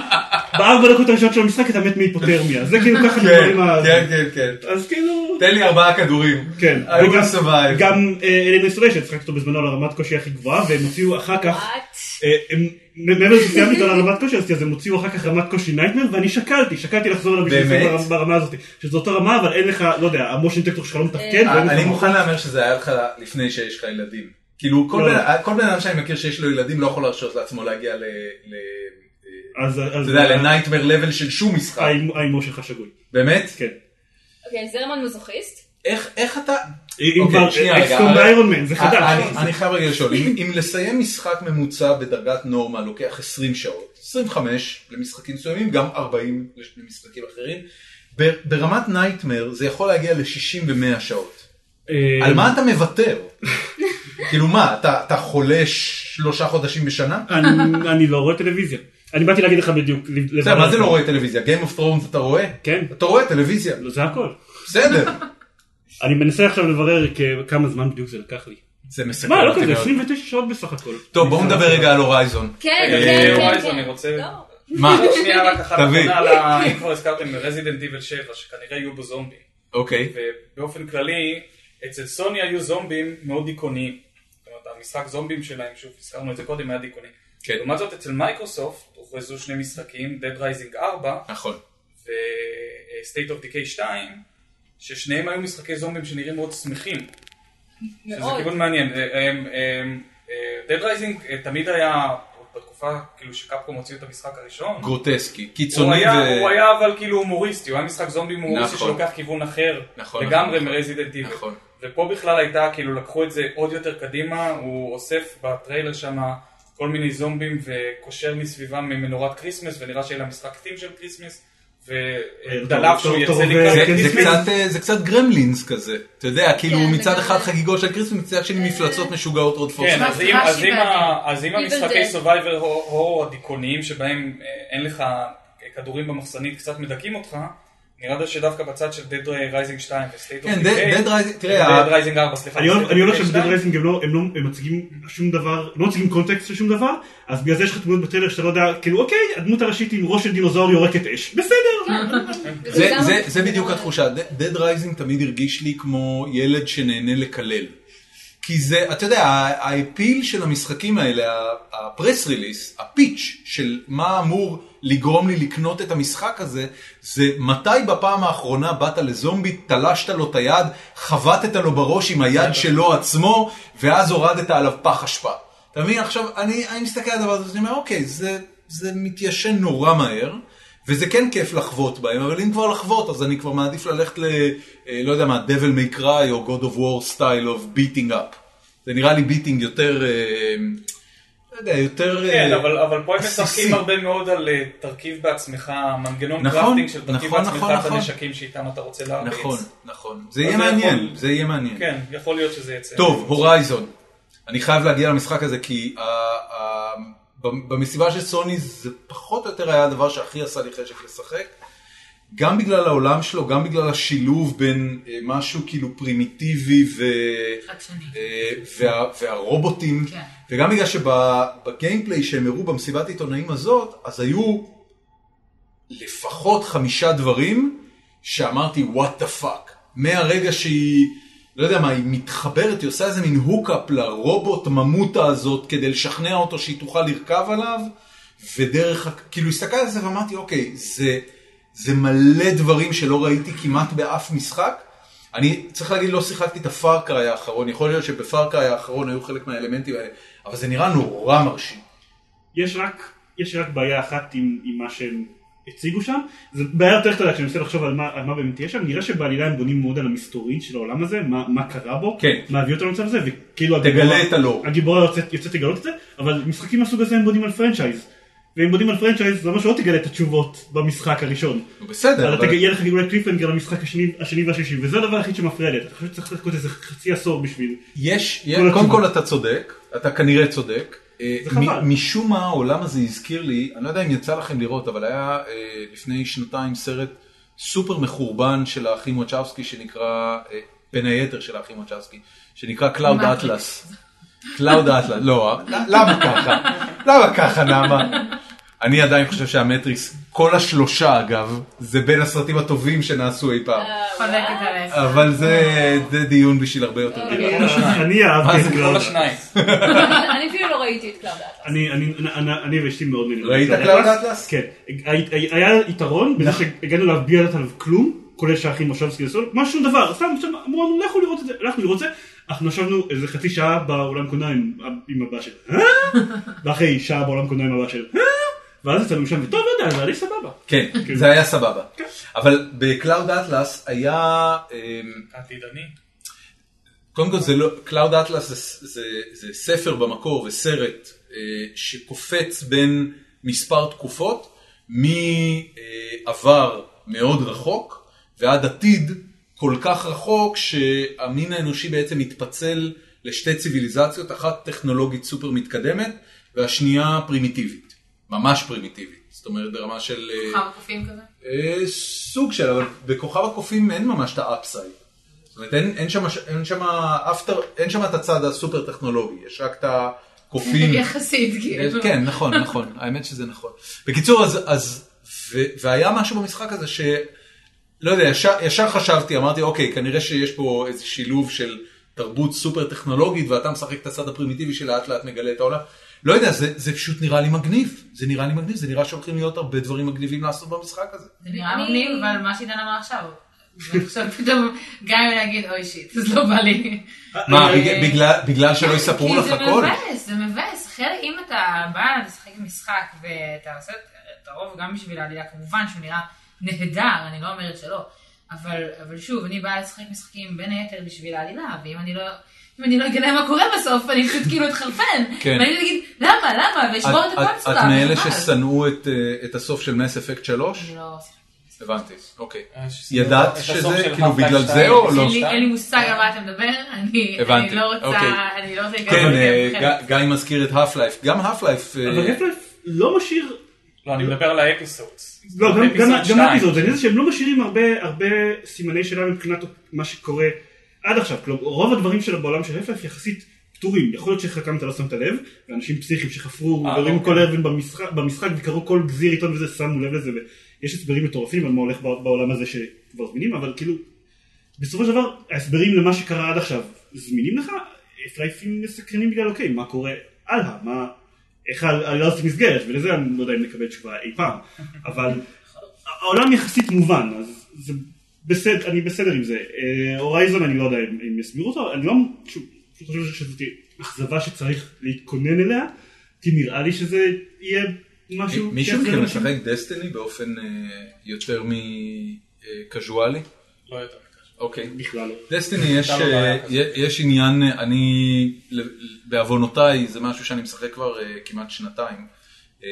Speaker 4: בארבע דקות הראשונות של המשחק אתה מת מהיפותרמיה. זה כאילו ככה
Speaker 1: כן,
Speaker 4: הדברים ה...
Speaker 1: כן, כן, כן.
Speaker 4: אז כאילו...
Speaker 1: תן לי ארבעה כדורים.
Speaker 4: כן.
Speaker 1: I
Speaker 4: וגם-
Speaker 1: will survive.
Speaker 4: גם אה, אלן אסטרי שצחקתי אותו בזמנו על הרמת קושי הכי גבוהה והם הוציאו אחר כך,
Speaker 3: וואט?
Speaker 4: אה, הם- מעבר שסיימתי אותו על הרמת קושי אז אז הם הוציאו אחר כך רמת קושי נייטמר ואני שקלתי, שקלתי לחזור אליו בשביל
Speaker 1: באמת?
Speaker 4: זה ברמה הזאת, שזו אותה רמה אבל אין לך, לא יודע, המושן טקטור שלך לא מתפקד.
Speaker 1: אה,
Speaker 4: ואין לך
Speaker 1: אני
Speaker 4: מוח.
Speaker 1: מוכן להמר שזה היה לך לפני שיש לך ילדים. כאילו כל
Speaker 4: לא.
Speaker 1: בן- כל בן אדם שאני מכיר שיש לו ילדים לא יכול להרשות לעצמו להגיע ל... ל-
Speaker 4: אז אז-
Speaker 1: אתה יודע, לנייטמר לבל של שום משחק.
Speaker 4: האימו- ההימור שלך שגוי,
Speaker 1: באמת?
Speaker 4: כן.
Speaker 3: אוקיי, זרמן מזוכיסט?
Speaker 1: איך איך אתה...
Speaker 4: אם
Speaker 1: אוקיי,
Speaker 4: כבר
Speaker 1: שנייה, רגע,
Speaker 4: אקסקום
Speaker 1: אבל-
Speaker 4: באיירון מן, זה חדש.
Speaker 1: אני- אני חייב רגע לשאול, אם אם לסיים משחק ממוצע בדרגת נורמה לוקח 20 שעות, 25 למשחקים מסוימים, גם 40 למשחקים אחרים, ב- ברמת נייטמר זה יכול להגיע ל-60 ו-100 שעות.
Speaker 4: אה,
Speaker 1: על מה אתה מוותר? כאילו מה, אתה אתה חולה שלושה חודשים בשנה?
Speaker 4: אני- אני לא רואה טלוויזיה. אני באתי להגיד לך בדיוק. לב-
Speaker 1: בסדר, מה זה לא רואה טלוויזיה? Game of Thrones אתה רואה?
Speaker 4: כן.
Speaker 1: אתה רואה טלוויזיה,
Speaker 4: לא, זה הכל.
Speaker 1: בסדר.
Speaker 4: אני מנסה עכשיו לברר כ- כמה זמן בדיוק זה לקח לי.
Speaker 1: זה מסכן
Speaker 4: מה, לא
Speaker 1: אותי
Speaker 4: כזה,
Speaker 1: מאוד.
Speaker 4: 29 שעות בסך הכל.
Speaker 1: טוב, בואו נדבר רגע על הורייזון.
Speaker 3: כן,
Speaker 2: רגע,
Speaker 3: כן,
Speaker 2: אה,
Speaker 3: כן,
Speaker 2: וואי,
Speaker 3: כן.
Speaker 2: אני רוצה-
Speaker 3: לא.
Speaker 1: מה?
Speaker 2: עוד שנייה רק אחת
Speaker 1: תביא.
Speaker 2: אחרונה, על ה- אם כבר הזכרתם רזידנט איבל 7, שכנראה יהיו בו זומבים.
Speaker 1: אוקיי.
Speaker 2: ובאופן כללי, אצל סוני היו זומבים מאוד דיכאוניים. זאת אומרת, המשחק זומבים שלהם, שוב, הזכרנו את זה קודם, היה דיכאוני.
Speaker 1: כן.
Speaker 2: לעומת זאת, אצל מייקרוסופט הוכרזו שני משחקים, Dead Rising 4
Speaker 1: נכון.
Speaker 2: ו-State of Decay 2, ששניהם היו משחקי זומבים שנראים מאוד שמחים. שזה
Speaker 3: מאוד.
Speaker 2: כיוון מעניין. אה, הם, הם, אה, Dead Rising אה, תמיד היה, עוד בתקופה כאילו שקפקום הוציאו את המשחק הראשון,
Speaker 1: גרוטסקי,
Speaker 2: הוא
Speaker 1: קיצוני
Speaker 2: היה,
Speaker 1: ו...
Speaker 2: הוא היה אבל כאילו הומוריסטי, הוא היה משחק זומבים הומוריסטי
Speaker 1: נכון.
Speaker 2: שלוקח כיוון אחר
Speaker 1: נכון,
Speaker 2: לגמרי
Speaker 1: נכון,
Speaker 2: מרזידנט איבל.
Speaker 1: נכון.
Speaker 2: ופה בכלל הייתה, כאילו לקחו את זה עוד יותר קדימה, הוא אוסף בטריילר שם כל מיני זומבים וקושר מסביבם מנורת כריסמס, ונראה שאלה המשחק טים של כריסמס,
Speaker 1: אה,
Speaker 2: ודלף שהוא
Speaker 4: דוקטור
Speaker 2: יצא
Speaker 4: ו-
Speaker 2: לקראת
Speaker 1: זה- זה
Speaker 2: כריסמס.
Speaker 1: קצת, אה, זה קצת גרמלינס כזה, אתה יודע, כאילו
Speaker 3: כן,
Speaker 1: מצד
Speaker 3: לגמרי.
Speaker 1: אחד חגיגות של כריסמס, מצד שני מפלצות משוגעות עוד פורסט.
Speaker 2: כן, אז אם- אז אם ה- אז אם
Speaker 3: Evil
Speaker 2: המשחקי
Speaker 3: Dead.
Speaker 2: סורווייבר הורו הדיכאוניים שבהם אה, אין לך כדורים במחסנית קצת מדכאים אותך, נראה לי שדווקא בצד של Dead Rising 2 ו-State of
Speaker 1: כן,
Speaker 2: Decay,
Speaker 1: Dead Rising, לא- תראה, ה-
Speaker 2: Dead Rising 4, סליחה,
Speaker 4: אני אוהב-
Speaker 2: State of
Speaker 4: אני הולך
Speaker 2: Decay
Speaker 4: שם
Speaker 2: 2.
Speaker 4: בדד רייסינג הם לא, הם לא הם מציגים שום דבר, לא מציגים קונטקסט לשום דבר, אז בגלל זה יש לך תמונות בטריילר שאתה לא יודע, כאילו אוקיי, הדמות הראשית עם ראש של דינוזאור יורקת אש, בסדר.
Speaker 1: זה,
Speaker 3: וגם-
Speaker 1: זה, זה בדיוק התחושה, ד- Dead Rising תמיד הרגיש לי כמו ילד שנהנה לקלל. כי זה, אתה יודע, ה- האפיל של המשחקים האלה, ה- הפרס ריליס, הפיץ' של מה אמור לגרום לי לקנות את המשחק הזה, זה מתי בפעם האחרונה באת לזומבי, תלשת לו את היד, חבטת לו בראש עם היד שלו עצמו, ואז הורדת עליו פח אשפה. אתה מבין? עכשיו, אני, אני מסתכל על הדבר הזה, ואני אומר, אוקיי, זה, זה מתיישן נורא מהר. וזה כן כיף לחוות בהם, אבל אם כבר לחוות, אז אני כבר מעדיף ללכת ל... אה, לא יודע מה, Devil May Cry או God of War style of beating up. זה נראה לי ביטינג יותר, אה, לא יודע, יותר...
Speaker 2: כן,
Speaker 1: אה,
Speaker 2: אבל, אבל פה הם
Speaker 1: עסיסי.
Speaker 2: משחקים הרבה מאוד על אה, תרכיב בעצמך, מנגנון
Speaker 1: נכון,
Speaker 2: קראפטינג של תרכיב
Speaker 1: נכון,
Speaker 2: בעצמך
Speaker 1: נכון,
Speaker 2: את
Speaker 1: נכון.
Speaker 2: הנשקים שאיתם אתה רוצה להרביץ.
Speaker 1: נכון, נכון. זה
Speaker 2: אז
Speaker 1: יהיה
Speaker 2: זה
Speaker 1: מעניין,
Speaker 2: יכול.
Speaker 1: זה יהיה מעניין.
Speaker 2: כן, יכול להיות שזה יצא.
Speaker 1: טוב, הורייזון. אני חייב להגיע למשחק הזה כי ה- ה- אה, במסיבה של סוני זה פחות או יותר היה הדבר שהכי עשה לי חשק לשחק. גם בגלל העולם שלו, גם בגלל השילוב בין אה, משהו כאילו פרימיטיבי ו...
Speaker 5: חדשני.
Speaker 1: אה, וה, והרובוטים,
Speaker 5: כן.
Speaker 1: וגם בגלל שבגיימפליי שהם הראו במסיבת העיתונאים הזאת, אז היו לפחות חמישה דברים שאמרתי what the fuck. מהרגע שהיא, לא יודע מה, היא מתחברת, היא עושה איזה מין הוקאפ לרובוט ממוטה הזאת כדי לשכנע אותו שהיא תוכל לרכב עליו, ודרך, ה- כאילו הסתכלתי על זה ואמרתי, אוקיי, זה, זה מלא דברים שלא ראיתי כמעט באף משחק. אני צריך להגיד, לא שיחקתי את הפארקריי האחרון, יכול להיות שבפארקריי האחרון היו חלק מהאלמנטים האלה, אבל זה נראה נורא מרשים.
Speaker 4: יש רק, יש רק בעיה אחת עם, עם מה שהם הציגו שם, זו בעיה יותר קטנה כשאני מנסה לחשוב על מה, על מה באמת יש שם, נראה שבעלילה הם בונים מאוד על המסתורין של העולם הזה, מה, מה קרה בו,
Speaker 1: כן.
Speaker 4: מה הביא אותו למצב הזה, וכאילו
Speaker 1: תגלה
Speaker 4: הגיבורה-
Speaker 1: את הלור.
Speaker 4: הגיבורה יוצאת יוצאת לגלות את זה, אבל משחקים מהסוג הזה הם בונים על פרנצ'ייז, והם בונים על פרנצ'ייז, למה שלא לא תגלה את התשובות במשחק הראשון,
Speaker 1: נו, בסדר,
Speaker 4: אבל אתה
Speaker 1: אבל...
Speaker 4: יהיה לך גילוי קליפנגר למשחק השני- השני והשלישי, וזה הדבר היחיד שמפריע לי, אתה חושב שצריך לחכות איזה חצי עשור בשביל,
Speaker 1: יש, יש-
Speaker 4: התשובה.
Speaker 1: קודם כל אתה צודק, אתה כנראה צודק. אה,
Speaker 4: זה
Speaker 1: מ-
Speaker 4: חבל.
Speaker 1: משום מה העולם הזה הזכיר לי, אני לא יודע אם יצא לכם לראות, אבל היה אה, לפני שנתיים סרט סופר מחורבן של האחים וואצ'בסקי שנקרא, אה, בין היתר של האחים וואצ'בסקי, שנקרא קלאוד
Speaker 5: Matrix.
Speaker 1: אטלס. קלאוד אטלס, לא, למה ככה? למה ככה נעמה? אני עדיין חושב שהמטריקס, כל השלושה אגב, זה בין הסרטים הטובים שנעשו אי פעם.
Speaker 3: אה,
Speaker 5: חולקת
Speaker 3: וואו.
Speaker 5: עליך.
Speaker 1: אבל זה זה דיון בשביל הרבה יותר
Speaker 4: אוקיי.
Speaker 1: גדול.
Speaker 4: אני
Speaker 1: מה
Speaker 4: אהבתי
Speaker 1: זה
Speaker 4: את
Speaker 2: כן, כל
Speaker 4: גלאוד.
Speaker 2: השניים.
Speaker 3: אני אפילו לא ראיתי את קלאב
Speaker 1: אה,
Speaker 3: דאטה.
Speaker 4: אני, אני, אני, אני ואשתי מאוד נהנים.
Speaker 1: ראית קלאוד אטלס?
Speaker 4: כן. הי- הי- היה יתרון בזה שהגענו אליו בלי לדעת עליו כלום, כולל שהאחים מושבסקי עשו, מה שום דבר, סתם שם אמרנו לכו לראות את זה, הלכנו לראות את זה, אנחנו ישבנו איזה חצי שעה באולם קולנוע עם, עם הבא של, "אה?" ואחרי שעה באולם קולנוע עם הבא של, "אה?" ואז יצאנו משם, וטוב, לא יודע, זה היה לי סבבה.
Speaker 1: כן, זה היה סבבה. אבל בקלאוד אטלס היה, אמ,
Speaker 2: עתידני.
Speaker 1: קודם כל זה לא, קלאוד אטלס זה, זה, זה ספר במקור וסרט אה, שקופץ בין מספר תקופות, מעבר מאוד רחוק ועד עתיד כל כך רחוק שהמין האנושי בעצם מתפצל לשתי ציוויליזציות, אחת טכנולוגית סופר מתקדמת והשנייה פרימיטיבית, ממש פרימיטיבית, זאת אומרת ברמה של... אה,
Speaker 5: כמה קופים כזה?
Speaker 1: אה, סוג של, אבל בכוכב הקופים אין ממש את האפסייד. זאת אומרת, אין, אין שם, אין שם, אפטר, אין שם את הצד הסופר טכנולוגי, יש רק את הקופים.
Speaker 5: יחסית, כאילו.
Speaker 1: כן, נכון, נכון, האמת שזה נכון. בקיצור, אז, אז ו, והיה משהו במשחק הזה ש... לא יודע, ישר, ישר חשבתי, אמרתי, אוקיי, כנראה שיש פה איזה שילוב של תרבות סופר טכנולוגית, ואתה משחק את הצד הפרימיטיבי שלאט לאט מגלה את העולם. לא יודע, זה, זה פשוט נראה לי מגניב. זה נראה לי מגניב, זה נראה שהולכים להיות הרבה דברים מגניבים לעשות במשחק הזה.
Speaker 5: זה נראה
Speaker 3: אני-
Speaker 5: מגניב, אבל מה שעידן אמר עכשיו. אני חושבת פתאום, גם אם להגיד אוי שיט, אז לא בא לי.
Speaker 1: מה,
Speaker 5: אני-
Speaker 1: בגלל- בגלל- בגלל שלא יספרו לך
Speaker 5: כי זה
Speaker 1: הכל?
Speaker 5: מבאס, זה מבאס. אחרי, אם אתה בא לשחק משחק ואתה עושה את- את הרוב גם בשביל העלילה, כמובן שהוא נראה נהדר, אני לא אומרת שלא. אבל, אבל שוב, אני באה לשחק משחקים בין היתר בשביל העלילה, ואם אני לא... אם אני לא אגלה מה קורה בסוף, אני פשוט כאילו אתחרפן.
Speaker 1: כן.
Speaker 5: ואני אגיד, למה, למה,
Speaker 1: את-
Speaker 5: ואשבור את
Speaker 1: את-
Speaker 5: הקונסולה.
Speaker 1: את מאלה
Speaker 5: וחבל.
Speaker 1: ששנאו את, אה, את הסוף של מס אפקט 3?
Speaker 5: אני לא שיחקתי.
Speaker 1: הבנתי, אוקיי.
Speaker 2: אה, שזה-
Speaker 1: ידעת
Speaker 2: את הסוף
Speaker 1: שזה,
Speaker 2: של
Speaker 1: כאילו
Speaker 2: Half-Life
Speaker 1: בגלל
Speaker 2: 2.
Speaker 1: זה או
Speaker 5: אין
Speaker 1: לא?
Speaker 5: לי- אין לי מושג על מה אתה מדבר, אני
Speaker 1: הבנתי,
Speaker 5: אני לא
Speaker 1: אוקיי.
Speaker 5: רוצה, אני לא רוצה
Speaker 1: כן, אה,
Speaker 5: לכם.
Speaker 1: ג- גיא מזכיר את האף לייף. גם אה, האף לייף,
Speaker 4: אבל הפלף לא משאיר
Speaker 2: לא, אני מדבר על האפיסודס.
Speaker 4: לא, גם- גם
Speaker 2: אפיסוד
Speaker 4: גם
Speaker 2: שתיים.
Speaker 4: האפיזוד, זה נראה שהם לא משאירים הרבה- הרבה סימני שאלה מבחינת מה שקורה עד עכשיו. כלומר, רוב הדברים שלה בעולם של הפלף יחסית פתורים. יכול להיות שחלקם אתה לא שמת לב, ואנשים פסיכיים שחפרו,
Speaker 2: אה,
Speaker 4: גרים
Speaker 2: אוקיי.
Speaker 4: כל אבן במשחק- במשחק וקראו כל גזיר עיתון וזה, שמו לב לזה, ויש הסברים מטורפים על מה הולך בע- בעולם הזה שכבר זמינים, אבל כאילו, בסופו של דבר, ההסברים למה שקרה עד עכשיו זמינים לך, הפלייפים מסקרנים בגלל, אוקיי, מה קורה הלאה, מה... איך העלילה הזאת נסגרת, ולזה אני לא יודע אם נקבל תשובה אי פעם, אבל העולם יחסית מובן, אז זה בסדר, אני בסדר עם זה. אה, הורייזון, אני לא יודע אם, אם יסבירו אותו, אני לא, שוב, פשוט חושב שזאת אכזבה שצריך להתכונן אליה, כי נראה לי שזה יהיה משהו...
Speaker 1: מישהו
Speaker 4: שיחזיר
Speaker 1: מכם
Speaker 4: אנשים.
Speaker 1: משחק דסטיני באופן אה, יותר אה, מקזואלי?
Speaker 2: לא יותר מכך.
Speaker 1: אוקיי.
Speaker 4: בכלל לא.
Speaker 1: דסטיני יש,
Speaker 2: לא בעיה
Speaker 1: אה,
Speaker 2: כזאת.
Speaker 1: יש עניין, אה, אני, ל- ל- בעוונותיי, זה משהו שאני משחק כבר אה, כמעט שנתיים. אה,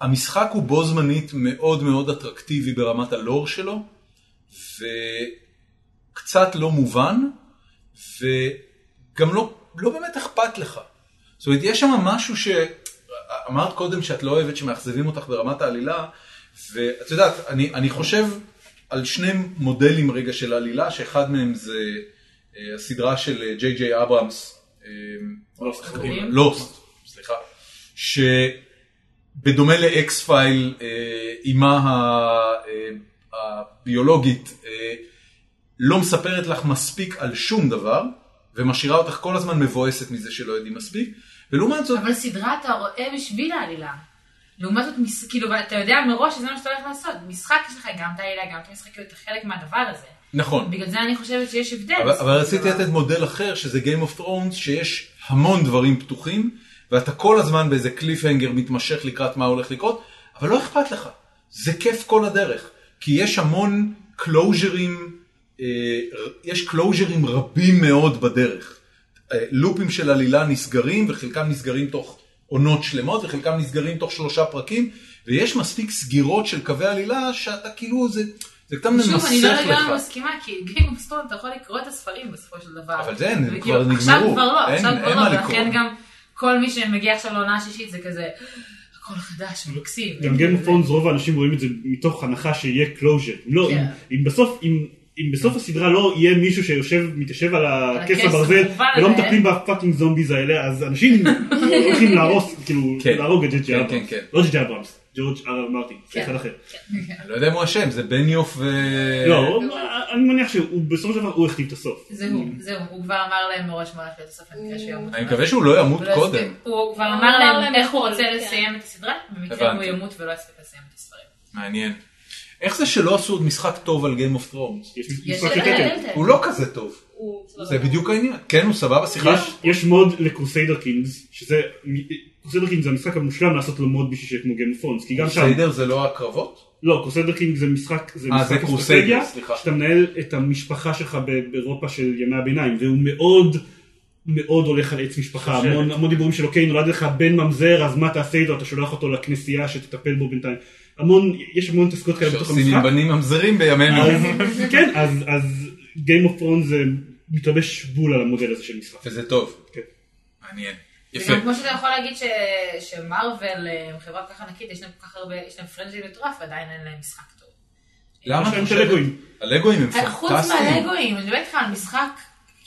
Speaker 1: המשחק הוא בו זמנית מאוד מאוד אטרקטיבי ברמת הלור שלו, וקצת לא מובן, וגם לא, לא באמת אכפת לך. זאת אומרת, יש שם משהו ש... אמרת קודם שאת לא אוהבת שמאכזבים אותך ברמת העלילה, ואת יודעת, אני, אני חושב על שני מודלים רגע של עלילה, שאחד מהם זה אה, הסדרה של אה, ג'יי ג'יי אברהמס, אה, לא,
Speaker 4: לוסט.
Speaker 5: קוראים?
Speaker 1: לוסט, סליחה, שבדומה לאקס פייל, אה, אימה ה- אה, הביולוגית אה, לא מספרת לך מספיק על שום דבר, ומשאירה אותך כל הזמן מבואסת מזה שלא יודעים מספיק, ולעומת זאת,
Speaker 5: אבל סדרה אתה רואה בשביל העלילה. לעומת זאת, מס- כאילו, ואתה יודע מראש שזה מה שאתה הולך לעשות. משחק יש לך גם את העלילה, גם את המשחק, כאילו, אתה חלק מהדבר הזה.
Speaker 1: נכון,
Speaker 5: בגלל זה אני חושבת שיש הבדל.
Speaker 1: אבל, אבל רציתי לתת מודל אחר, שזה Game of Thrones, שיש המון דברים פתוחים, ואתה כל הזמן באיזה קליפהנגר מתמשך לקראת מה הולך לקרות, אבל לא אכפת לך. זה כיף כל הדרך. כי יש המון קלוז'רים, אה, ר- יש קלוז'רים רבים מאוד בדרך. אה, לופים של עלילה נסגרים, וחלקם נסגרים תוך עונות שלמות, וחלקם נסגרים תוך שלושה פרקים, ויש מספיק סגירות של קווי עלילה, שאתה כאילו, זה, זה קצת ממסך לך.
Speaker 5: שוב, אני לא לגמרי מסכימה, כי Game of Thrones אתה יכול לקרוא את הספרים בסופו של דבר.
Speaker 1: אבל זה, הם
Speaker 5: וכאילו,
Speaker 1: כבר
Speaker 5: עכשיו
Speaker 1: נגמרו.
Speaker 5: כבר לא,
Speaker 1: אין-
Speaker 5: עכשיו
Speaker 1: אין
Speaker 5: כבר
Speaker 1: מה
Speaker 5: לא,
Speaker 1: לקרוא.
Speaker 5: ולכן גם כל מי שמגיע עכשיו לעונה השישית זה כזה, הכל חדש, מקסים.
Speaker 4: גם Game of Thrones רוב האנשים רואים את זה מתוך הנחה שיהיה closure. לא,
Speaker 5: כן.
Speaker 4: אם- אם בסוף, אם... אם בסוף הסדרה לא יהיה מישהו שיושב, מתיישב על הכס
Speaker 5: הכס
Speaker 4: הברזל,
Speaker 5: המכוון
Speaker 4: ולא
Speaker 5: הזה.
Speaker 4: מטפלים בפאקינג זומביז האלה, אז אנשים הולכים להרוס, כאילו,
Speaker 1: כן.
Speaker 4: להרוג את ג'י ג'י
Speaker 1: כן,
Speaker 4: אברמס.
Speaker 1: כן, כן.
Speaker 4: לא ג'י ג'י אברמס, ג'ורג' אר אר מרטין, זה אחד אחר.
Speaker 1: אני לא יודע אם הוא אשם, זה בניוף ו...
Speaker 4: לא, אני מניח שהוא בסופו של דבר, הוא הכתיב את הסוף.
Speaker 5: זהו, זהו, הוא כבר אמר להם מראש מה הולך להיות הסוף במקרה שהוא ימות.
Speaker 1: אני מקווה שהוא לא ימות
Speaker 5: הוא לא
Speaker 1: קודם.
Speaker 5: יספיק. הוא כבר
Speaker 3: הוא
Speaker 5: אמר להם איך הוא
Speaker 3: יכול,
Speaker 5: רוצה
Speaker 3: כן.
Speaker 5: לסיים את הסדרה, במקרה הוא
Speaker 1: הבנתי.
Speaker 5: ימות ולא יספיק לסיים את הספרים.
Speaker 1: מעניין. איך זה שלא עשו עוד משחק טוב על Game of Thrones?
Speaker 4: יש אה,
Speaker 5: יש
Speaker 4: משחק
Speaker 5: הבדל.
Speaker 4: לקטן.
Speaker 1: הוא לא כזה טוב.
Speaker 3: הוא
Speaker 5: לא,
Speaker 3: סבבה.
Speaker 1: זה בדיוק העניין. כן, הוא סבבה, שיחש?
Speaker 4: יש- יש מוד לקרוסיידר קינגס, שזה, קרוסיידר קינגס זה המשחק המושלם לעשות לו מוד בשביל שיהיה כמו גיים פונס, כי גם שם,
Speaker 1: סיידר זה לא הקרבות?
Speaker 4: לא, קרוסיידר קינג זה משחק, זה
Speaker 1: אה,
Speaker 4: משחק
Speaker 1: זה Crusader, סליחה.
Speaker 4: שאתה מנהל את המשפחה שלך ב- באירופה של ימי הביניים, והוא מאוד מאוד הולך על עץ משפחה,
Speaker 2: שושלת.
Speaker 4: המון, המון דיבורים של אוקיי, נולד לך בן ממזר, אז מה תעשה איתו, אתה שולח אותו לכנסייה שתטפל בו בינתיים, המון, יש המון תעסקות כאלה כן, בתוך
Speaker 1: שעושים עם
Speaker 4: המשחק,
Speaker 1: בנים ממזרים בימינו.
Speaker 4: אז, כן, אז, אז Game of Thrones זה מתלבש בול על המודל הזה של משחק.
Speaker 1: וזה טוב.
Speaker 4: כן.
Speaker 1: מעניין. יפה.
Speaker 5: וגם כמו שאתה יכול להגיד ש- שמרוויל אה, הם חברה כל כך ענקית, יש להם כל כך הרבה, יש להם פרנג'י מטורף, ועדיין אין להם משחק טוב.
Speaker 1: למה
Speaker 4: יש
Speaker 1: את
Speaker 4: להם את
Speaker 1: חושבת?
Speaker 4: הלגואים.
Speaker 1: הלגואים הם
Speaker 5: אה, חוץ
Speaker 1: פנטסטיים.
Speaker 5: מהלגואים, אני מדברת איתך על משחק,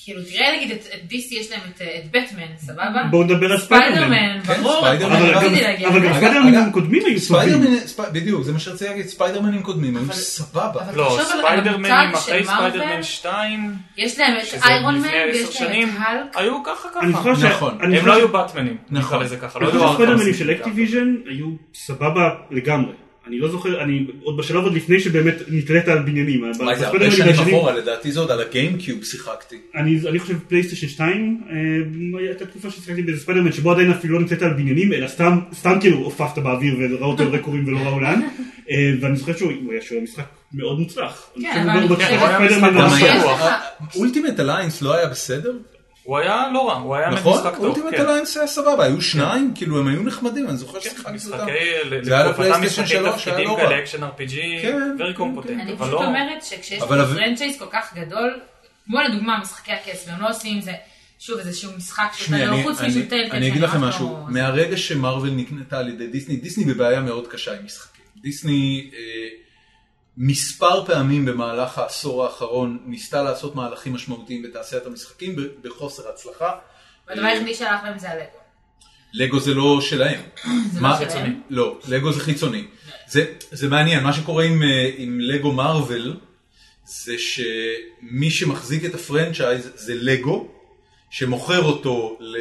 Speaker 5: כאילו תראה נגיד את את DC יש להם את, אה, את בטמן, סבבה?
Speaker 4: בואו נדבר על ספיידרמן.
Speaker 5: ספיידרמן,
Speaker 1: כן,
Speaker 5: ברור, לא
Speaker 1: ספיידרמן.
Speaker 4: אבל גם-
Speaker 5: רציתי להגיע
Speaker 4: אבל
Speaker 5: לזה.
Speaker 4: גם
Speaker 1: אגב,
Speaker 4: ספיידרמנים
Speaker 1: אגב,
Speaker 4: קודמים היו סופרים.
Speaker 1: ספיידרמן, ספ- בדיוק, זה מה שרציתי להגיד, ספיידרמנים קודמים, הם
Speaker 5: אבל-
Speaker 1: סבבה.
Speaker 5: אבל
Speaker 2: לא,
Speaker 5: תחשוב על
Speaker 2: ספיידרמנים
Speaker 5: המותג
Speaker 2: אחרי
Speaker 5: של מארוול,
Speaker 2: ספיידרמן 2,
Speaker 5: יש להם
Speaker 2: שזה
Speaker 5: את איירון מן,
Speaker 2: לפני עשר
Speaker 5: ויש להם
Speaker 2: שנים,
Speaker 5: את האלק,
Speaker 2: היו ככה
Speaker 4: אני
Speaker 2: ככה.
Speaker 4: זוכר ש...
Speaker 1: נכון.
Speaker 4: אני
Speaker 2: הם לא
Speaker 4: זוכר
Speaker 2: היו
Speaker 4: ש-
Speaker 2: באטמנים,
Speaker 1: נכון.
Speaker 2: נקרא לזה ככה.
Speaker 4: אני
Speaker 2: לא
Speaker 4: חושב
Speaker 2: היו
Speaker 4: שספיידרמנים
Speaker 2: ארטרסים.
Speaker 4: של אקטיביז'ן היו סבבה לגמרי. אני לא זוכר, אני עוד בשלב עוד לפני שבאמת נתלית על בניינים.
Speaker 1: מה זה, הרבה
Speaker 4: בספיידרמנים
Speaker 1: שנים
Speaker 4: והשנים-
Speaker 1: אחורה, לדעתי זה עוד על הגיימקיוב שיחקתי.
Speaker 4: אני אני חושב פלייסטיישן 2, אה, הייתה תקופה ששיחקתי באיזה ספיידרמן שבו עדיין אפילו לא נמצאת על בניינים, אלא סתם, סתם כאילו עופפת באוויר וראו אותו רקורים ולא ראו לאן, אה, ואני זוכר שהוא הוא היה שהוא היה משחק מאוד מוצלח. אני
Speaker 5: כן,
Speaker 4: חושב
Speaker 5: אבל
Speaker 4: שהוא
Speaker 5: אני
Speaker 4: בטוח
Speaker 5: חושבת-
Speaker 4: ספיידרמן לא
Speaker 2: גם
Speaker 4: ממש
Speaker 2: היה-
Speaker 4: טוב.
Speaker 1: אולטימט אליינס לא היה בסדר?
Speaker 2: הוא היה לא רע, הוא היה באמת
Speaker 1: נכון?
Speaker 2: משחק טוב.
Speaker 1: אולטימט
Speaker 2: כן.
Speaker 1: אליינס היה סבבה, היו שניים, כאילו הם היו נחמדים, אני זוכר ששיחקתי אותם.
Speaker 2: משחקי,
Speaker 1: כן, זה היה
Speaker 2: לקרוא, ואתה
Speaker 1: לפלייסטיישן
Speaker 2: משחקי
Speaker 1: שלוש, היה
Speaker 2: תפקידים
Speaker 1: לא רע.
Speaker 2: כאלה, אקשן RPG,
Speaker 1: כן,
Speaker 2: very competent,
Speaker 5: אני
Speaker 2: אבל
Speaker 5: פשוט
Speaker 2: לא...
Speaker 5: אומרת שכשיש
Speaker 1: אבל אבל-
Speaker 5: פרנצ'ייז כל כך גדול, כמו לדוגמה משחקי הכס, והם לא עושים זה, שוב איזשהו משחק שאתה
Speaker 1: שמי,
Speaker 5: לא
Speaker 1: אני-
Speaker 5: חוץ
Speaker 1: אני-
Speaker 5: משל טלקל,
Speaker 1: אני אגיד לכם משהו, מהרגע שמרוויל נקנתה על ידי דיסני, דיסני בבעיה מאוד קשה עם משחקים. דיסני אה, מספר פעמים במהלך העשור האחרון ניסתה לעשות מהלכים משמעותיים בתעשיית המשחקים ב- בחוסר הצלחה.
Speaker 5: הדבר
Speaker 1: אה,
Speaker 5: היחידי שהלך בהם זה הלגו.
Speaker 1: לגו זה לא שלהם.
Speaker 5: זה
Speaker 1: מה-
Speaker 5: לא חיצוני.
Speaker 1: לא, לגו זה חיצוני. זה, זה מעניין, מה שקורה עם, אה, עם לגו מרוויל, זה שמי שמחזיק את הפרנצ'ייז זה לגו, שמוכר אותו ל...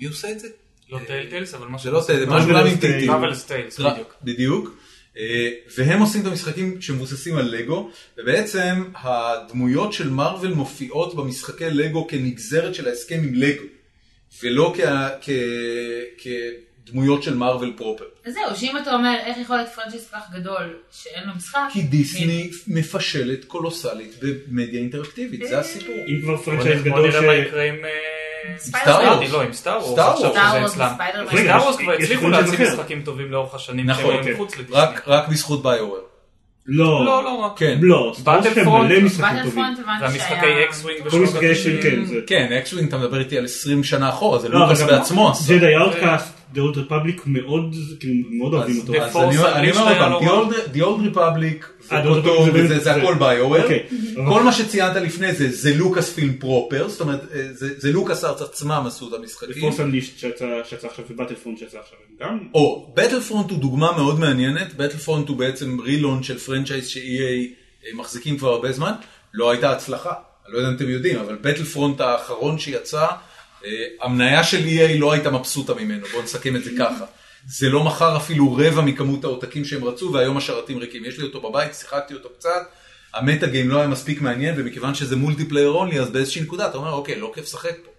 Speaker 1: מי עושה את זה?
Speaker 2: לא טיילטיילס, אבל משהו...
Speaker 1: זה לא כאילו- עושה את זה, משהו
Speaker 4: Marvelous
Speaker 1: גם עם
Speaker 4: Tales.
Speaker 1: טינטין.
Speaker 2: Marvelous Tales,
Speaker 1: טרא-
Speaker 2: בדיוק.
Speaker 1: בדיוק. אה, והם עושים את המשחקים שמבוססים על לגו, ובעצם הדמויות של מארוול מופיעות במשחקי לגו כנגזרת של ההסכם עם לגו, ולא כ- כ- כדמויות של מארוול פרופר.
Speaker 5: אז זהו, שאם אתה אומר איך יכול להיות פרנצ'ייז כל כך גדול שאין לו משחק,
Speaker 1: כי דיסני
Speaker 2: כן.
Speaker 1: מפשלת קולוסלית במדיה אינטראקטיבית, זה הסיפור.
Speaker 2: אה,
Speaker 4: אם כבר
Speaker 2: בוא
Speaker 4: פרנצ'ייז
Speaker 2: בוא
Speaker 4: גדול
Speaker 2: נראה מה
Speaker 4: ש...
Speaker 2: יקרה עם...
Speaker 5: ספיידרמן.
Speaker 2: לא, עם סטאר וורס.
Speaker 1: Star
Speaker 2: עכשיו
Speaker 1: Wars.
Speaker 5: Star
Speaker 2: שזה
Speaker 5: Wars
Speaker 2: אצלם.
Speaker 5: וספיידרמן.
Speaker 4: רגע,
Speaker 2: סטאר וורס
Speaker 4: יש-
Speaker 2: כבר
Speaker 4: יש
Speaker 2: הצליחו
Speaker 4: פרנצ'ייז
Speaker 2: להציג
Speaker 4: אחר.
Speaker 2: משחקים טובים לאורך השנים,
Speaker 1: נכון,
Speaker 2: שהם היו
Speaker 4: כן.
Speaker 2: מחוץ לדיסני.
Speaker 1: רק רק בזכות ביואר.
Speaker 4: לא,
Speaker 2: לא, לא רק.
Speaker 1: כן.
Speaker 4: לא, סטאר וורס
Speaker 2: Battlefront-
Speaker 4: יש להם מלא משחקים טובים.
Speaker 5: באטלפרונט הבנתי
Speaker 2: והמשחקי
Speaker 5: שהיה...
Speaker 2: אקסווינג
Speaker 4: כל משחקי השם, כן, זה...
Speaker 1: כן, אקשווין, אתה מדבר איתי על 20 שנה אחורה, זה
Speaker 4: לא, אבל
Speaker 1: לוקאס
Speaker 4: גם
Speaker 1: בעצמו עשה.
Speaker 4: ג'די אאוטקאסט, The Old Republic מאוד, כאילו, מאוד אוהבים
Speaker 1: אז
Speaker 4: אותו.
Speaker 1: אז
Speaker 2: The
Speaker 1: אני
Speaker 2: Force
Speaker 1: אומר- אני אומר עוד
Speaker 2: היה
Speaker 1: פעם,
Speaker 2: לא
Speaker 1: The
Speaker 2: רע.
Speaker 1: Old- The Old Republic,
Speaker 4: אה, The Old
Speaker 1: אותו,
Speaker 4: Republic זה
Speaker 1: וזה-
Speaker 4: באמת-
Speaker 1: זה הכל
Speaker 4: זה-
Speaker 1: ביואר,
Speaker 4: אוקיי. אבל-
Speaker 1: כל מה שציינת לפני זה, זה לוקאס פילם פרופר, זאת אומרת, אה, זה זה לוקאס ארץ עצמם עשו את המשחקים.
Speaker 4: ופורס אנלישט שיצא שיצא עכשיו ובטלפון שיצא עכשיו הם גם.
Speaker 1: או, בטלפרונט הוא דוגמה מאוד מעניינת, בטלפרונט הוא בעצם רילון של פרנצ'ייז ש-EA אה, מחזיקים כבר הרבה זמן, לא הייתה הצלחה, אני לא יודע אם אתם יודעים, אבל בטלפרונט האחרון שיצא, אה, המניה של EA לא הייתה מבסוטה ממנו, בואו נסכם את זה ככה. זה לא מכר אפילו רבע מכמות העותקים שהם רצו, והיום השרתים ריקים. יש לי אותו בבית, שיחקתי אותו קצת, המטה גיים לא היה מספיק מעניין, ומכיוון שזה מולטיפלייר אונלי, אז באיזושהי נקודה אתה אומר, אוקיי, לא כיף לשחק פה.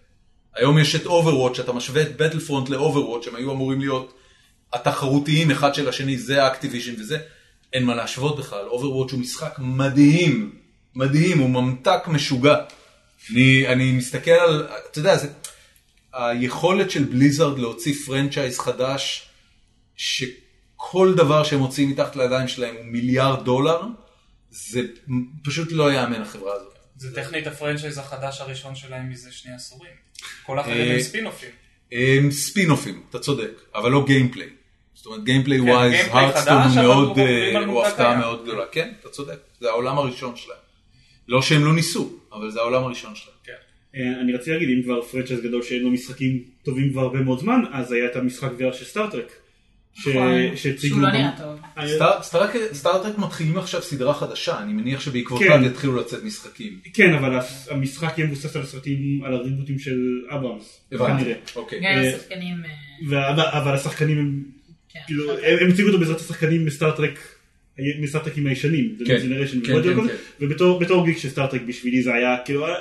Speaker 1: היום יש את Overwatch, אתה משווה את בטלפרונט ל-Overwatch, הם היו אמורים להיות התחרותיים אחד של השני, זה האקטיביז'ן וזה, אין מה להשוות בכלל, Overwatch הוא משחק מדהים, מדהים, הוא ממתק משוגע. אני, אני מסתכל על, אתה יודע, זה, היכולת של בליזארד להוציא פרנצ'ייז חדש, שכל דבר שהם מוציאים מתחת לידיים שלהם הוא מיליארד דולר, זה פשוט לא יאמן החברה הזאת.
Speaker 2: זה טכנית הפרנצ'ייז החדש הראשון שלהם מזה שני עשורים. כל האחרים
Speaker 1: אה,
Speaker 2: הם ספינופים.
Speaker 1: הם ספינופים, אתה צודק, אבל לא גיימפליי. זאת אומרת גיימפליי
Speaker 2: כן,
Speaker 1: ווייז,
Speaker 2: גיימפליי
Speaker 1: הרדסטון
Speaker 2: חדש, אבל
Speaker 1: מאוד,
Speaker 2: הוא עוברים
Speaker 1: אה,
Speaker 2: על
Speaker 1: הוא
Speaker 2: מותג
Speaker 1: הפתעה
Speaker 2: קיים.
Speaker 1: מאוד גדולה. כן, אתה צודק, זה העולם הראשון שלהם. לא שהם לא ניסו, אבל זה העולם הראשון שלהם.
Speaker 2: כן.
Speaker 4: אה, אני רציתי להגיד אם כבר פרנצ'ייז גדול שאין לו משחקים טובים כבר הרבה מאוד זמן אז היה את המשחק VR של סטארטרק. ש-
Speaker 1: אה,
Speaker 5: נכון.
Speaker 4: שהציגו אה,
Speaker 5: שהוא לא
Speaker 4: גם-
Speaker 5: נראה טוב.
Speaker 4: היה-
Speaker 1: סטאר- סטארק- סטארטרק מתחילים עכשיו סדרה חדשה, אני מניח שבעקבותיו
Speaker 4: כן.
Speaker 1: יתחילו לצאת משחקים.
Speaker 4: כן אבל הס- המשחק יהיה מבוסס על הסרטים על הריבוטים של אברהמס.
Speaker 1: הבנתי,
Speaker 4: כנראה.
Speaker 1: אוקיי.
Speaker 2: כן.
Speaker 5: גם עם השחקנים... אה,
Speaker 4: וה- אבל השחקנים הם
Speaker 5: כן.
Speaker 4: כאילו הם הם הציגו אותו בעזרת השחקנים מסטארטרק. מסטארטקים הישנים, The
Speaker 1: כן.
Speaker 4: Next Generation,
Speaker 1: כן,
Speaker 4: ועוד
Speaker 1: כן,
Speaker 4: יום
Speaker 1: כן.
Speaker 4: כזה. ובתור בתור גיק של סטארטרק בשבילי זה היה כאילו, אה, אה,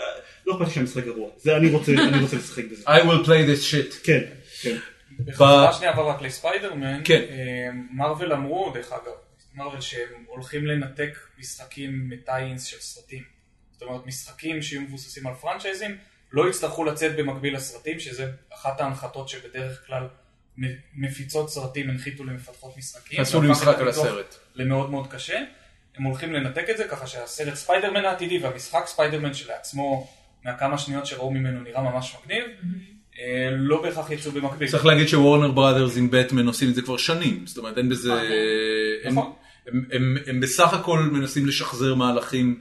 Speaker 4: לא אכפת לי שהמשחק גרוע, זה אני רוצה אני רוצה לשחק בזה,
Speaker 1: I will play this shit.
Speaker 4: כן, כן,
Speaker 2: בחזרה שנייה אבל רק לספיידרמן,
Speaker 1: כן.
Speaker 2: אה, מארוול אמרו דרך אגב, מארוול שהם הולכים לנתק משחקים מטיינס של סרטים. זאת אומרת משחקים שיהיו מבוססים על פרנצ'ייזים לא יצטרכו לצאת במקביל לסרטים שזה אחת ההנחתות שבדרך כלל מ- מפיצות סרטים הנחיתו למפתחות משחקים.
Speaker 1: עשו לי
Speaker 2: והפך את
Speaker 1: משחק על
Speaker 2: הפיתוח
Speaker 1: הסרט.
Speaker 2: למאוד מאוד קשה. הם הולכים לנתק את זה ככה שהסרט ספיידרמן העתידי והמשחק ספיידרמן שלעצמו מהכמה שניות שראו ממנו נראה ממש מגניב. אה, לא בהכרח יצאו במקביל.
Speaker 1: צריך להגיד שוורנר בראדרס עם בטמן עושים את זה כבר שנים, זאת אומרת אין בזה... הם-
Speaker 2: נכון.
Speaker 1: הם- הם- הם בסך הכל מנסים לשחזר מהלכים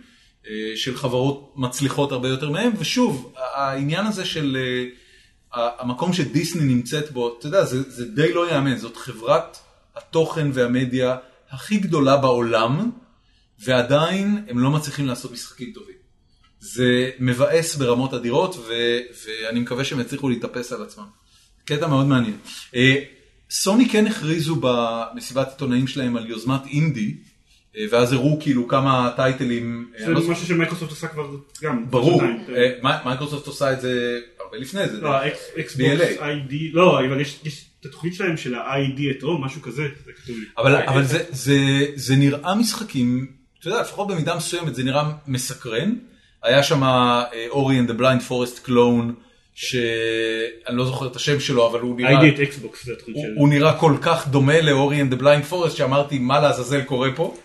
Speaker 1: אה, של חברות מצליחות הרבה יותר מהם, ושוב, ה- העניין הזה של אה, ה- המקום שדיסני נמצאת בו, אתה יודע, זה זה די לא ייאמן, זאת חברת התוכן והמדיה הכי גדולה בעולם, ועדיין הם לא מצליחים לעשות משחקים טובים. זה מבאס ברמות אדירות, ו, ואני מקווה שהם יצליחו להתאפס על עצמם. קטע מאוד מעניין. אה, סוני כן הכריזו במסיבת עיתונאים שלהם על יוזמת אינדי, אה, ואז הראו כאילו כמה טייטלים. אה,
Speaker 4: זה
Speaker 1: אני לא זוכר-
Speaker 4: משהו שמייקרוסופט עשה כבר גם,
Speaker 1: ברור,
Speaker 4: שנתיים, כן.
Speaker 1: אה, מי- מייקרוסופט עושה את זה הרבה לפני זה.
Speaker 4: לא, האקס-
Speaker 1: BLA.
Speaker 4: אקסבוקס איי-די, לא, אבל יש יש את התוכנית שלהם של ה-ID at home, משהו כזה, זה כתוב לי.
Speaker 1: אבל, אבל זה, זה, זה נראה משחקים, אתה יודע, לפחות במידה מסוימת זה נראה מסקרן. היה שם אה, אורי and the blind forest clone, שאני לא זוכר את השם שלו, אבל הוא נראה,
Speaker 4: ID at אקסבוקס זה התוכנית
Speaker 1: הוא,
Speaker 4: של...
Speaker 1: הוא נראה כל כך דומה לאורי and the blind forest, שאמרתי, מה לעזאזל קורה פה?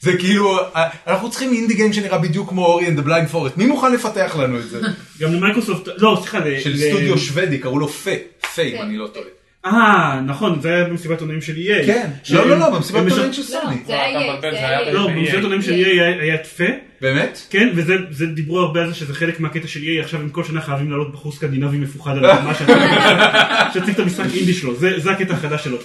Speaker 1: זה כאילו, אה, אנחנו צריכים אינדי גיים שנראה בדיוק כמו אורי and the blind forest, מי מוכן לפתח לנו את זה?
Speaker 4: גם למייקרוסופט, לא, סליחה, ל-
Speaker 1: של
Speaker 4: ל-
Speaker 1: סטודיו שוודי, קראו לו פיי, פיי, אם
Speaker 3: פיי.
Speaker 1: אני לא טועה.
Speaker 4: אה, נכון, זה היה במסיבת עונאים של EA.
Speaker 1: כן,
Speaker 4: שהם-
Speaker 1: לא, לא, לא,
Speaker 4: הם
Speaker 1: במסיבת
Speaker 4: משת-
Speaker 1: עיתונאים של
Speaker 3: לא,
Speaker 1: סוני.
Speaker 3: זה היה
Speaker 2: אתה
Speaker 3: יהיה,
Speaker 2: מבלבל,
Speaker 3: זה
Speaker 2: זה
Speaker 3: היה
Speaker 2: היה
Speaker 3: יהיה.
Speaker 4: לא,
Speaker 2: ב-
Speaker 4: במסיבת עונאים של EA היה- היה את פה,
Speaker 1: באמת?
Speaker 4: כן, וזה זה דיברו הרבה על זה שזה חלק מהקטע של EA, עכשיו הם כל שנה חייבים לעלות בחור סקנדינבי מפוחד על הבמה שאתה- שיציג את המשחק אינדי שלו, זה זה הקטע החדש שלו.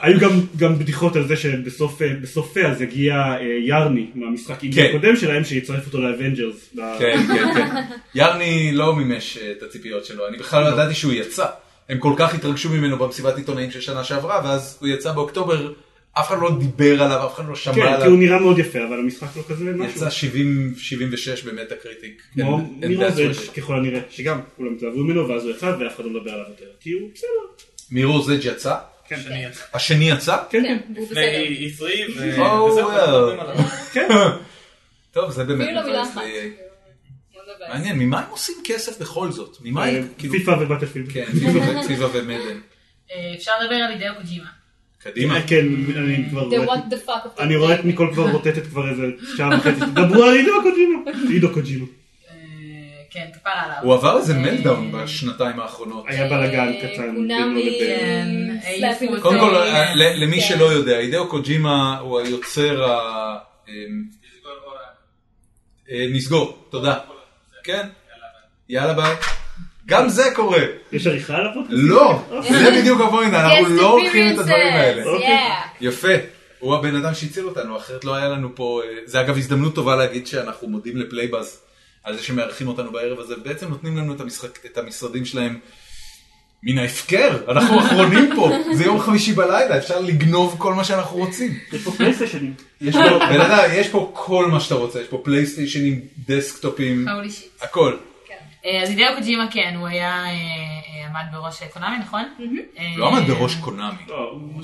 Speaker 4: היו גם- גם בדיחות על זה שבסוף אה, בסוף פה אז יגיע אה, ירני מהמשחק אינדי
Speaker 1: כן.
Speaker 4: הקודם שלהם, שיצרף אותו לאבנג'רס. ב-
Speaker 1: כן, כן, כן. ירני לא מימש אה, את הציפיות שלו, אני בכלל לא ידעתי שהוא יצא. הם כל כך התרגשו ממנו במסיבת עיתונאים של שנה שעברה, ואז הוא יצא באוקטובר, אף אחד לא דיבר עליו, אף אחד לא שמע
Speaker 4: כן, כי
Speaker 1: עליו.
Speaker 4: הוא נראה מאוד יפה, אבל המשחק לא כזה משהו.
Speaker 1: יצא 70, 76 במטה קריטיק.
Speaker 4: כמו
Speaker 1: And- and
Speaker 4: ניר
Speaker 1: that's
Speaker 4: עובד,
Speaker 1: what it-
Speaker 4: ככל הנראה, שגם כולם התלהבו ממנו, ואז הוא יצא, ואף אחד לא מדבר עליו יותר. כי הוא בסדר.
Speaker 1: מיר רוזג' יצא?
Speaker 2: שאני-
Speaker 1: השני יצא?
Speaker 4: כן, כן.
Speaker 3: כן, והוא
Speaker 2: לפני
Speaker 3: בסדר.
Speaker 2: E3 ו-
Speaker 1: Oh,
Speaker 2: וזהו, לא
Speaker 1: well.
Speaker 2: מדברים עליו.
Speaker 4: כן.
Speaker 1: טוב, זה באמת
Speaker 3: אפילו לא מילה
Speaker 1: מבאס
Speaker 3: אחת.
Speaker 1: לי.
Speaker 3: מאוד מבאס.
Speaker 1: מעניין, ממה הם עושים כסף בכל זאת? ממה
Speaker 4: אה,
Speaker 1: הם, כאילו...
Speaker 4: פיפ"א ובטלפילד.
Speaker 1: כן, פיפה ו- פיפה ומדן.
Speaker 5: אה, אפשר לדבר על אידאו קוג'ימה.
Speaker 1: קדימה.
Speaker 4: אה, כן, אני כבר...
Speaker 3: The
Speaker 4: רואה-
Speaker 3: what the fuck of the
Speaker 4: אני רואה את
Speaker 3: day.
Speaker 4: ניקול כבר רוטטת כבר איזה שעה וחצי. דברו על עידו קוג'ימה. עידו קוג'ימה.
Speaker 5: אה, כן, כפרה עליו.
Speaker 1: הוא עבר איזה מלדאון
Speaker 5: אה,
Speaker 1: בשנתיים האחרונות.
Speaker 4: היה כאילו, בלאגן קטן בינו לבין.
Speaker 5: כן,
Speaker 3: אה, סלאפים
Speaker 5: העיפו
Speaker 1: קודם כל,
Speaker 5: אותו.
Speaker 1: אה, ל- למי
Speaker 3: כן.
Speaker 1: שלא יודע, הידאו קוג'ימה הוא היוצר ה... אמ, אה, נסגור, תודה. כן? יאללה ביי. גם זה קורה.
Speaker 4: יש עריכה עליו?
Speaker 1: לא, זה בדיוק הפוינט, אנחנו
Speaker 3: Yes,
Speaker 1: לא
Speaker 3: the
Speaker 1: לוקחים את הדברים האלה.
Speaker 3: appearances,
Speaker 5: אוקיי.
Speaker 3: yeah.
Speaker 1: יפה. הוא הבן אדם שהציל אותנו, אחרת לא היה לנו פה... אה, זה אגב הזדמנות טובה להגיד שאנחנו מודים לפלייבאז על זה שמארחים אותנו בערב הזה, בעצם נותנים לנו את, המשחק, את המשרדים שלהם מן ההפקר, אנחנו אחרונים פה, זה יום חמישי בלילה, אפשר לגנוב כל מה שאנחנו רוצים.
Speaker 4: יש פה פלייסטיישנים.
Speaker 1: יש פה, בן אדם, יש פה כל מה שאתה רוצה, יש פה פלייסטיישנים, דסקטופים,
Speaker 5: Holy shit.
Speaker 1: הכל.
Speaker 5: אה, אז הידאו קוג'ימה כן, הוא היה, אה, אה, עמד בראש קונאמי, נכון? אה,
Speaker 1: לא עמד בראש קונאמי.
Speaker 3: הוא
Speaker 1: הוא-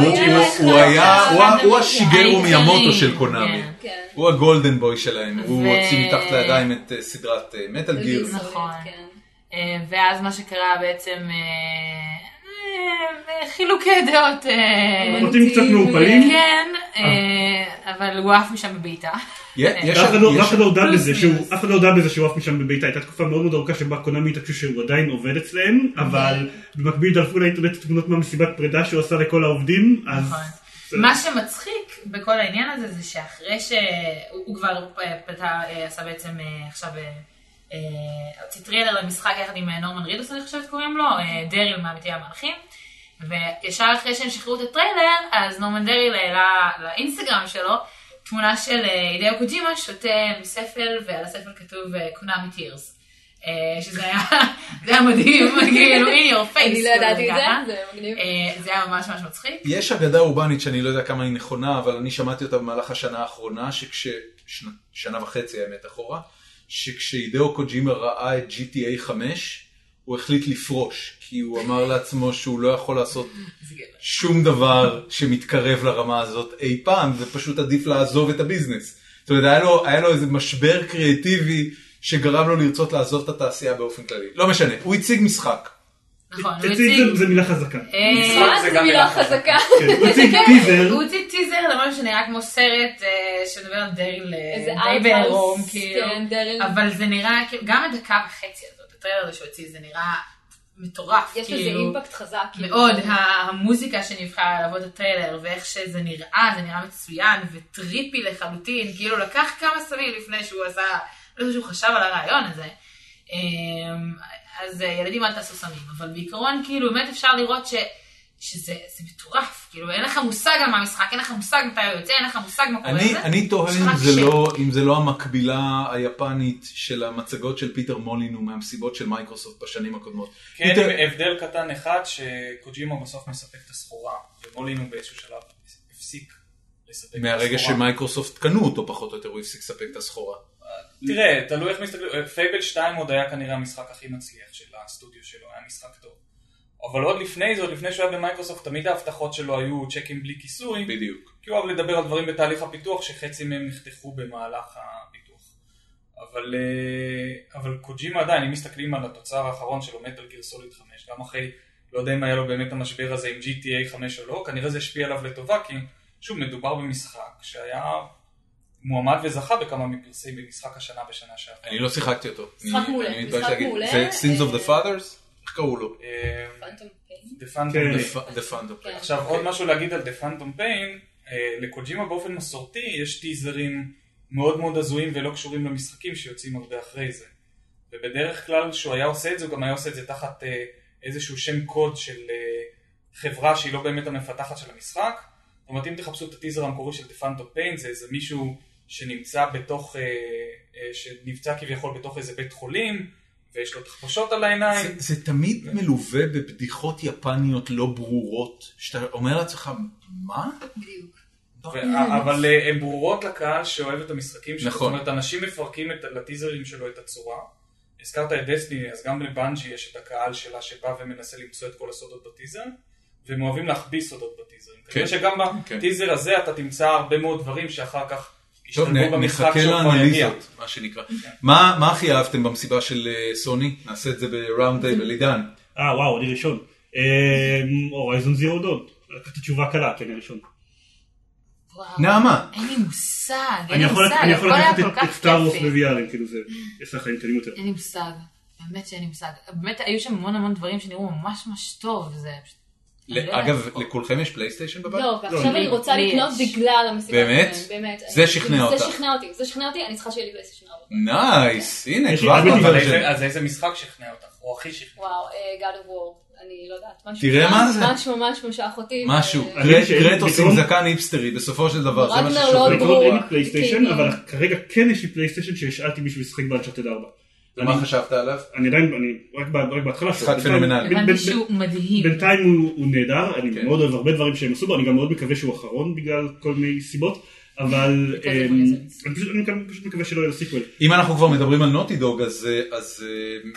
Speaker 3: היה
Speaker 1: הוא
Speaker 3: אחד
Speaker 1: היה,
Speaker 3: ה-
Speaker 1: הוא ה- הוא
Speaker 5: העיקרי.
Speaker 1: השיגרו מיאמוטו של קונאמי.
Speaker 5: כן.
Speaker 3: כן.
Speaker 1: הוא הגולדן בוי שלהם, הוא
Speaker 5: ו-
Speaker 1: הוציא מתחת לידיים את אה, סדרת מטאל גיר.
Speaker 5: Gear. נכון.
Speaker 3: כן.
Speaker 5: אה, ואז מה שקרה בעצם, אה, אה, אה, חילוקי דעות. אה,
Speaker 4: רוצים קצת מעורפלים?
Speaker 5: כן, אה, אבל הוא עף משם בבעיטה.
Speaker 3: כן.
Speaker 1: יש
Speaker 4: ואף אחד לא-
Speaker 1: יש-
Speaker 4: אף אחד לא הודה
Speaker 5: פלוס
Speaker 4: בזה שהוא-
Speaker 5: מינוס.
Speaker 4: אף אחד לא הודה בזה שהוא עף משם בביתה. הייתה תקופה מאוד מאוד ארוכה שבה קונאמי התעקשו שהוא עדיין עובד אצלם, אבל במקביל דלפו לאינטרנט תמונות מהמסיבת פרידה שהוא עשה לכל העובדים, אז...
Speaker 5: נכון.
Speaker 4: זה-
Speaker 5: מה שמצחיק בכל העניין הזה זה שאחרי שהוא הוא כבר אה, פתע, אה, עשה בעצם אה, עכשיו, אה, אה, הוציא טריילר למשחק יחד עם אה, נורמן רידוס אני חושבת קוראים לו, אה, דריל מאמיתי המלאכים. וישר אחרי שהם שחררו את הטריילר, אז נורמן דריל העלה לאינסטגרם שלו תמונה של אה, הידאו קוג'ימה שותה מספל, ועל הספל כתוב אה, קונאמי טירס. אה, שזה היה, זה היה מדהים, כאילו, in your face.
Speaker 3: אני לא ידעתי את
Speaker 5: ככה.
Speaker 3: זה, זה מגניב.
Speaker 5: אה, זה היה ממש ממש מצחיק.
Speaker 1: יש אגדה אורבנית שאני לא יודע כמה היא נכונה, אבל אני שמעתי אותה במהלך השנה האחרונה, שכש... שנה- שנה וחצי האמת אחורה, שכשהידאו קוג'ימה ראה את GTA 5, הוא החליט לפרוש, כי הוא אמר לעצמו שהוא לא יכול לעשות
Speaker 5: זה גבר.
Speaker 1: שום דבר שמתקרב לרמה הזאת אי פעם, ופשוט עדיף לעזוב את הביזנס. זאת אומרת, היה לו, היה לו איזה משבר קריאטיבי שגרם לו לרצות לעזוב את התעשייה באופן כללי. לא משנה, הוא הציג משחק.
Speaker 5: נכון, הוא
Speaker 4: תציג
Speaker 5: הציג...
Speaker 4: זה- זה מילה חזקה.
Speaker 5: אה,
Speaker 2: משחק זה
Speaker 3: זו
Speaker 2: גם
Speaker 3: מילה
Speaker 2: מילה חזקה.
Speaker 3: חזקה.
Speaker 4: כן, הוא הציג טיזר.
Speaker 5: הוא הוציא טיזר למשהו שנראה כמו סרט אה, שמדבר על דרל אה,
Speaker 3: איזה
Speaker 5: די
Speaker 3: ארטהאוס,
Speaker 5: בעירום, כאילו.
Speaker 3: כן, דרל.
Speaker 5: אבל זה נראה, כאילו, גם הדקה וחצי הזאת, הטריילר הזה שהוא הוציא, זה נראה מטורף,
Speaker 3: יש לזה
Speaker 5: כאילו.
Speaker 3: אימפקט חזק. כאילו.
Speaker 5: מאוד, ה- המוזיקה שנבחרה לעבוד הטריילר, ואיך שזה נראה, זה נראה מצוין, וטריפי לחלוטין, כאילו לקח כמה סמים לפני שהוא עשה, לא יודע שהוא חשב על הרעיון הזה. אמ, אז אה, ילדים אל תעשו סמים, אבל בעיקרון, כאילו, באמת אפשר לראות ש... שזה זה מטורף, כאילו, אין לך מושג על מה המשחק, אין לך מושג מתי הוא יוצא, אין לך מושג מה קורה
Speaker 1: אני,
Speaker 5: לזה.
Speaker 1: אני תוהה
Speaker 5: יש
Speaker 1: אם
Speaker 5: רק
Speaker 1: זה,
Speaker 5: שם.
Speaker 1: לא, אם זה לא המקבילה היפנית של המצגות של פיטר מולינו מהמסיבות של מייקרוסופט בשנים הקודמות.
Speaker 2: כן,
Speaker 1: פיטר-
Speaker 2: עם הבדל קטן אחד, שקוג'ימה בסוף מספק את הסחורה, ומולינו באיזשהו שלב הפסיק לספק את הסחורה.
Speaker 1: מהרגע שמייקרוסופט קנו אותו פחות או יותר, הוא הפסיק לספק את הסחורה.
Speaker 2: תראה, תלוי איך מסתכלים, אה, פייבל 2 עוד היה כנראה המשחק הכי מצליח של הסטודיו שלו, היה משחק טוב. אבל עוד לפני זה, עוד לפני שהוא היה במייקרוסופט, תמיד ההבטחות שלו היו צ'קים בלי כיסוי,
Speaker 1: בדיוק.
Speaker 2: כי הוא אוהב לדבר על דברים בתהליך הפיתוח, שחצי מהם נחתכו במהלך הפיתוח. אבל, אה, אבל קוג'ימה עדיין, אם מסתכלים על התוצר האחרון שלו, מטל גיר סוליד 5, גם אחרי, לא יודע אם היה לו באמת המשבר הזה עם GTA 5 או לא, כנראה זה השפיע עליו לטובה, כי שוב, מדובר במשחק שהיה מועמד וזכה בכמה מפרסי במשחק השנה בשנה שעברה.
Speaker 1: אני לא שיחקתי אותו.
Speaker 3: משחק
Speaker 1: אני-
Speaker 3: מעולה,
Speaker 1: אני
Speaker 3: משחק
Speaker 1: מתבייש להגיד.
Speaker 3: מעולה.
Speaker 1: זה Sins of the
Speaker 3: אה,
Speaker 1: Fathers? איך קראו לו?
Speaker 2: אה,
Speaker 3: פנטום פיין.
Speaker 2: The Phantom
Speaker 4: כן.
Speaker 2: Pain.
Speaker 1: The Phantom Pain.
Speaker 2: עכשיו עוד משהו להגיד על The Phantom Pain, אה, לקוג'ימה באופן מסורתי יש טיזרים מאוד מאוד הזויים ולא קשורים למשחקים שיוצאים הרבה אחרי זה. ובדרך כלל כשהוא היה עושה את זה הוא גם היה עושה את זה תחת אה, איזשהו שם קוד של אה, חברה שהיא לא באמת המפתחת של המשחק. זאת אומרת אם תחפשו את הטיזר המקורי של The Phantom Pain זה איזה מישהו שנמצא בתוך, אה, אה, שנפצע כביכול בתוך איזה בית חולים ויש לו תחפושות על העיניים.
Speaker 1: זה- זה תמיד
Speaker 4: כן.
Speaker 1: מלווה בבדיחות יפניות לא ברורות, שאתה אומר לעצמך, מה? לא.
Speaker 3: בדיוק.
Speaker 2: ו- אבל אה, הן ברורות לקהל שאוהב את המשחקים שלו.
Speaker 1: נכון.
Speaker 2: זאת אומרת, אנשים מפרקים את, לטיזרים שלו את הצורה. הזכרת את דסטיני, אז גם לבנג'י יש את הקהל שלה שבא ומנסה למצוא את כל הסודות בטיזר, והם אוהבים להחביא סודות בטיזרים.
Speaker 1: כן.
Speaker 2: כנראה שגם
Speaker 1: כן.
Speaker 2: בטיזר הזה אתה תמצא הרבה מאוד דברים שאחר כך
Speaker 1: טוב,
Speaker 2: ישתלבו
Speaker 1: נ-
Speaker 2: במשחק
Speaker 1: נחכה
Speaker 2: שהוא כבר יגיע.
Speaker 1: לאנליזות, מה שנקרא. מה מה הכי אהבתם במסיבה של אה, סוני? נעשה את זה בראונד
Speaker 3: כן.
Speaker 1: טייבל, עידן.
Speaker 4: אה וואו, אני אמ, כן, ראשון. אה, הורייזון זירו דוד. לקחת תשובה קלה, כי אני ראשון.
Speaker 5: וואו.
Speaker 1: נעמה.
Speaker 5: אין לי מושג, אין
Speaker 4: אני
Speaker 5: לי
Speaker 4: יכול-
Speaker 5: מושג,
Speaker 4: אני יכול
Speaker 5: הכל היה
Speaker 4: לקחת
Speaker 5: כל
Speaker 4: את- את
Speaker 5: כך
Speaker 4: סטאר וורס
Speaker 5: כיפי.
Speaker 4: ב-VR, כאילו זה יעשה חיים קלים יותר.
Speaker 5: אין לי מושג, באמת שאין לי מושג. באמת היו שם המון המון דברים שנראו ממש ממש טוב, זה פשוט... אני לא
Speaker 1: אגב,
Speaker 5: יודעת.
Speaker 1: לכולכם יש פלייסטיישן בבית?
Speaker 3: לא, ועכשיו
Speaker 4: לי-
Speaker 3: אני רוצה
Speaker 5: לי
Speaker 3: לקנות
Speaker 5: יש.
Speaker 3: בגלל המסיבה.
Speaker 1: באמת?
Speaker 3: שלהם, באמת.
Speaker 1: זה
Speaker 3: אני-
Speaker 1: שכנע אותך.
Speaker 3: זה שכנע אותי, זה שכנע אותי, אני צריכה שיהיה לי פלייסטיישן 4.
Speaker 1: נייס, הנה,
Speaker 4: יש לי
Speaker 1: כבר
Speaker 4: אדמיטים
Speaker 2: אבל
Speaker 1: בוורז'ן.
Speaker 2: איזה- אז איזה משחק שכנע אותך, או הכי שכנע.
Speaker 3: וואו, אה, God of War, אני לא יודעת. משהו
Speaker 1: תראה מה זה.
Speaker 3: ממש ממש משך אותי.
Speaker 1: משהו,
Speaker 3: ו-
Speaker 4: אני
Speaker 1: גרט-
Speaker 4: שאין לי
Speaker 1: גרטוס עם
Speaker 4: פתרון.
Speaker 1: זקן היפסטרי, בסופו של דבר, זה מה
Speaker 3: רגנר
Speaker 1: ששופט.
Speaker 3: לא
Speaker 4: בעיקרון אין לי
Speaker 3: ברור.
Speaker 4: פלייסטיישן,
Speaker 5: כאילו-
Speaker 3: כן.
Speaker 4: אבל כרגע כן יש לי פלייסטיישן שהשאלתי מישהו לשחק באנצ'ארטד 4.
Speaker 1: ומה
Speaker 4: אני-
Speaker 1: חשבת עליו?
Speaker 4: אני עדיין, אני רק ב- רק בהתחלה.
Speaker 1: משחק
Speaker 4: בינתיים-
Speaker 1: פנומנלי.
Speaker 4: בין-
Speaker 5: הבנתי
Speaker 4: בין-
Speaker 5: שהוא מדהים.
Speaker 4: בינתיים הוא הוא נהדר, אני
Speaker 1: כן.
Speaker 4: מאוד אוהב הרבה דברים שהם עשו בו, אני גם מאוד מקווה שהוא אחרון בגלל כל מיני סיבות, אבל
Speaker 5: כל מיני
Speaker 4: אמ,
Speaker 5: קונספט.
Speaker 4: אני פשוט- אני גם פשוט מקווה שלא יהיה לו סיקוול.
Speaker 1: אם אנחנו כבר מדברים על נוטי דוג, אז... אה, אז אה,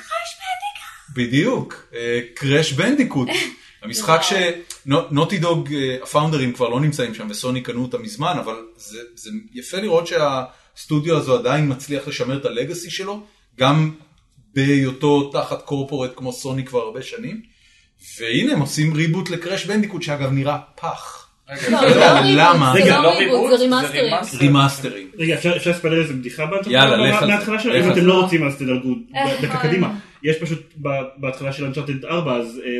Speaker 1: בדיוק, אה, קראש בנדיקוט. המשחק ש... נו- נוטי דוג, אה, הפאונדרים כבר לא נמצאים שם וסוני קנו אותם מזמן, אבל זה, זה יפה לראות שהסטודיו הזו עדיין מצליח לשמר את הלגאסי שלו, גם בהיותו תחת קורפורט כמו סוני כבר הרבה שנים. והנה הם עושים ריבוט לקראש בנדיקוט שאגב נראה פח.
Speaker 2: רגע,
Speaker 3: לא,
Speaker 1: אני לא
Speaker 3: זה
Speaker 1: יודע
Speaker 3: לא ריבוט,
Speaker 1: למה.
Speaker 3: זה
Speaker 4: רגע,
Speaker 3: לא ריבוט, זה רימאסטרים.
Speaker 1: רימאסטרים.
Speaker 4: רגע, אפשר אפשר לספר איזה בדיחה באנצ'ארטד
Speaker 1: יאללה,
Speaker 4: 4?
Speaker 1: לך על זה.
Speaker 4: מההתחלה שלו,
Speaker 1: לך
Speaker 4: אם
Speaker 1: על
Speaker 4: אתם
Speaker 1: זה.
Speaker 4: לא רוצים אז תדרגו
Speaker 3: אה,
Speaker 4: דקה קדימה. יש פשוט ב- בהתחלה של אנצ'ארטד 4, אז אה,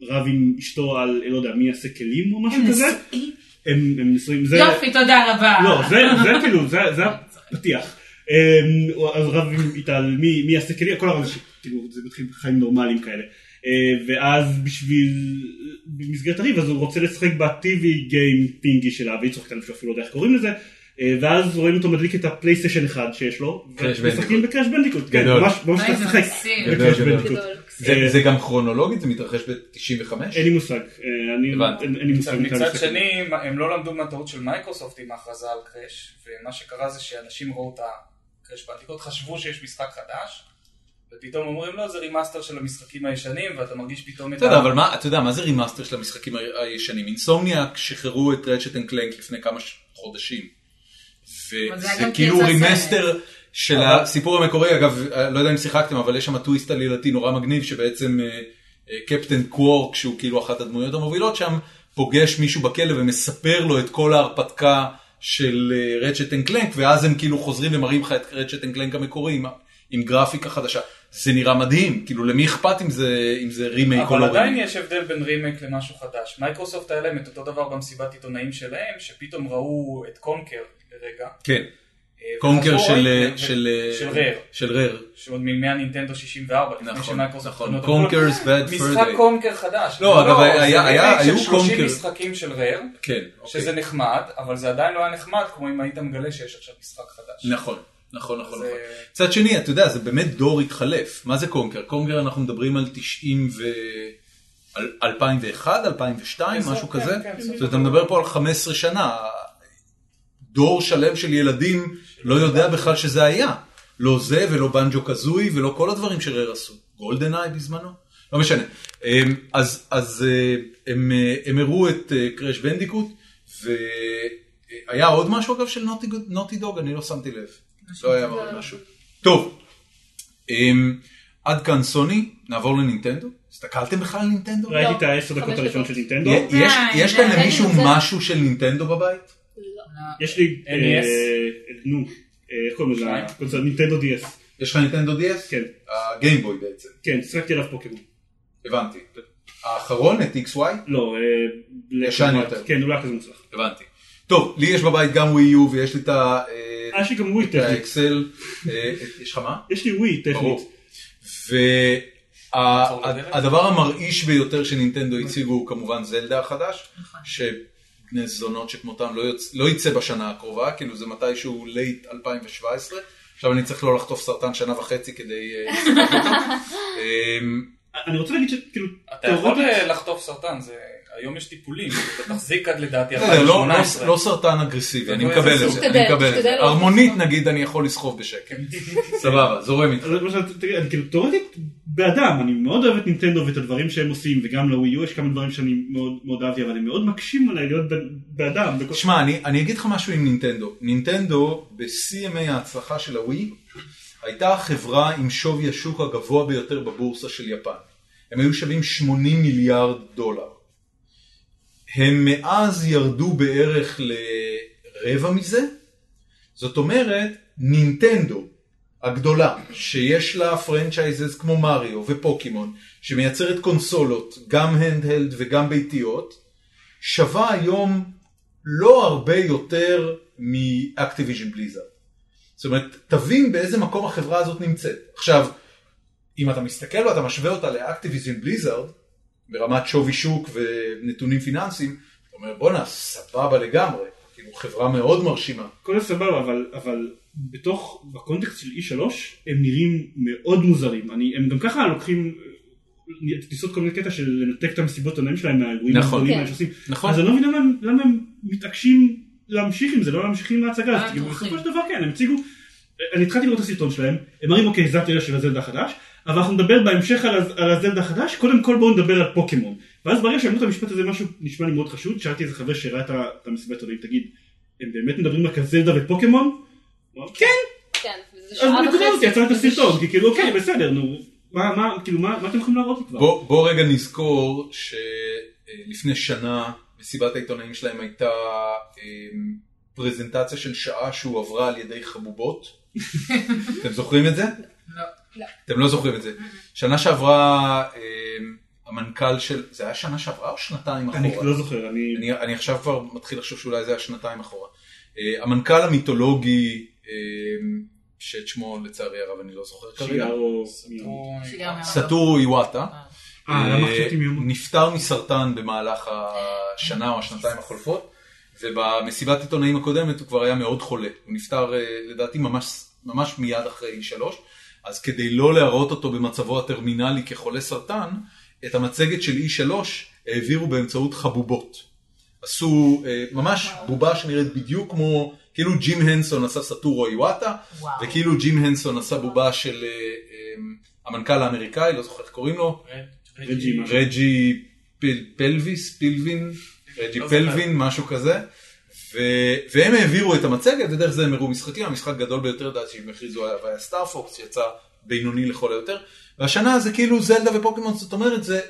Speaker 4: הוא רב עם אשתו על, אה, לא יודע, מי יעשה כלים או משהו
Speaker 5: הם
Speaker 4: כזה.
Speaker 5: נשואים.
Speaker 4: הם הם נשואים. זה-
Speaker 5: יופי, תודה רבה.
Speaker 4: לא, זה- זה כאילו, זה זה הפתיח. אמ, הוא- אז רב עם- איתה על מי מי יעשה כלי, כל הרב הזה, כאילו, זה מתחיל חיים נורמליים כאלה. אה, ואז בשביל, במסגרת הריב, אז הוא רוצה לשחק ב-TV גיים פינגי שלה, והיא צוחקת עליו שהוא אפילו לא יודע איך קוראים לזה. אה, ואז רואים אותו מדליק את הפלייסטיישן 1 שיש לו,
Speaker 1: Crash
Speaker 4: ומשחקים בקראש בנדיקוט, כן,
Speaker 1: גדול.
Speaker 4: ממש ממש
Speaker 5: אוי, זה
Speaker 4: משחק
Speaker 5: מקסים.
Speaker 1: גדול,
Speaker 4: בקראש
Speaker 1: גדול.
Speaker 4: בנדיקוט.
Speaker 3: גדול.
Speaker 1: זה, זה גם כרונולוגית, זה מתרחש ב-95.
Speaker 4: אין לי מושג, אה, אני-
Speaker 1: הבנתי.
Speaker 4: אין אין לי מושג.
Speaker 2: מצד-
Speaker 4: מתי
Speaker 2: מצד
Speaker 4: המשחק.
Speaker 2: שני, מה- הם לא למדו מהטעות של מייקרוסופט עם ההכרזה על קראש, ומה שקרה זה שאנשים ראו את הקראש בעתיקות, חשבו שיש משחק חדש, ופתאום אומרים לו, זה רימאסטר של המשחקים הישנים, ואתה מרגיש פתאום את
Speaker 1: בסדר, אבל מה, אתה יודע, מה זה רימאסטר של המשחקים ה- הישנים? אינסומניאק שחררו את רצ'ט אנד קלנק לפני כמה ש- חודשים.
Speaker 5: אבל
Speaker 1: וזה
Speaker 5: זה היה גם
Speaker 1: כאילו
Speaker 5: פרצה
Speaker 1: רימסטר של הסיפור המקורי, אגב, אה, לא יודע אם שיחקתם, אבל יש שם טוויסט עלילתי נורא מגניב, שבעצם אה, אה, קפטן קוורק, שהוא כאילו אחת הדמויות המובילות שם, פוגש מישהו בכלא ומספר לו את כל ההרפתקה של אה, רצ'ט אנד קלנק, ואז הם כאילו חוזרים ומראים לך את רצ'ט אנד קלנק המקורי עם ה- עם גרפיקה חדשה. זה נראה מדהים, כאילו למי אכפת אם זה, אם זה רימייק או לא
Speaker 2: אבל
Speaker 1: רימייק.
Speaker 2: עדיין יש הבדל בין רימייק למשהו חדש. מייקרוסופט היה להם את אותו דבר במסיבת עיתונאים שלהם, שפתאום ראו את קונקר לרגע.
Speaker 1: כן,
Speaker 2: אה,
Speaker 1: קונקר
Speaker 2: וחזרו-
Speaker 1: של אה,
Speaker 2: ו-
Speaker 1: של
Speaker 2: של רר,
Speaker 1: של רר,
Speaker 2: שעוד מימי הנינטנדו 64, לפני
Speaker 1: נכון,
Speaker 2: שמייקרוסופט
Speaker 1: נכון,
Speaker 2: קנו אותו.
Speaker 1: קונקר's bad
Speaker 2: משחק
Speaker 1: fur day,
Speaker 2: קונקר חדש.
Speaker 1: לא, אגב,
Speaker 2: זה
Speaker 1: היה- היה-
Speaker 2: רימייק של
Speaker 1: היו
Speaker 2: 30
Speaker 1: קונקר.
Speaker 2: משחקים של רר,
Speaker 1: כן, אוקיי.
Speaker 2: שזה נחמד, אבל זה עדיין לא היה נחמד כמו אם היית מגלה שיש עכשיו משחק חדש.
Speaker 1: נכון, נכון, נכון,
Speaker 2: זה-
Speaker 1: נכון. מצד שני, אתה יודע, זה באמת דור התחלף, מה זה קונקר? קונקר אנחנו מדברים על 90 ו... על 2001, 2002,
Speaker 2: עשר,
Speaker 1: משהו
Speaker 2: כן,
Speaker 1: כזה,
Speaker 2: כן,
Speaker 1: זאת
Speaker 2: בסדר.
Speaker 1: אומרת, אתה מדבר פה על 15 שנה, דור שלם של ילדים לא יודע בכלל שזה היה, לא זה ולא בנג'ו קזוי ולא כל הדברים שרר עשו, גולדן איי בזמנו, לא משנה. אמ, אז, אז אה, הם, אה, הם הראו את קראש בנדיקוט, והיה עוד משהו אגב של נוטי, נוטי דוג, אני לא שמתי לב, לא היה עוד משהו. טוב, אמ, עד כאן סוני, נעבור לנינטנדו, הסתכלתם בכלל על נינטנדו?
Speaker 4: ראיתי את העשר דקות
Speaker 3: חמש
Speaker 4: הראשון של
Speaker 3: דקות.
Speaker 4: נינטנדו,
Speaker 1: יש- יש- יש כאן
Speaker 5: די,
Speaker 1: למישהו
Speaker 3: זה-
Speaker 1: משהו של נינטנדו בבית?
Speaker 3: לא.
Speaker 4: יש לי, אה,
Speaker 2: NES.
Speaker 4: אה, נו, אה, איך קוראים לזה,
Speaker 2: E שניים.
Speaker 4: הקונסול, נינטנדו DS,
Speaker 1: יש לך נינטנדו DS?
Speaker 4: כן.
Speaker 1: הגיימבוי בעצם,
Speaker 4: כן, שיחקתי עליו פוקימון.
Speaker 1: הבנתי.
Speaker 4: כן.
Speaker 1: האחרון, את XY?
Speaker 4: לא, אה, בלק
Speaker 1: ישן
Speaker 4: אנד
Speaker 1: יותר.
Speaker 4: ווייט. כן, אולי כזה מוצלח.
Speaker 1: הבנתי. טוב, לי יש בבית גם ווי יו ויש לי את ה- אה,
Speaker 4: אה, יש לי גם ווי
Speaker 1: את
Speaker 4: טכנית.
Speaker 1: האקסל, אה, את- יש לך מה?
Speaker 4: יש לי ווי טכנית.
Speaker 1: ברור. והדבר המרעיש ביותר שנינטנדו הציגו הוא כמובן זלדה החדש, שבני זונות שכמותם לא יוצ- לא יצא בשנה הקרובה, כאילו זה מתישהו לייט 2017, עכשיו אני צריך לא לחטוף סרטן שנה וחצי כדי... אה, לשחק אותו. אמ,
Speaker 4: אני רוצה להגיד שכאילו,
Speaker 2: אתה יכול
Speaker 4: תיאורטית-
Speaker 2: אה, לחטוף סרטן, זה... היום יש טיפולים, אתה תחזיק עד לדעתי
Speaker 1: בסדר, לא- לא-
Speaker 2: 2018.
Speaker 1: לא סרטן אגרסיבי, אני
Speaker 2: זה
Speaker 1: מקבל את
Speaker 2: סוג.
Speaker 1: זה,
Speaker 3: תשתדל,
Speaker 1: אני מקבל את
Speaker 3: תשתדל
Speaker 1: זה.
Speaker 3: לא
Speaker 1: ארמונית
Speaker 3: לחשוב.
Speaker 1: נגיד אני יכול לסחוב בשקט. סבבה, זורם איתך.
Speaker 4: אז מה שאת- תגיד, אני כאילו תיאורטית באדם, אני מאוד אוהב את נינטנדו ואת הדברים שהם עושים, וגם לווי יו יש כמה דברים שאני מאוד מאוד אהבתי, אבל הם מאוד מקשים עליי להיות בן- באדם. בכל-
Speaker 1: שמע, אני, אני אגיד לך משהו עם נינטנדו. נינטנדו, בשיא ימי ההצלחה של הווי, הייתה החברה עם שווי השוק הגבוה ביותר בבורסה של יפן. הם היו שווים 80 מיליארד דולר. הם מאז ירדו בערך לרבע מזה. זאת אומרת, נינטנדו הגדולה, שיש לה פרנצ'ייזס כמו מריו ופוקימון, שמייצרת קונסולות, גם הנדהלד וגם ביתיות, שווה היום לא הרבה יותר מאקטיביז'ן בליזארד. זאת אומרת, תבין באיזה מקום החברה הזאת נמצאת. עכשיו, אם אתה מסתכל ואתה משווה אותה לאקטיביזם בליזארד, ברמת שווי שוק ונתונים פיננסיים, אתה אומר בואנה, סבבה לגמרי, כאילו חברה מאוד מרשימה.
Speaker 4: הכל סבבה, אבל, אבל בתוך, בקונטקסט של E3, הם נראים מאוד מוזרים. אני, הם גם ככה לוקחים אה, טיסות כל מיני קטע של לנתק את המסיבות העונאים שלהם מהאירועים
Speaker 1: נכון.
Speaker 4: הגדולים
Speaker 3: כן.
Speaker 4: האלה שעושים.
Speaker 1: נכון.
Speaker 4: אז אני לא מבין למה, הם- למה הם מתעקשים להמשיך עם זה, למה הם ממשיכים להצגה
Speaker 5: למה הם
Speaker 4: הזאת. כי
Speaker 5: טורחים?
Speaker 4: בסופו של דבר כן, הם הציגו, אני התחלתי לראות את הסרטון שלהם, הם מראים אוקיי, זה התיאוריה של הזלדה החדש, אבל אנחנו נדבר בהמשך על, הז- על הזלדה החדש, קודם כל בואו נדבר על פוקימון. ואז ברגע שאמרו את המשפט הזה, משהו נשמע לי מאוד חשוד, שאלתי איזה חבר שראה את ה- את המסיבת העונאים, תגיד, הם באמת מדברים רק על זלדה ופוקימון? הוא אמר, כן,
Speaker 3: כן, וזה
Speaker 4: אז
Speaker 3: שעה
Speaker 4: נקודה אותי,
Speaker 3: וחצי.
Speaker 4: יצרנו את
Speaker 3: וזה
Speaker 4: הסרטון,
Speaker 3: ש-
Speaker 4: כי כאילו אוקיי, בסדר, נו, מה, מה, כאילו, מה מה אתם יכולים להראות לי כבר?
Speaker 1: בוא, בוא רגע נזכור שלפני שנה מסיבת העיתונאים שלהם הייתה אמ, פרזנטציה של שעה שהועברה על ידי חבובות. אתם זוכרים את זה?
Speaker 5: לא.
Speaker 1: אתם לא זוכרים את זה. שנה שעברה אמ, המנכ"ל של, זה היה שנה שעברה או שנתיים אחורה?
Speaker 4: אני לא זוכר, אני...
Speaker 1: אני, אני עכשיו כבר מתחיל לחשוב שאולי זה היה שנתיים אחורה. אה, המנכ"ל המיתולוגי, אה, שאת שמו לצערי הרב אני לא זוכר כרגע,
Speaker 4: שיגארו...
Speaker 2: הוא-
Speaker 5: שגם אמרנו.
Speaker 1: סטורו איווטה,
Speaker 5: אה.
Speaker 4: אה, למה
Speaker 1: אה,
Speaker 4: חשבתי מיום?
Speaker 1: נפטר מסרטן במהלך השנה או השנתיים החולפות, ובמסיבת עיתונאים הקודמת הוא כבר היה מאוד חולה. הוא נפטר אה, לדעתי ממש, ממש מיד אחרי שלוש, אז כדי לא להראות אותו במצבו הטרמינלי כחולה סרטן, את המצגת של E3 העבירו באמצעות חבובות. עשו אה, ממש בובה שנראית בדיוק כמו, כאילו ג'ים הנסון עשה סטורו איואטה,
Speaker 5: וואו.
Speaker 1: וכאילו ג'ים הנסון עשה בובה של אה, אה, המנכ"ל האמריקאי, לא זוכר איך קוראים לו,
Speaker 4: רג'י משהו.
Speaker 1: רג'י פל, פלוויס, פילבין, רג'י
Speaker 2: לא זוכר.
Speaker 1: פלווין, משהו כזה. ו, והם העבירו את המצגת, ודרך זה הם הראו משחקים, המשחק הגדול ביותר דעת שהם הכריזו עליו היה סטארפוקס, שיצא בינוני לכל היותר. והשנה זה כאילו זלדה ופוקימון, זאת אומרת, זה,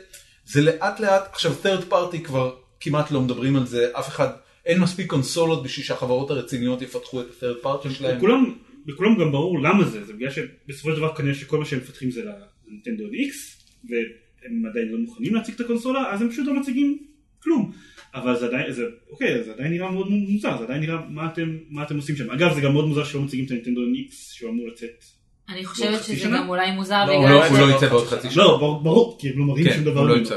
Speaker 1: זה לאט לאט, עכשיו third party כבר כמעט לא מדברים על זה, אף אחד, אין מספיק קונסולות בשביל שהחברות הרציניות יפתחו את ה-third party שלהם.
Speaker 4: לכולם, לכולם גם ברור למה זה, זה בגלל שבסופו של דבר כנראה שכל מה שהם מפתחים זה לנינטנדו X, והם עדיין לא מוכנים להציג את הקונסולה, אז הם פשוט לא מציגים כלום. אבל זה עדיין, זה, אוקיי, זה עדיין נראה מאוד מוזר, זה עדיין נראה מה אתם, מה אתם עושים שם. אגב, זה גם מאוד מוזר שלא מציגים את הנינטנדו X שהוא אמור לצאת.
Speaker 5: אני
Speaker 4: בעוד
Speaker 5: חושבת
Speaker 4: חצי
Speaker 5: שזה
Speaker 4: שנה?
Speaker 5: גם אולי מוזר
Speaker 2: לא,
Speaker 1: הוא לא-
Speaker 5: בגלל...
Speaker 1: הוא לא יצא בעוד חצי שנה.
Speaker 4: לא, ברור- ברור, כי הם לא מראים
Speaker 1: כן,
Speaker 4: שום דבר.
Speaker 1: הוא לא
Speaker 4: ממנו.
Speaker 1: יצא.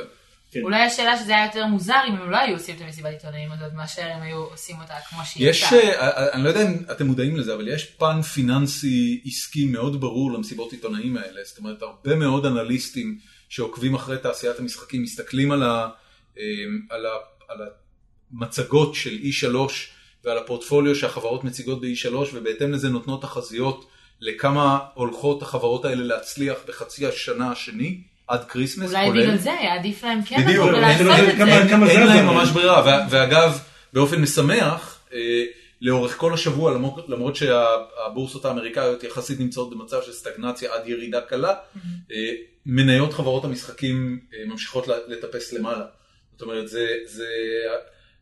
Speaker 4: כן.
Speaker 5: אולי השאלה שזה היה יותר מוזר אם הם לא היו עושים את המסיבת עיתונאים הזאת מאשר הם היו עושים אותה כמו שהיא
Speaker 1: יש,
Speaker 5: הייתה.
Speaker 1: אה, אני לא יודע אם אתם מודעים לזה, אבל יש פן פיננסי עסקי מאוד ברור למסיבות עיתונאים האלה. זאת אומרת, הרבה מאוד אנליסטים שעוקבים אחרי תעשיית המשחקים, מסתכלים על, ה, אה, על, ה, על המצגות של E3 ועל הפורטפוליו שהחברות מציגות ב-E3, ובהתאם לזה נותנות תחזיות לכמה הולכות החברות האלה להצליח בחצי השנה השני, עד כריסמס,
Speaker 5: אולי בגלל זה היה עדיף להם כן
Speaker 1: בדיוק,
Speaker 5: לבוא
Speaker 4: אולי זה לא
Speaker 5: ולעשות
Speaker 4: זה
Speaker 5: את
Speaker 4: כמה-
Speaker 5: זה.
Speaker 1: אין,
Speaker 4: כמה
Speaker 1: אין
Speaker 4: זז
Speaker 1: להם
Speaker 4: אבל.
Speaker 1: ממש ברירה, וה- ואגב, באופן משמח, אה, לאורך כל השבוע, למרות- למרות שהבורסות האמריקאיות יחסית נמצאות במצב של סטגנציה עד ירידה קלה,
Speaker 5: Mm-hmm.
Speaker 1: אה, מניות חברות המשחקים אה, ממשיכות ל- לטפס למעלה. זאת אומרת, זה, זה...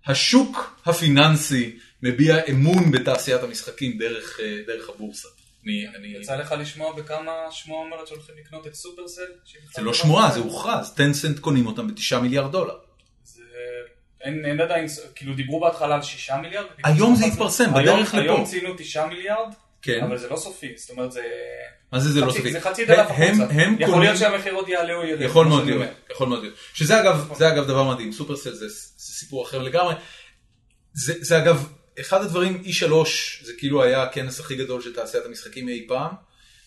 Speaker 1: השוק הפיננסי מביע אמון בתעשיית המשחקים דרך, אה, דרך הבורסה. אני, אני...
Speaker 2: יצא לך לשמוע בכמה שמועה אומרת שהולכים לקנות את סופרסל?
Speaker 1: זה לא שמועה, זה הוכרז. טנסנט קונים אותם בתשעה מיליארד דולר.
Speaker 2: זה- אין, אין עדיין, כאילו דיברו בהתחלה על 6 מיליארד.
Speaker 1: היום זה התפרסם,
Speaker 2: היום-
Speaker 1: בדרך לפה.
Speaker 2: היום ציינו 9 מיליארד,
Speaker 1: כן.
Speaker 2: אבל זה לא סופי, זאת אומרת זה...
Speaker 1: מה זה זה לא
Speaker 2: חצי-
Speaker 1: סופי?
Speaker 2: זה חצי
Speaker 1: הם-
Speaker 2: דלף
Speaker 1: הם-
Speaker 2: החוצה.
Speaker 1: הם
Speaker 2: יכול
Speaker 1: קונים-
Speaker 2: להיות שהמחיר עוד יעלה או ירד.
Speaker 1: יכול
Speaker 2: כמו
Speaker 1: מאוד
Speaker 2: שאני
Speaker 1: להיות,
Speaker 2: אומר.
Speaker 1: יכול מאוד להיות. שזה אגב, זה אגב דבר מדהים, סופרסל זה, זה סיפור אחר לגמרי. זה, זה אגב, אחד הדברים, E3 זה כאילו היה הכנס הכי גדול של תעשיית המשחקים אי פעם.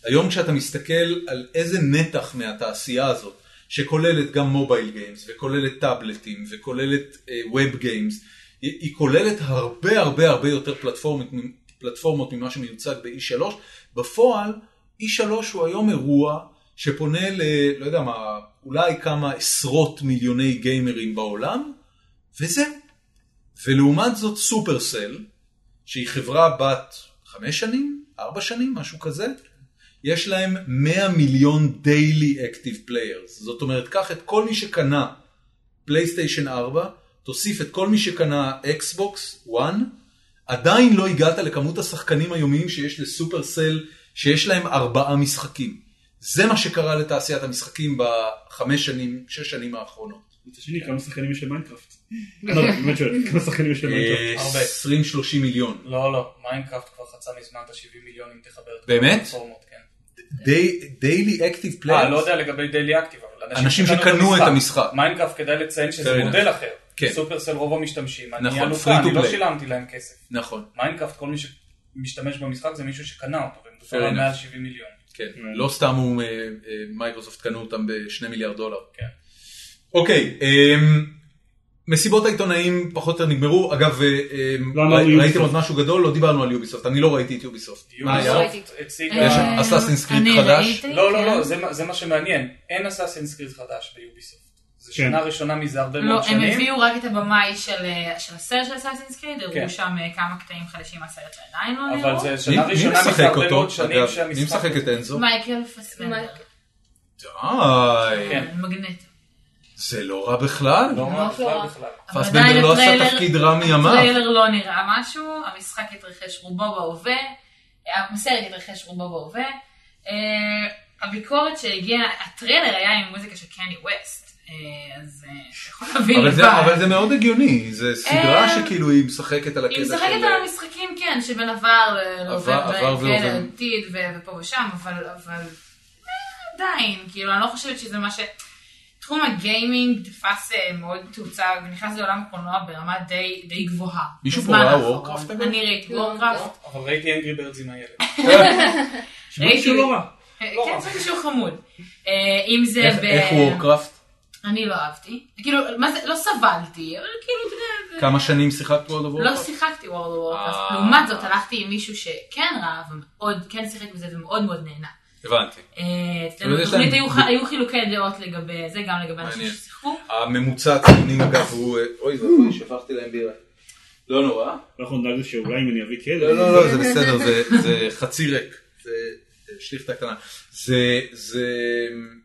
Speaker 1: היום כשאתה מסתכל על איזה נתח מהתעשייה הזאת, שכוללת גם מובייל גיימס, וכוללת טאבלטים, וכוללת ווב גיימס, היא, היא כוללת הרבה הרבה הרבה יותר פלטפורמות, פלטפורמות ממה שמיוצג ב-E3. בפועל, E3 הוא היום אירוע שפונה ל... לא יודע מה, אולי כמה עשרות מיליוני גיימרים בעולם, וזהו. ולעומת זאת סופרסל, שהיא חברה בת חמש שנים, ארבע שנים, משהו כזה, יש להם 100 מיליון דיילי אקטיב פליירס. זאת אומרת, קח את כל מי שקנה פלייסטיישן 4, תוסיף את כל מי שקנה אקסבוקס 1, עדיין לא הגעת לכמות השחקנים היומיים שיש לסופרסל, שיש להם ארבעה משחקים. זה מה שקרה לתעשיית המשחקים בחמש שנים, שש שנים האחרונות.
Speaker 4: מצד שני, כמה שחקנים יש למיינקראפט? לא, לא, באמת שואל, כמה שחקנים יש למיינקראפט?
Speaker 1: אה,
Speaker 2: הרבה.
Speaker 1: 20-30 מיליון.
Speaker 2: לא, לא, מיינקראפט כבר חצה מזמן את ה-70 מיליון אם תחבר את כל
Speaker 1: באמת?
Speaker 2: הפלטפורמות, כן.
Speaker 1: דיילי אקטיב
Speaker 2: אה, לא
Speaker 1: פליירס.
Speaker 2: יודע לגבי דיילי אקטיב, אבל
Speaker 1: אנשים שקנו את המשחק.
Speaker 2: מיינקראפט כדאי לציין
Speaker 1: Fair
Speaker 2: שזה
Speaker 1: enough.
Speaker 2: מודל אחר.
Speaker 1: כן.
Speaker 2: סופרסל רוב המשתמשים, אני
Speaker 1: נכון,
Speaker 2: אלופה,
Speaker 1: free to
Speaker 2: אני לא
Speaker 1: play.
Speaker 2: שילמתי להם כסף.
Speaker 1: נכון,
Speaker 2: מיינקראפט, כל מי שמשתמש במשחק זה מישהו שקנה אותו,
Speaker 1: Fair
Speaker 2: ומדובר על
Speaker 1: enough.
Speaker 2: מעל 70 מיליון.
Speaker 1: כן. לא סתם הוא, אה, אה, מייקרוסופט קנו אותם בשני מיליארד דולר.
Speaker 2: כן.
Speaker 1: אוקיי, אמ, מסיבות העיתונאים פחות או יותר נגמרו. אגב, אה, אמ,
Speaker 4: לא אמרנו
Speaker 1: ראי-
Speaker 4: יוביסופט.
Speaker 1: ראיתם עוד משהו גדול? לא דיברנו על יוביסופט, אני לא ראיתי את יוביסופט. מה היה?
Speaker 3: יוביסופט.
Speaker 2: יוביסופט הציגה...
Speaker 1: יש שם Assassin's Creed
Speaker 5: אה, אני
Speaker 1: חדש?
Speaker 5: ראיתי,
Speaker 2: לא, לא,
Speaker 5: כן.
Speaker 2: לא, זה מה- זה מה שמעניין. אין אסאסינס קריד חדש ביוביסופט. זו
Speaker 4: כן.
Speaker 2: שנה ראשונה מזה הרבה מאוד
Speaker 5: לא, הם
Speaker 2: שנים.
Speaker 5: הביאו רק את הבמאי של אה, של הסרט של סאסינס קריד,
Speaker 2: כן.
Speaker 5: הראו שם אה, כמה קטעים חדשים מהסרט שעדיין לא
Speaker 2: אבל
Speaker 5: נראו.
Speaker 2: זה
Speaker 1: מי
Speaker 2: שנה
Speaker 1: מי
Speaker 2: ראשונה מזה
Speaker 1: משחק
Speaker 2: הרבה
Speaker 1: אותו?
Speaker 2: מאוד שנים
Speaker 1: אגב, מי
Speaker 2: שהמשחק...
Speaker 1: משחק את אנזו?
Speaker 5: מייקל פסבנדר.
Speaker 1: די,
Speaker 2: כן.
Speaker 5: מגנט.
Speaker 1: זה לא רע בכלל.
Speaker 2: לא רע
Speaker 3: ממש לא
Speaker 2: בכלל
Speaker 3: רע.
Speaker 2: בכלל.
Speaker 5: אבל עדיין
Speaker 1: פסבנדר לא עשה
Speaker 5: הטריילר-
Speaker 1: תפקיד רע מימיו.
Speaker 5: הטריילר לא נראה משהו, המשחק התרחש רובו בהווה, אה, הסרט התרחש רובו בהווה. אה, הביקורת שהגיעה, הטריילר היה עם מוזיקה של קני ווסט, אה, אז אה, אתה יכול להבין
Speaker 1: אבל זה-
Speaker 5: לבד.
Speaker 1: אבל זה מאוד הגיוני, זה סדרה
Speaker 5: אה,
Speaker 1: שכאילו היא משחקת על הקטע
Speaker 5: היא
Speaker 1: של... אה,
Speaker 5: משחקת על המשחקים, כן, שבין עבר אה, לא ל- להווה,
Speaker 1: עבר- עבר
Speaker 5: ו-
Speaker 1: והווה.
Speaker 5: ולעתיד כן, ו- ופה ושם, אבל אבל, אה, עדיין, כאילו, אני לא חושבת שזה מה ש... תחום הגיימינג תפס אה, מאוד תאוצה, ונכנס לעולם הקולנוע ברמה די די גבוהה.
Speaker 1: מישהו פה
Speaker 5: בזמן
Speaker 1: ראה
Speaker 5: האחרון.
Speaker 1: וורקראפט, אגב?
Speaker 5: אני ראיתי
Speaker 3: לא,
Speaker 5: וורקראפט.
Speaker 2: לא, אבל ראיתי אנגרי ברדס עם הילד.
Speaker 4: שמעתי שהוא לא רע.
Speaker 5: אה,
Speaker 2: לא
Speaker 5: כן,
Speaker 2: רע.
Speaker 5: זה מישהו חמוד. אה, אם זה
Speaker 1: איך-
Speaker 5: ב...
Speaker 1: איך וורקראפט?
Speaker 5: אני לא אהבתי. כאילו, מה זה, לא סבלתי, אבל כאילו, אתה יודע... זה-
Speaker 1: כמה שנים שיחקת פה על
Speaker 5: לא
Speaker 1: וורקראפט?
Speaker 5: שיחקתי World of Warcraft,
Speaker 1: אה.
Speaker 5: לעומת זאת הלכתי עם מישהו שכן ראה ומאוד, כן שיחק בזה ומאוד מאוד נהנה.
Speaker 1: הבנתי.
Speaker 5: אה,
Speaker 1: אבל
Speaker 5: אצלנו
Speaker 1: יש
Speaker 5: בתוכנית
Speaker 1: להם-
Speaker 5: היו ח- היו חילוקי דעות לגבי זה, גם לגבי אנשים
Speaker 1: מעניין.
Speaker 5: ששיחקו.
Speaker 1: הממוצע הציונים אגב הוא... אה, אוי ואבוי, שפכתי להם בירה. לא נורא.
Speaker 4: אנחנו נדאג לזה שאולי אם אני אביא
Speaker 1: לא,
Speaker 4: כלב,
Speaker 1: לא, לא, זה בסדר, זה- זה חצי ריק. זה זה שליכטה קטנה. זה... זה...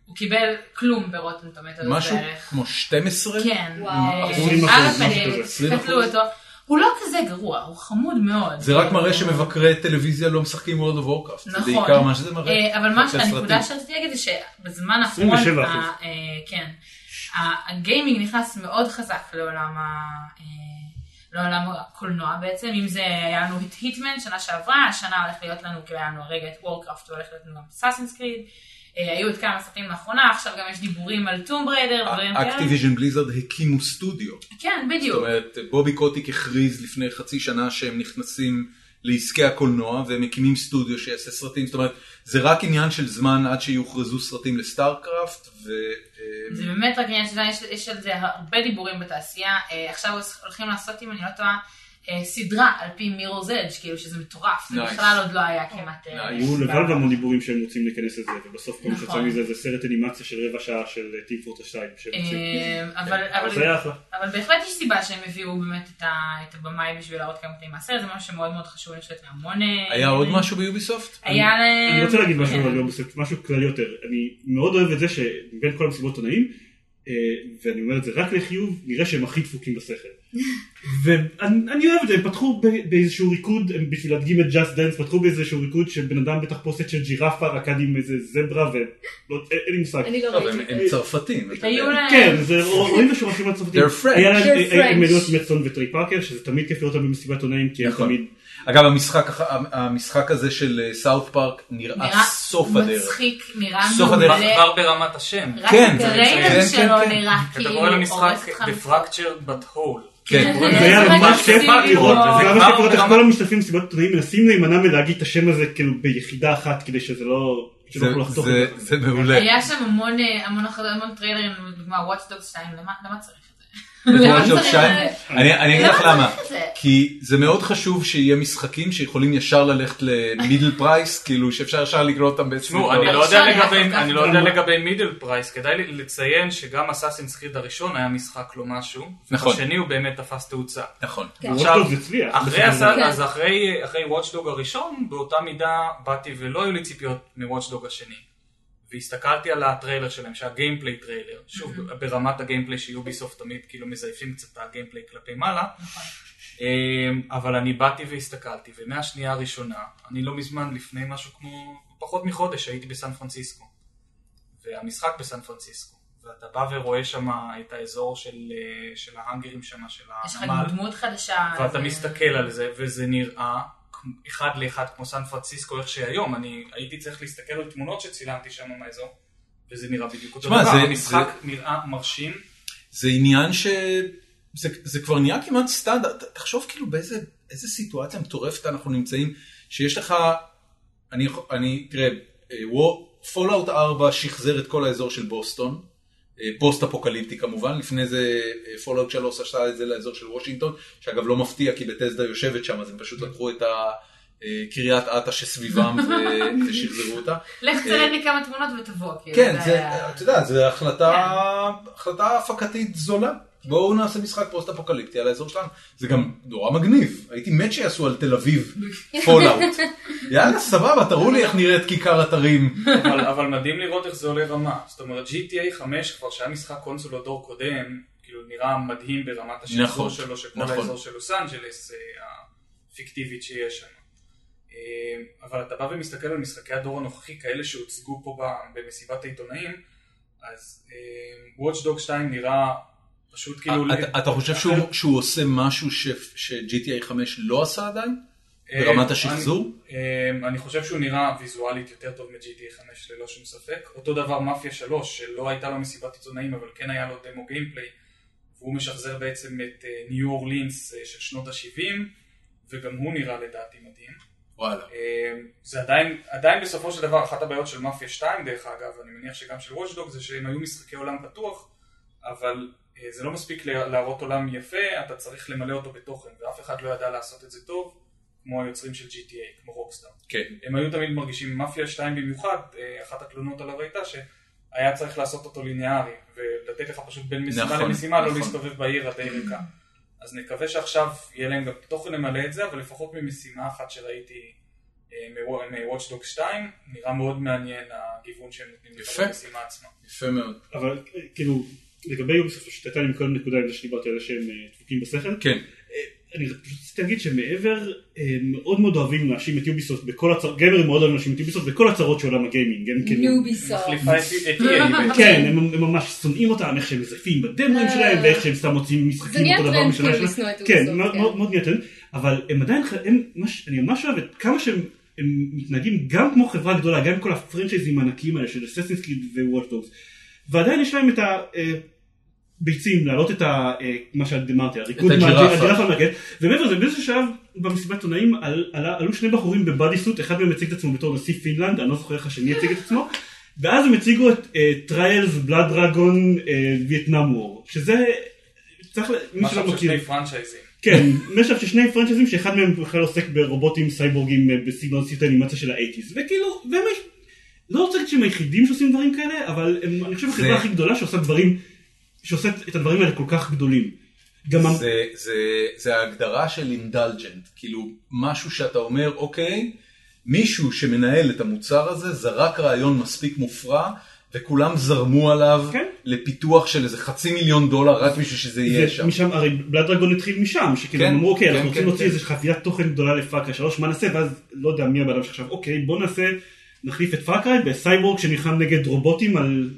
Speaker 5: הוא קיבל כלום ברוטן טומטר
Speaker 1: משהו
Speaker 5: בערך.
Speaker 1: כמו 12?
Speaker 5: כן.
Speaker 3: וואו.
Speaker 5: אה,
Speaker 4: 20%,
Speaker 5: על
Speaker 4: משהו
Speaker 5: הפנים,
Speaker 4: כזה.
Speaker 1: 20%.
Speaker 5: קטלו אותו. הוא לא כזה גרוע, הוא חמוד מאוד.
Speaker 1: זה רק
Speaker 5: כאילו.
Speaker 1: מראה שמבקרי טלוויזיה לא משחקים World of Warcraft. זה
Speaker 5: נכון.
Speaker 1: בעיקר מה שזה מראה.
Speaker 5: אה, אבל מה
Speaker 1: חצי
Speaker 5: שהנקודה
Speaker 1: הסרטים.
Speaker 5: שרציתי להגיד זה שבזמן האחרון,
Speaker 4: 27%.
Speaker 5: ה- אה, כן, ה- הגיימינג נכנס מאוד חזק לעולם ה- אה, לעולם הקולנוע בעצם, אם זה היה לנו את היטמן שנה שעברה, השנה הולך להיות לנו, כאילו היה לנו הרגע את וורקראפט, והולך להיות לנו גם סאסינס קריד, היו עוד כמה סרטים לאחרונה, עכשיו גם יש דיבורים על טום בריידר, דברים
Speaker 1: אה,
Speaker 5: כאלה.
Speaker 1: אקטיביז'ן בליזרד הקימו סטודיו.
Speaker 5: כן,
Speaker 1: זאת
Speaker 5: בדיוק.
Speaker 1: אומרת, בובי קוטיק הכריז לפני חצי שנה שהם נכנסים לעסקי הקולנוע והם מקימים סטודיו שיעשה סרטים. זאת אומרת, זה רק עניין של זמן עד שיוכרזו סרטים לסטארקראפט. ו...
Speaker 5: זה באמת רק עניין שזה, יש, יש על זה הרבה דיבורים בתעשייה. אה, עכשיו הולכים לעשות, אם אני לא טועה, אה, סדרה על פי מירור's Edge, כאילו שזה מטורף. זה
Speaker 1: Nice.
Speaker 5: בכלל עוד לא היה כמעט... אה,
Speaker 1: Nice.
Speaker 4: היו לבד המון דיבורים שהם רוצים להיכנס לזה, ובסוף כל מה שיצא
Speaker 5: נכון.
Speaker 4: מזה זה סרט אנימציה של רבע שעה של אה, טים פורטה 2 שהם רוצים.
Speaker 5: אה, אבל, אבל,
Speaker 4: זה היה אחלה.
Speaker 5: אבל בהחלט יש סיבה שהם הביאו באמת את, ה, את הבמאי בשביל להראות כמה קטעים מהסרט, זה משהו שמאוד מאוד חשוב, אני חושבת, מהמון... אה,
Speaker 1: היה עוד משהו ביוביסופט?
Speaker 5: היה להם...
Speaker 4: אני רוצה להגיד משהו
Speaker 5: כן.
Speaker 4: על יובוסט, משהו כללי יותר. אני מאוד אוהב את זה שבין כל המסיבות עונאים, אה, ואני אומר את זה רק לחיוב, נראה שהם הכי דפוקים בשכל. ואני אני אוהב את זה, הם פתחו ב- באיזשהו ריקוד, הם בשביל להדגים את Just Dance, פתחו באיזשהו ריקוד של בן אדם בתחפושת של ג'ירפה, רקד עם איזה זברה, ולא, אין- אין לי מושג.
Speaker 3: אני לא
Speaker 1: טוב, הם
Speaker 3: ראיתי.
Speaker 1: הם צרפתים. אתה
Speaker 5: היו
Speaker 1: יודע.
Speaker 5: להם...
Speaker 4: כן, זה רואים בשורשים הצרפתיים.
Speaker 1: They're French.
Speaker 4: היה להם
Speaker 3: They're
Speaker 4: אה, הם
Speaker 3: French.
Speaker 4: העלו את מצון וטרי פארקר, שזה תמיד כיף לראות אותם במסיבת עונאים, כי הם
Speaker 1: נכון.
Speaker 4: תמיד...
Speaker 1: אגב, המשחק הח- המשחק הזה של סאוף פארק נראה
Speaker 5: נראה
Speaker 1: אה, סוף הדרך.
Speaker 5: מצחיק, נראה
Speaker 1: סוף הדרך.
Speaker 5: מעולה.
Speaker 2: כבר ברמת השם.
Speaker 5: רק
Speaker 1: כן,
Speaker 5: הטריילר
Speaker 1: כן,
Speaker 5: שלו
Speaker 1: כן, כן.
Speaker 5: נראה
Speaker 2: אתה
Speaker 5: כאילו
Speaker 2: קורא
Speaker 5: הורס
Speaker 2: למשחק
Speaker 5: אותך
Speaker 2: The Fractured But Hole.
Speaker 1: כן.
Speaker 4: זה היה ממש כיף לראות,
Speaker 5: וזה
Speaker 4: זה היה ממש
Speaker 2: כבר
Speaker 4: כיף לראות איך
Speaker 2: לא, ברמה-
Speaker 4: כל המשתתפים במסיבת עיתונאים מנסים להימנע מלהגיד את השם הזה כאילו ביחידה אחת כדי שזה לא... שלא
Speaker 1: זה-
Speaker 4: יוכלו לחתוך
Speaker 1: זה-
Speaker 4: את זה.
Speaker 1: זה מעולה.
Speaker 5: היה שם המון אה, המון הכרזות, המון טריילרים, לדוגמה Watch Dogs 2, למה למה צריך את זה? למה
Speaker 1: Watch Dogs
Speaker 5: צריך
Speaker 1: 2?
Speaker 5: את זה?
Speaker 1: אני אני אגיד לך למה.
Speaker 5: צריך את זה?
Speaker 1: כי זה מאוד חשוב שיהיה משחקים שיכולים ישר ללכת למידל פרייס, כאילו שאפשר ישר לקנות אותם בעצם.
Speaker 2: תשמעו, אני לא
Speaker 5: עכשיו
Speaker 2: יודע
Speaker 5: אני
Speaker 2: לגבי-
Speaker 5: אקח
Speaker 2: אני לא יודע
Speaker 4: כמה.
Speaker 2: לגבי מידל פרייס, כדאי לי- לציין שגם אסאסינס קריד הראשון היה משחק לא משהו,
Speaker 1: נכון.
Speaker 2: השני הוא באמת תפס תאוצה.
Speaker 1: נכון.
Speaker 3: כן.
Speaker 4: Watch
Speaker 2: עכשיו,
Speaker 4: Dogs הצליח.
Speaker 2: אחרי
Speaker 4: בסופו של
Speaker 2: הסל-
Speaker 4: דבר.
Speaker 3: כן.
Speaker 2: אז אחרי וואטשדוג הראשון, באותה מידה באתי ולא היו לי ציפיות מוואטשדוג השני. והסתכלתי על הטריילר שלהם, שהגיימפליי טריילר, שוב, ברמת הגיימפליי שיוביסופט תמיד כאילו מזייפים קצת את הגיימפליי כלפי מעלה, אמ, אבל אני באתי והסתכלתי, ומהשנייה הראשונה, אני לא מזמן, לפני משהו כמו, פחות מחודש, הייתי בסן פרנסיסקו. והמשחק בסן פרנסיסקו. ואתה בא ורואה שם את האזור של, אה, של ההאנגרים שם, של
Speaker 1: אה,
Speaker 5: יש לך
Speaker 2: הנמל,
Speaker 5: גם דמות חדשה. אה,
Speaker 2: ואתה
Speaker 5: אז-
Speaker 2: מסתכל על זה, וזה נראה כמו- אחד לאחד כמו סן פרנסיסקו, איך שהיום, אני הייתי צריך להסתכל על תמונות שצילמתי שם מהאזור, וזה נראה בדיוק אותו
Speaker 1: שמע,
Speaker 2: דבר.
Speaker 1: זה-
Speaker 2: המשחק נראה מרשים.
Speaker 1: זה עניין ש... זה, זה כבר נהיה כמעט סטנדרט, ת- תחשוב כאילו באיזה איזה סיטואציה מטורפת אנחנו נמצאים, שיש לך, אני, יכול- אני תראה, אה, פולאאוט 4 שחזר את כל האזור של בוסטון, פוסט אפוקליפטי כמובן, לפני זה אה, פולאאוט 3 עשה את זה לאזור של וושינגטון, שאגב לא מפתיע כי בטסדה יושבת שם, אז הם פשוט לקחו את ה... אה, קריית אתא שסביבם ו- ושחזרו אותה.
Speaker 2: אה,
Speaker 5: לך תצלם לי כמה תמונות ותבוא, כאילו.
Speaker 1: כן, זה,
Speaker 5: ה-
Speaker 1: אתה יודע, זו החלטה, החלטה הפקתית זולה. בואו נעשה משחק פוסט אפוקליפטי על האזור שלנו. זה גם נורא מגניב, הייתי מת שיעשו על תל אביב פולאאוט. יאללה, סבבה, תראו לי איך נראית כיכר אתרים.
Speaker 2: אבל, אבל מדהים לראות איך זה עולה רמה. זאת אומרת, GTA 5 כבר שהיה משחק קונסול עוד דור קודם, כאילו נראה מדהים ברמת השחזור
Speaker 1: נכון,
Speaker 2: שלו, של כל
Speaker 1: נכון.
Speaker 2: האזור של לוס אנג'לס אה, הפיקטיבית שיש שם. אה, אבל אתה בא ומסתכל על משחקי הדור הנוכחי, כאלה שהוצגו פה ב- במסיבת העיתונאים, אז אה, Watch Dog 2 נראה פשוט כאילו...
Speaker 1: אה, אתה- אתה חושב שהוא- שהוא עושה משהו ש- ש-GTA 5 לא עשה עדיין? ברמת השחזור?
Speaker 2: אה, אני, אמ, אני חושב שהוא נראה ויזואלית יותר טוב מ-GTA 5 ללא שום ספק. אותו דבר מאפיה 3, שלא הייתה לו מסיבת עיתונאים, אבל כן היה לו דמו גיימפליי, והוא משחזר בעצם את אה, ניו אורלינס אה, של שנות ה-70, וגם הוא נראה לדעתי מדהים.
Speaker 1: וואלה.
Speaker 2: אה, זה עדיין, עדיין בסופו של דבר אחת הבעיות של מאפיה 2 דרך אגב, אני מניח שגם של וושדוג, זה שהם היו משחקי עולם פתוח, אבל אה, זה לא מספיק לה- להראות עולם יפה, אתה צריך למלא אותו בתוכן, ואף אחד לא ידע לעשות את זה טוב, כמו היוצרים של GTA, כמו רוקסטאר.
Speaker 1: כן.
Speaker 2: הם היו תמיד מרגישים, מאפיה 2 במיוחד, אה, אחת התלונות עליו הייתה שהיה צריך לעשות אותו ליניארי, ולתת לך פשוט בין משימה
Speaker 1: נכון,
Speaker 2: למשימה, לא
Speaker 1: נכון.
Speaker 2: להסתובב בעיר הדי ריקה. אז נקווה שעכשיו יהיה להם גם תוכן למלא את זה, אבל לפחות ממשימה אחת שראיתי אה, מ-Watchdog 2, נראה מאוד מעניין הגיוון שהם נותנים
Speaker 1: יפה.
Speaker 2: לך במשימה עצמה.
Speaker 1: יפה מאוד.
Speaker 4: אבל אה, כאילו, לגבי יוביסופט, שתתה לי מכל נקודה עם זה שדיברתי על זה שהם אה, דפוקים בשכל.
Speaker 1: כן.
Speaker 4: אה, אני פשוט רציתי להגיד שמעבר, אה, מאוד מאוד אוהבים להאשים את יוביסופט בכל הצרות, גיימרים מאוד אוהבים להאשים את יוביסופט בכל הצרות של עולם הגיימינג. הם כאילו-
Speaker 3: יוביסופט.
Speaker 2: מחליפה את- את EA.
Speaker 4: כן, הם הם ממש שונאים אותם, איך שהם מזייפים בדמוים
Speaker 3: אה.
Speaker 4: שלהם, ואיך שהם סתם מוציאים משחקים,
Speaker 3: זה נהיה
Speaker 4: אותו דבר
Speaker 3: טרנד
Speaker 4: משנה
Speaker 3: כאילו
Speaker 4: לשנה.
Speaker 3: לשנוא את
Speaker 4: כן,
Speaker 3: אורסון,
Speaker 4: מאוד-
Speaker 3: כן.
Speaker 4: מאוד מאוד נהיה טרנד, אבל הם עדיין, ח- הם ממש- אני ממש אוהב את כמה שהם הם מתנהגים גם כמו חברה גדולה, גם כל הפרנצ'ייזים הענקיים האלה של אססינס קריד ווולטוס, ועדיין יש להם את ה... אה, ביצים, להעלות את ה... אה, מה שאמרתי, הריקוד
Speaker 1: את
Speaker 4: מהג'י-
Speaker 1: הג'ירפה.
Speaker 4: הג'ירפה מהגט, ומעבר לזה, באיזשהו שלב במסיבת עיתונאים על- עלה- עלו שני בחורים בבאדי סוט, אחד מהם הציג את עצמו בתור נשיא פינלנד, אני לא זוכר איך השני הציג את עצמו, ואז הם הציגו את אה, טריילס, בלאד דרגון, וייטנאם וור, אה, שזה... צריך ל... מי
Speaker 2: משהו
Speaker 4: שלא
Speaker 2: של
Speaker 4: מכיר,
Speaker 2: שני פרנצ'ייזים.
Speaker 4: כן, משאב של שני פרנצ'ייזים שאחד מהם בכלל עוסק ברובוטים סייבורגים אה, בסגנון סרט אנימציה של האייטיז, וכאילו, באמת, לא רוצה להגיד שהם היחידים שעושים דברים כאלה, אבל הם, אני חושב החברה
Speaker 1: זה-
Speaker 4: הכי גדולה שעושה דברים, שעושה את הדברים האלה כל כך גדולים. גם המ-
Speaker 1: זה, זה, זה ההגדרה של אינדלג'נט, כאילו משהו שאתה אומר, אוקיי, מישהו שמנהל את המוצר הזה זרק רעיון מספיק מופרע, וכולם זרמו עליו
Speaker 4: כן.
Speaker 1: לפיתוח של איזה חצי מיליון דולר רק בשביל שזה יהיה
Speaker 4: זה
Speaker 1: שם.
Speaker 4: משם, הרי בלאד דרגון התחיל משם, שכאילו
Speaker 1: כן,
Speaker 4: הם אמרו, אוקיי,
Speaker 1: כן,
Speaker 4: אנחנו
Speaker 1: כן,
Speaker 4: רוצים להוציא
Speaker 1: כן.
Speaker 4: איזו חבילת תוכן גדולה לפאקה שלוש, מה נעשה? ואז לא יודע מי הבן אדם שחשב, אוקיי, בוא נעשה, נחליף את פאקריי בסייבורג שנלחם נגד רובוטים על...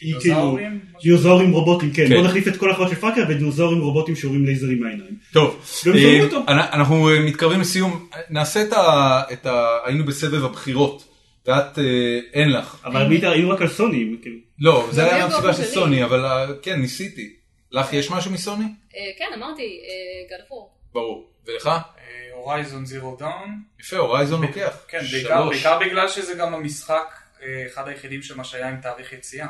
Speaker 4: היא כאילו-
Speaker 2: דינוזאורים?
Speaker 4: דינוזאורים רובוטים, כן,
Speaker 1: כן.
Speaker 4: בוא נחליף את כל החברות של פאקריי בדינוזאורים רובוטים שיורים לייזרים מהעיניים.
Speaker 1: טוב,
Speaker 4: גם
Speaker 1: אה,
Speaker 4: זרמו אותו.
Speaker 1: אנ- אנחנו אה, מתקרבים לסיום, נעשה את ה... את ה... היינו בסבב הבחירות, ואת אה, אין לך.
Speaker 4: אבל מי יודע, היו רק על סוני, הם כאילו.
Speaker 1: לא, זה
Speaker 3: גם
Speaker 1: היה
Speaker 3: לי
Speaker 1: הסיבה
Speaker 3: באופן
Speaker 1: של
Speaker 3: כללי.
Speaker 1: סוני, אבל אה, כן, ניסיתי. לך יש משהו מסוני?
Speaker 3: אה, כן, אמרתי, גד אפור.
Speaker 1: ברור. ולך?
Speaker 2: אה, הורייזון זירו דאון.
Speaker 1: יפה, הורייזון לוקח.
Speaker 2: כן, בעיקר,
Speaker 1: אוקיי. שלוש.
Speaker 2: בעיקר בגלל שזה גם המשחק, אה, אחד היחידים ממש היה עם תאריך יציאה.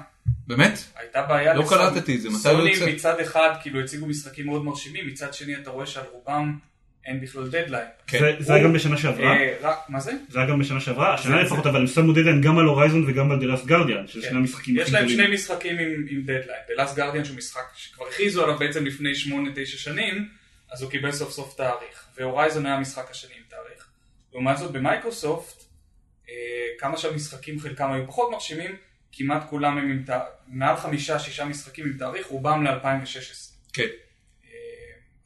Speaker 1: באמת?
Speaker 2: הייתה בעיה.
Speaker 1: לא
Speaker 2: לסוני.
Speaker 1: קלטתי את זה, מתי הוא
Speaker 2: סוני
Speaker 1: יוצא?
Speaker 2: מצד אחד כאילו הציגו משחקים מאוד מרשימים, מצד שני אתה רואה שעל רובם אין בכלל דדליין.
Speaker 1: כן.
Speaker 4: זה- זה היה גם בשנה שעברה,
Speaker 2: אה, רק, מה זה?
Speaker 4: זה היה גם בשנה שעברה, השנה
Speaker 2: זה-
Speaker 4: לפחות, אבל הם שמו דדליין גם על הורייזון וגם על דלאס גרדיאן, שזה
Speaker 2: כן.
Speaker 4: שני המשחקים
Speaker 2: יש
Speaker 4: הכי
Speaker 2: להם שני
Speaker 4: גדולים.
Speaker 2: משחקים עם, עם דדליין. The Last Guardian שהוא משחק שכבר הכריזו עליו בעצם לפני 8-9 שנים, אז הוא קיבל סוף סוף תאריך. והורייזון היה המשחק השני עם תאריך. לעומת זאת במייקרוסופט, אה, כמה שהמשחקים חלקם היו פחות מרשימים, כמעט כולם הם עם תאריך, מעל חמישה, שישה משחקים עם תאריך, רובם ל-2016.
Speaker 1: כן.
Speaker 2: אה,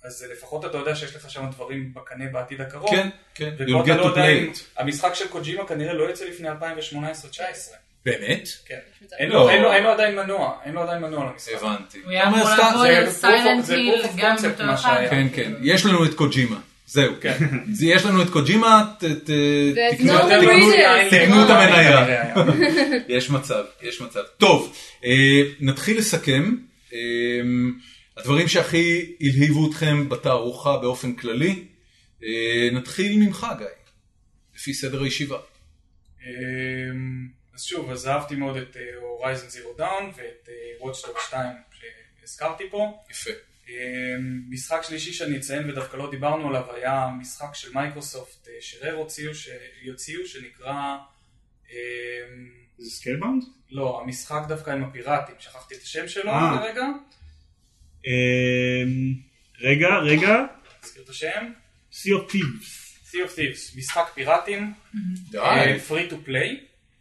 Speaker 2: אז לפחות אתה יודע שיש לך שם דברים בקנה בעתיד הקרוב.
Speaker 1: כן, כן.
Speaker 2: ופה
Speaker 1: You'll
Speaker 2: אתה
Speaker 1: get
Speaker 2: לא
Speaker 1: to
Speaker 2: יודע אם...
Speaker 1: play it.
Speaker 2: המשחק של קוג'ימה כנראה לא יוצא לפני 2018-2019.
Speaker 1: באמת?
Speaker 2: כן.
Speaker 3: יש מצב.
Speaker 2: אין
Speaker 1: לא.
Speaker 2: לו- אין לו- אין לו עדיין מנוע, אין לו עדיין מנוע למשחק.
Speaker 1: הבנתי.
Speaker 5: הוא היה אמור
Speaker 1: אומר, סתם,
Speaker 5: לעבור
Speaker 1: זה-
Speaker 2: היה proof of-
Speaker 5: סיילנט
Speaker 2: זה
Speaker 5: היל
Speaker 2: proof of
Speaker 5: גם
Speaker 2: concept
Speaker 5: בתור
Speaker 2: מה
Speaker 5: אחד.
Speaker 2: שהיה.
Speaker 1: כן, כן. יש לנו את קוג'ימה. זהו.
Speaker 2: כן.
Speaker 1: זה- יש לנו את קוג'ימה, ת- ת-
Speaker 3: There's
Speaker 5: לא
Speaker 1: תקנו-
Speaker 3: no
Speaker 1: תקנו-
Speaker 3: reason.
Speaker 1: תקנו את המניה.
Speaker 2: כנראה היה.
Speaker 1: יש מצב, יש מצב. טוב, אה, נתחיל לסכם. אה, הדברים שהכי הלהיבו אתכם בתערוכה באופן כללי, אה, נתחיל ממך גיא, לפי סדר הישיבה.
Speaker 2: אמ, אז שוב, אז אהבתי מאוד את אה, Horizon Zero Dawn ואת אה, Watch Dogs 2 שהזכרתי פה.
Speaker 1: יפה.
Speaker 2: אמ, משחק שלישי שאני אציין ודווקא לא דיברנו עליו היה משחק של מייקרוסופט אה, שרר הוציאו, שיוציאו, שנקרא... אמ,
Speaker 4: זה סקייבאונד?
Speaker 2: לא, המשחק דווקא עם הפיראטים, שכחתי את השם שלו
Speaker 4: אה.
Speaker 2: כרגע,
Speaker 4: אמ, רגע, רגע,
Speaker 2: תזכיר את השם.
Speaker 4: סי אוף טיבס.
Speaker 2: Sea of Thieves, משחק פיראטים, אה,
Speaker 1: די.
Speaker 2: פרי טו פליי.
Speaker 1: אה,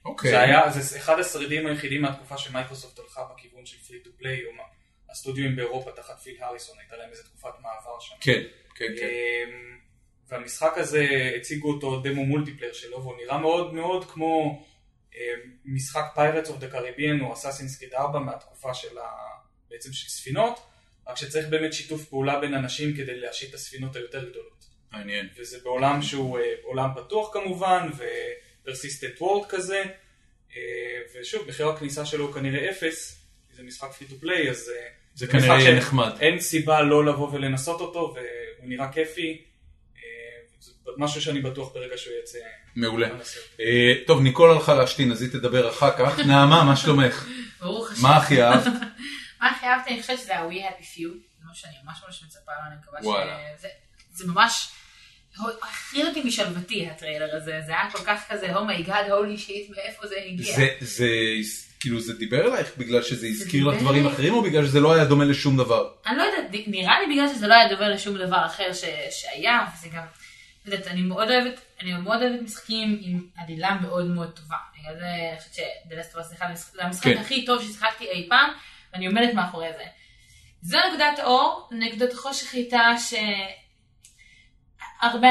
Speaker 1: אוקיי.
Speaker 2: זה היה, זה אחד השרידים היחידים מהתקופה שמייקרוסופט הלכה בכיוון של פרי טו פליי, או מה- הסטודיואים באירופה תחת פיל הריסון, הייתה להם איזה תקופת מעבר שם.
Speaker 1: כן, כן, כן.
Speaker 2: אמ, והמשחק הזה, הציגו אותו דמו מולטיפלייר שלו, והוא נראה מאוד מאוד כמו אמ, משחק פיירטס אוף דה קריביאן או אסאסינס קריד 4 מהתקופה של ה... בעצם של ספינות, רק שצריך באמת שיתוף פעולה בין אנשים כדי להשיט את הספינות היותר גדולות.
Speaker 1: מעניין.
Speaker 2: וזה בעולם שהוא אה, עולם פתוח כמובן, ופרסיסטנט וורד כזה, אה, ושוב, מחיר הכניסה שלו הוא כנראה אפס, כי זה משחק פרי טו פליי, אז אה,
Speaker 1: זה
Speaker 2: משחק
Speaker 1: כנראה יהיה
Speaker 2: ש-
Speaker 1: נחמד.
Speaker 2: אין סיבה לא לבוא ולנסות אותו, והוא נראה כיפי, אה, זה משהו שאני בטוח ברגע שהוא יצא.
Speaker 1: מעולה.
Speaker 2: ננסה אותו.
Speaker 1: אה, טוב, ניקול הלכה להשתין, אז היא תדבר אחר כך. נעמה, מה שלומך?
Speaker 5: ברוך השם.
Speaker 1: מה הכי אהבת?
Speaker 5: מה הכי אהבתי? אני חושבת שזה ה-We Happy Few, זה מה שאני ממש ממש מצפה לו, אני מקווה
Speaker 1: וואלה.
Speaker 5: ש... זה- זה ממש... הכי אותי משלוותי הטריילר הזה, זה היה כל כך כזה, oh הומייגאד, הולי שיט, מאיפה זה הגיע?
Speaker 1: זה, זה, כאילו זה דיבר אלייך בגלל שזה הזכיר
Speaker 5: דיבר
Speaker 1: לך דברים
Speaker 5: אליי.
Speaker 1: אחרים או בגלל שזה לא היה דומה לשום דבר?
Speaker 5: אני לא יודעת, ד- נראה לי בגלל שזה לא היה דובר לשום דבר אחר ש, שהיה, וזה גם, לא יודעת, אני מאוד אוהבת, אני מאוד אוהבת משחקים עם עלילה מאוד מאוד טובה. בגלל זה אני חושבת שדלסטרוס זה אחד המשחק- זה המשחק
Speaker 1: כן.
Speaker 5: הכי טוב ששיחקתי אי פעם, ואני עומדת מאחורי זה. זו נקודת אור, נקודת החושך הייתה שהרבה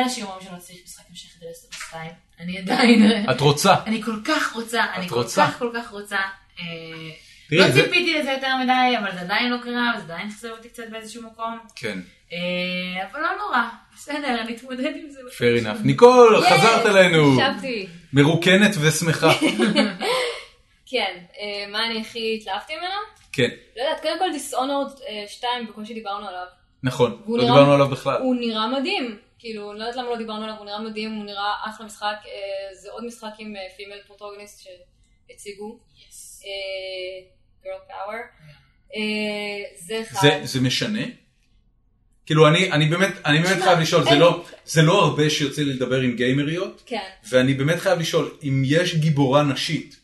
Speaker 5: אנשים אומרים שלא צריך משחק המשך דלסטרוס 2, אני עדיין,
Speaker 1: את רוצה.
Speaker 5: אני כל כך רוצה, אני כל
Speaker 1: רוצה?
Speaker 5: כך כל כך רוצה. אה,
Speaker 1: תראי,
Speaker 5: לא
Speaker 1: זה-
Speaker 5: ציפיתי לזה יותר מדי, אבל זה עדיין לא קרה, וזה עדיין חסר אותי קצת באיזשהו מקום.
Speaker 1: כן,
Speaker 5: אה, אבל לא נורא, בסדר, אני אתמודד עם זה.
Speaker 1: fair enough. ניקול,
Speaker 3: Yes,
Speaker 1: חזרת אלינו.
Speaker 3: הקשבתי.
Speaker 1: מרוקנת ושמחה.
Speaker 3: כן, אה, מה אני הכי התלהבתי ממנו?
Speaker 1: כן,
Speaker 3: לא יודעת, קודם כל דיסאונורד 2, בקושי דיברנו עליו.
Speaker 1: נכון.
Speaker 3: והוא
Speaker 1: לא
Speaker 3: נראה-
Speaker 1: דיברנו עליו בכלל.
Speaker 3: הוא נראה מדהים, כאילו, לא יודעת למה לא דיברנו עליו, הוא נראה מדהים, הוא נראה אחלה משחק, אה, זה עוד משחק עם פימל פרוטוגניסט שהציגו,
Speaker 5: Yes.
Speaker 3: אה, Girl Power, אה, זה אחד,
Speaker 1: זה- זה משנה? כאילו אני אני באמת אני באמת
Speaker 3: תשמע,
Speaker 1: חייב לשאול, זה
Speaker 3: אין-
Speaker 1: לא- זה לא הרבה שיוצא לי לדבר עם גיימריות,
Speaker 3: כן,
Speaker 1: ואני באמת חייב לשאול, אם יש גיבורה נשית,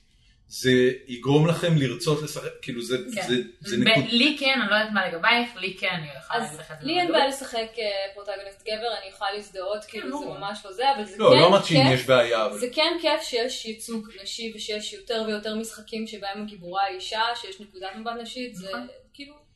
Speaker 1: זה יגרום לכם לרצות לשחק, כאילו זה
Speaker 5: כן.
Speaker 1: זה- זה
Speaker 5: ב-
Speaker 1: נקוד.
Speaker 5: לי כן, אני לא יודעת מה לגבייך, לי כן, אני יכולה להגיד
Speaker 3: אז
Speaker 5: לך את זה.
Speaker 3: לי אין
Speaker 5: בוודאות.
Speaker 3: בעיה לשחק אה, פרוטגוניסט גבר, אני יכולה להזדהות, כאילו
Speaker 5: לא.
Speaker 3: זה ממש לא זה, אבל זה
Speaker 1: לא, לא
Speaker 3: כן
Speaker 1: אמרתי שאם
Speaker 3: כיף.
Speaker 1: יש בעיה, אבל... אה,
Speaker 3: זה כן כיף שיש ייצוג נשי ושיש יותר ויותר משחקים שבהם הגיבורה היא אישה, שיש נקודת מבט נשית, זה
Speaker 5: נכון.
Speaker 3: כאילו...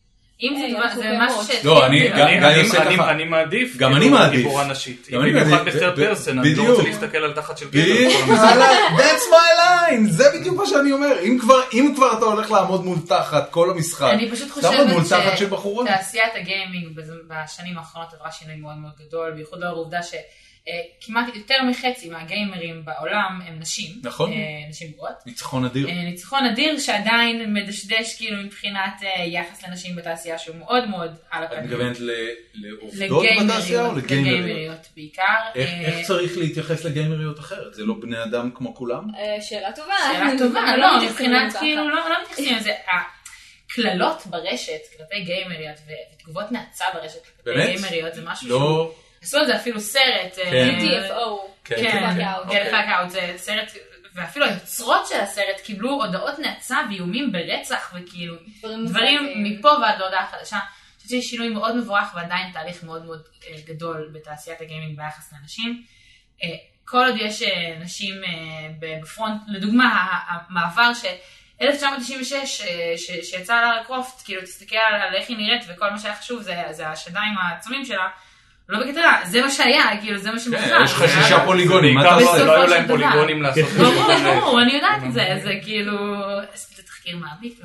Speaker 5: אם זה
Speaker 3: היי,
Speaker 5: דבר-
Speaker 3: אנחנו
Speaker 5: זה
Speaker 3: בהמות.
Speaker 5: משהו ש...
Speaker 1: לא, אני-
Speaker 5: כן,
Speaker 1: גם-
Speaker 2: אני-
Speaker 1: גם
Speaker 2: אני-
Speaker 1: יוסי
Speaker 2: אני-
Speaker 1: ככה.
Speaker 2: אני מעדיף,
Speaker 1: גם
Speaker 2: כאילו,
Speaker 1: אני מעדיף.
Speaker 2: גיבורה נשית,
Speaker 1: גם אני
Speaker 2: במיוחד
Speaker 1: מעדיף,
Speaker 2: בסרט
Speaker 1: ב- ב-
Speaker 2: פרסן, אני לא
Speaker 1: בדיוק.
Speaker 2: רוצה להסתכל על תחת של גבר,
Speaker 5: כאילו-
Speaker 1: בדיוק,
Speaker 2: כל המשחק.
Speaker 1: that's my line, זה בדיוק מה שאני אומר. אם כבר, אם כבר אתה הולך לעמוד מול תחת כל המשחק,
Speaker 5: אני פשוט
Speaker 1: תעמוד מול תחת
Speaker 5: חושבת
Speaker 1: של בחורה.
Speaker 5: שתעשיית הגיימינג בז- בשנים האחרונות עברה שינוי מאוד מאוד גדול, בייחוד לאור העובדה שכמעט יותר מחצי מהגיימרים בעולם הם נשים.
Speaker 1: נכון.
Speaker 5: אה, נשים בוגרות.
Speaker 1: ניצחון אדיר.
Speaker 5: אה, ניצחון אדיר שעדיין מדשדש כאילו מבחינת אה, יחס לנשים בתעשייה שהוא מאוד מאוד על
Speaker 1: את
Speaker 5: הפנים.
Speaker 1: מתכוונת ל- לעובדות בתעשייה או
Speaker 5: לגיימריות,
Speaker 1: לגיימריות?
Speaker 5: לגיימריות בעיקר.
Speaker 1: איך
Speaker 5: אה,
Speaker 1: איך צריך להתייחס לגיימריות אחרת? זה לא בני אדם כמו כולם?
Speaker 3: אה, שאלה טובה.
Speaker 5: שאלה טובה,
Speaker 3: אני
Speaker 5: לא,
Speaker 3: מתייחסת
Speaker 5: מבחינת
Speaker 3: לזה ככה.
Speaker 5: כאילו, לא לא מתייחסים לזה. הקללות ברשת כלפי גיימריות ו- ותגובות נאצה ברשת כלפי
Speaker 1: באמת?
Speaker 5: גיימריות זה משהו שהוא...
Speaker 1: לא,
Speaker 5: עשו על זה אפילו סרט. אה,
Speaker 1: כן.
Speaker 3: TFO.
Speaker 1: כן,
Speaker 5: כן,
Speaker 1: כן,
Speaker 5: Get
Speaker 1: אוקיי.
Speaker 5: the fuck out, זה סרט, ואפילו היוצרות של הסרט קיבלו הודעות נאצה ואיומים ברצח וכאילו... דברים
Speaker 3: מוזרים.
Speaker 5: מפה ועד להודעה חדשה. אני חושבת שיש שינוי מאוד מבורך ועדיין תהליך מאוד מאוד אה, גדול בתעשיית הגיימינג ביחס לנשים. אה, כל עוד יש אה, נשים אה, בפרונט, לדוגמה ה- ה- המעבר ש... 1996, אה, ש- שיצא על הארי קרופט, כאילו, תסתכל על על איך היא נראית, וכל מה שהיה חשוב זה זה השדיים העצומים שלה, לא בקטנה, זה מה שהיה, כאילו, זה מה
Speaker 1: כן,
Speaker 5: שמוכרח.
Speaker 1: יש לך שישה פוליגונים, מה אתה
Speaker 5: בסוף-
Speaker 1: עושה?
Speaker 5: בסופו
Speaker 2: לא היו
Speaker 5: של
Speaker 2: להם
Speaker 5: דבר.
Speaker 2: פוליגונים לעשות את זה.
Speaker 1: לא,
Speaker 5: ברור, ברור, אני יודעת את זה, זה כאילו, עשיתי תחקיר מעמיק,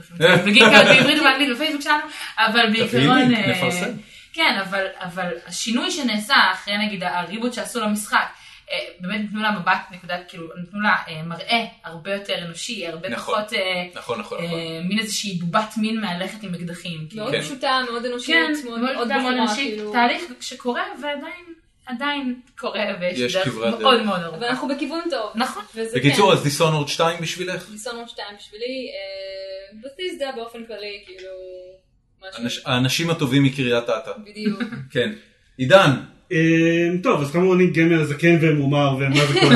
Speaker 5: בגלל גם בעברית ובאנגלית בפייסבוק שלנו, אבל בעיקרון,
Speaker 1: תביאי,
Speaker 5: אה,
Speaker 1: נפרסם.
Speaker 5: כן, אבל- אבל השינוי שנעשה אחרי נגיד הריבוט שעשו למשחק, אה, באמת נתנו לה מבט, נקודת, כאילו, נתנו לה אה, מראה הרבה יותר אנושי, הרבה
Speaker 1: נכון.
Speaker 5: פחות אה,
Speaker 1: נכון, נכון, נכון.
Speaker 5: אה, מין איזושהי בובת מין מהלכת עם אקדחים. כאילו.
Speaker 3: מאוד
Speaker 1: כן.
Speaker 3: פשוטה, מאוד אנושית,
Speaker 5: כן,
Speaker 3: לא מאוד
Speaker 5: מאוד
Speaker 3: בחורה,
Speaker 5: מאוד אנושית,
Speaker 3: כאילו.
Speaker 5: תהליך שקורה ועדיין עדיין קורה,
Speaker 1: יש
Speaker 5: ויש דרך
Speaker 1: כברת דרך.
Speaker 5: מאוד מאוד
Speaker 3: אבל
Speaker 5: ארוכה.
Speaker 3: אנחנו בכיוון טוב.
Speaker 5: נכון.
Speaker 3: וזה כן,
Speaker 1: בקיצור, אז דיסונורד 2 בשבילך?
Speaker 3: דיסונור 2 בשבילי, אה, בתיסדה באופן כללי, כאילו, משהו,
Speaker 1: האנש- האנשים הטובים מקריית אתא.
Speaker 3: בדיוק.
Speaker 1: כן. עידן,
Speaker 4: אמ, טוב, אז כאמור אני גמר זקן ומומר ומה זה כל זה.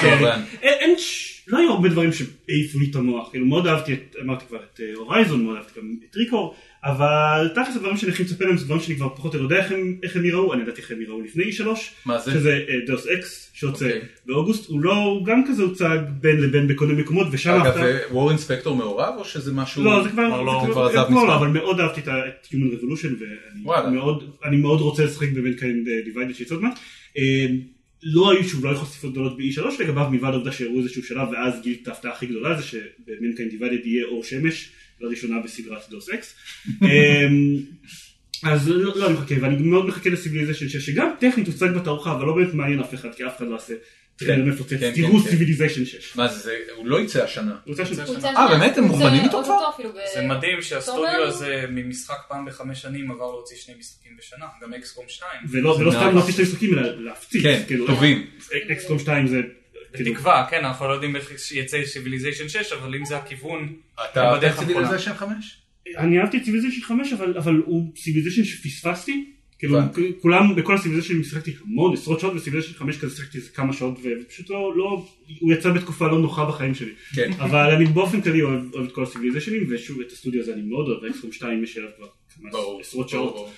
Speaker 1: כמובן.
Speaker 4: אין- אין ש- לא היו הרבה דברים שהעיפו לי את המוח, כאילו מאוד אהבתי, את- אמרתי כבר את אה, הורייזון, מאוד אהבתי גם את ריקור, אבל תכלס הדברים שאני הכי מצפה להם זה דברים שאני כבר פחות או יותר יודע איך הם- איך הם יראו, אני ידעתי איך הם יראו לפני E שלוש,
Speaker 1: מה זה?
Speaker 4: שזה אה, דוס אקס שיוצא
Speaker 1: אוקיי.
Speaker 4: באוגוסט, הוא לא, הוא גם כזה הוצג בין לבין בכל מיני מקומות, ושם
Speaker 1: אגב,
Speaker 4: אתה-
Speaker 1: אה, וורן ספקטור מעורב או שזה משהו...
Speaker 4: לא, זה כבר,
Speaker 1: לא, הוא
Speaker 4: זה
Speaker 1: כבר עזב
Speaker 4: לא, לא,
Speaker 1: מזמן.
Speaker 4: אבל מאוד אהבתי את ה- את Human Revolution,
Speaker 1: וואלה.
Speaker 4: ואני מאוד, אני מאוד רוצה לשחק באמת כאן דיוויידד שיצא עוד מעט. אה, לא היו שוב, לא היו חשיפות גדולות ב-E3 לגביו, מלבד העובדה שהראו איזשהו שלב, ואז גיל את ההפתעה הכי גדולה זה שבמנקיין דיוויידד יהיה אור שמש, לראשונה בסדרת דוס אקס. אז לא, לא אני מחכה, ואני מאוד מחכה לסיביליזיישן 6, שגם טכנית הוצג בתערוכה, אבל לא באמת מעניין אף אחד, כי אף אחד לא עושה טריילר מפוצץ,
Speaker 1: כן,
Speaker 4: תראו
Speaker 1: כן, כן.
Speaker 4: סיביליזיישן 6.
Speaker 1: מה זה, זה, הוא לא יצא השנה.
Speaker 4: רוצה ש-
Speaker 3: הוא יוצא
Speaker 1: אה, באמת? הם
Speaker 3: הוא יוצא
Speaker 1: מוכנים איתו
Speaker 3: אוטוטו
Speaker 1: כבר?
Speaker 3: אפילו ב-
Speaker 2: זה מדהים שהסטודיו
Speaker 3: תומר?
Speaker 2: הזה ממשחק פעם בחמש שנים עבר להוציא שני משחקים בשנה, גם אקסקום 2.
Speaker 4: ולא ולא סתם
Speaker 1: nice.
Speaker 4: להוציא שני משחקים, אלא להפציץ.
Speaker 1: כן,
Speaker 4: כאילו,
Speaker 1: טובים.
Speaker 4: אקסקום 2 זה... כאילו,
Speaker 2: בתקווה, כן, אנחנו לא יודעים איך יצא סיביליזיישן 6, אבל אם זה הכיוון,
Speaker 1: אתה בדרך
Speaker 2: בדרך
Speaker 1: כלל
Speaker 2: הנכונה.
Speaker 1: זה שם חמש?
Speaker 4: אני אהבתי את סיביליזיישן 5 אבל אבל הוא סיביליזיישן שפספסתי. כאילו
Speaker 1: הבנתי.
Speaker 4: כ- כולם בכל הסיביליזיישנים שיחקתי המון עשרות שעות וסיביליזיישן 5 כזה שיחקתי איזה כמה שעות ופשוט לא לא הוא יצא בתקופה לא נוחה בחיים שלי.
Speaker 1: כן.
Speaker 4: אבל אני באופן כללי אוהב אוהב את כל הסיביליזיישנים ושוב את הסטודיו הזה אני מאוד אוהב. אקסקום 2 יש אליו כבר כמה
Speaker 1: ברור.
Speaker 4: עשרות
Speaker 1: ברור,
Speaker 4: שעות.
Speaker 1: ברור.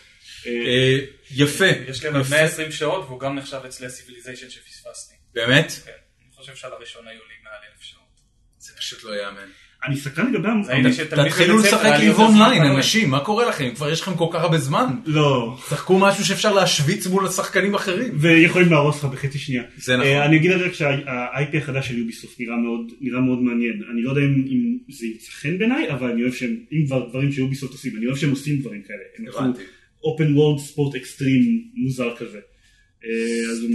Speaker 4: אה,
Speaker 1: אה, יפה.
Speaker 2: כן, יש להם עוד
Speaker 1: יפה.
Speaker 2: 120 שעות, והוא גם נחשב אצלי הסיביליזיישן שפספסתי.
Speaker 1: באמת?
Speaker 2: כן, אני חושב שעל הראשון היו לי מעל אלף שעות.
Speaker 1: זה פשוט לא יאמן.
Speaker 4: אני סקרן לגבי המ-
Speaker 2: ראיתי ש- תלמיד
Speaker 1: תתחילו
Speaker 2: בבית ספר,
Speaker 1: לשחק
Speaker 2: היה לי
Speaker 1: ליב
Speaker 2: יותר זמן
Speaker 1: אונליין,
Speaker 2: פנוי.
Speaker 1: אנשים, מה קורה לכם? כבר יש לכם כל כך הרבה זמן.
Speaker 4: לא.
Speaker 1: שחקו משהו שאפשר להשוויץ מול השחקנים האחרים.
Speaker 4: ויכולים להרוס לך בחצי שנייה.
Speaker 1: זה נכון.
Speaker 4: אה, אני אגיד רק שה-IP החדש של יוביסופט נראה מאוד, נראה מאוד מעניין. אני לא יודע אם, אם זה ימצא חן בעיניי, אבל אני אוהב שהם, אם כבר דברים שיוביסופט עושים, אני אוהב שהם עושים דברים כאלה. הם עשו
Speaker 1: הבנתי.
Speaker 4: open world ספורט אקסטרים מוזר כזה. אה, אז הוא-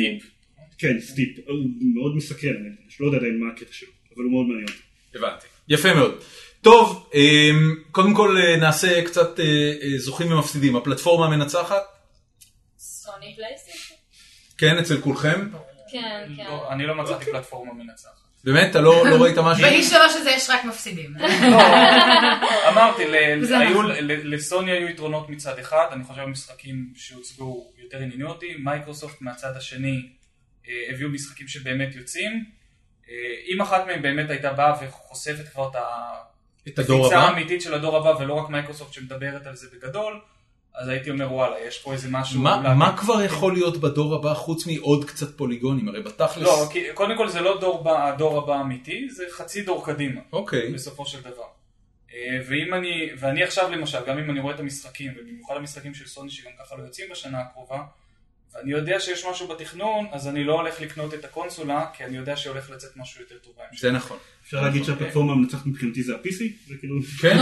Speaker 4: כן, סטיפ. הוא מאוד מסקרן, אני לא יודע עדיין מה הקטע שלו, אבל הוא מאוד מעניין.
Speaker 1: הבנתי. יפה מאוד. טוב, אמ, קודם כל אה, נעשה קצת אה, אה, זוכים ומפסידים. הפלטפורמה המנצחת,
Speaker 3: סוני פלייסטיישן?
Speaker 1: כן, אצל כולכם.
Speaker 3: כן, כן.
Speaker 2: לא, אני לא מצאתי פלטפורמה מנצחת.
Speaker 1: באמת, אתה לא לא ראית משהו?
Speaker 5: באיש שלוש הזה יש רק מפסידים.
Speaker 2: אמרתי, ל-
Speaker 5: זה
Speaker 2: היו-
Speaker 5: נכון.
Speaker 2: ל- לסוני היו יתרונות מצד אחד, אני חושב המשחקים שהוצגו יותר עניינו אותי, מייקרוסופט מהצד השני אה, הביאו משחקים שבאמת יוצאים. אה, אם אחת מהם באמת הייתה באה וחושפת כבר את ה...
Speaker 1: את הדור
Speaker 2: הקפיצה
Speaker 1: הבא?
Speaker 2: האמיתית של הדור הבא ולא רק מייקרוסופט שמדברת על זה בגדול, אז הייתי אומר וואלה, יש פה איזה משהו...
Speaker 1: מה
Speaker 2: אולי-
Speaker 1: מה כבר יכול להיות בדור הבא חוץ מעוד קצת פוליגונים? הרי בתכלס...
Speaker 2: לא, כי קודם כל זה לא דור בא, הדור הבא האמיתי, זה חצי דור קדימה,
Speaker 1: אוקיי.
Speaker 2: בסופו של דבר. אה, ואם אני, ואני עכשיו למשל, גם אם אני רואה את המשחקים, ובמיוחד המשחקים של סוני שגם ככה לא יוצאים בשנה הקרובה, ואני יודע שיש משהו בתכנון, אז אני לא הולך לקנות את הקונסולה, כי אני יודע שהולך לצאת משהו יותר טוב בהמשך.
Speaker 1: זה נכון.
Speaker 4: אפשר להגיד שהפלטפורמה המנצחת מבחינתי זה ה-PC, זה כאילו...
Speaker 1: כן,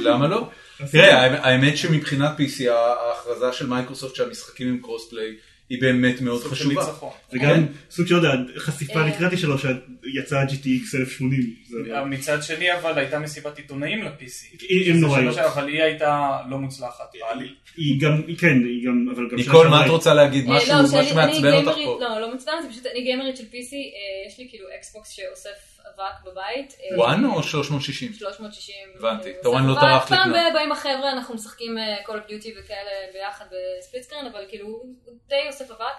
Speaker 1: למה לא? תראה, האמת- האמת שמבחינת PC ההכרזה של מייקרוסופט שהמשחקים הם קרוספליי היא באמת מאוד
Speaker 2: סוג של
Speaker 1: חשובה.
Speaker 2: ניצחון.
Speaker 4: וגם
Speaker 1: אה.
Speaker 4: סוג של לא עוד החשיפה,
Speaker 3: אה.
Speaker 4: אני קראתי שלו שיצאה GTX 1080.
Speaker 1: אה,
Speaker 4: זה-
Speaker 2: מצד שני אבל הייתה מסיבת עיתונאים ל-PC.
Speaker 4: היא- הם נוראיות.
Speaker 2: אבל היא הייתה לא מוצלחת. בעליל.
Speaker 4: היא גם, היא כן, היא גם, אבל גם...
Speaker 1: ניקול,
Speaker 4: שם
Speaker 1: מה
Speaker 4: שם
Speaker 1: את רוצה להגיד?
Speaker 3: אה,
Speaker 1: משהו
Speaker 3: לא,
Speaker 1: משהו
Speaker 3: שאני- אני
Speaker 1: מעצבן אותך
Speaker 3: גיימרית-
Speaker 1: פה.
Speaker 3: לא, לא מעצבן אותי, פשוט אני גיימרית של PC, אה, יש לי כאילו אקסבוקס שאוסף אבק בבית. אה,
Speaker 1: וואן או 360?
Speaker 3: 360.
Speaker 1: הבנתי.
Speaker 3: אה,
Speaker 1: אתה רואה, אני לא
Speaker 3: סבבה.
Speaker 1: טרחת
Speaker 3: פעם
Speaker 1: לקנות.
Speaker 3: ב- באים החבר'ה, אנחנו משחקים אה, קול אוף דיוטי וכאלה ביחד בספליט סקרן, אבל כאילו, הוא די אוסף אבק.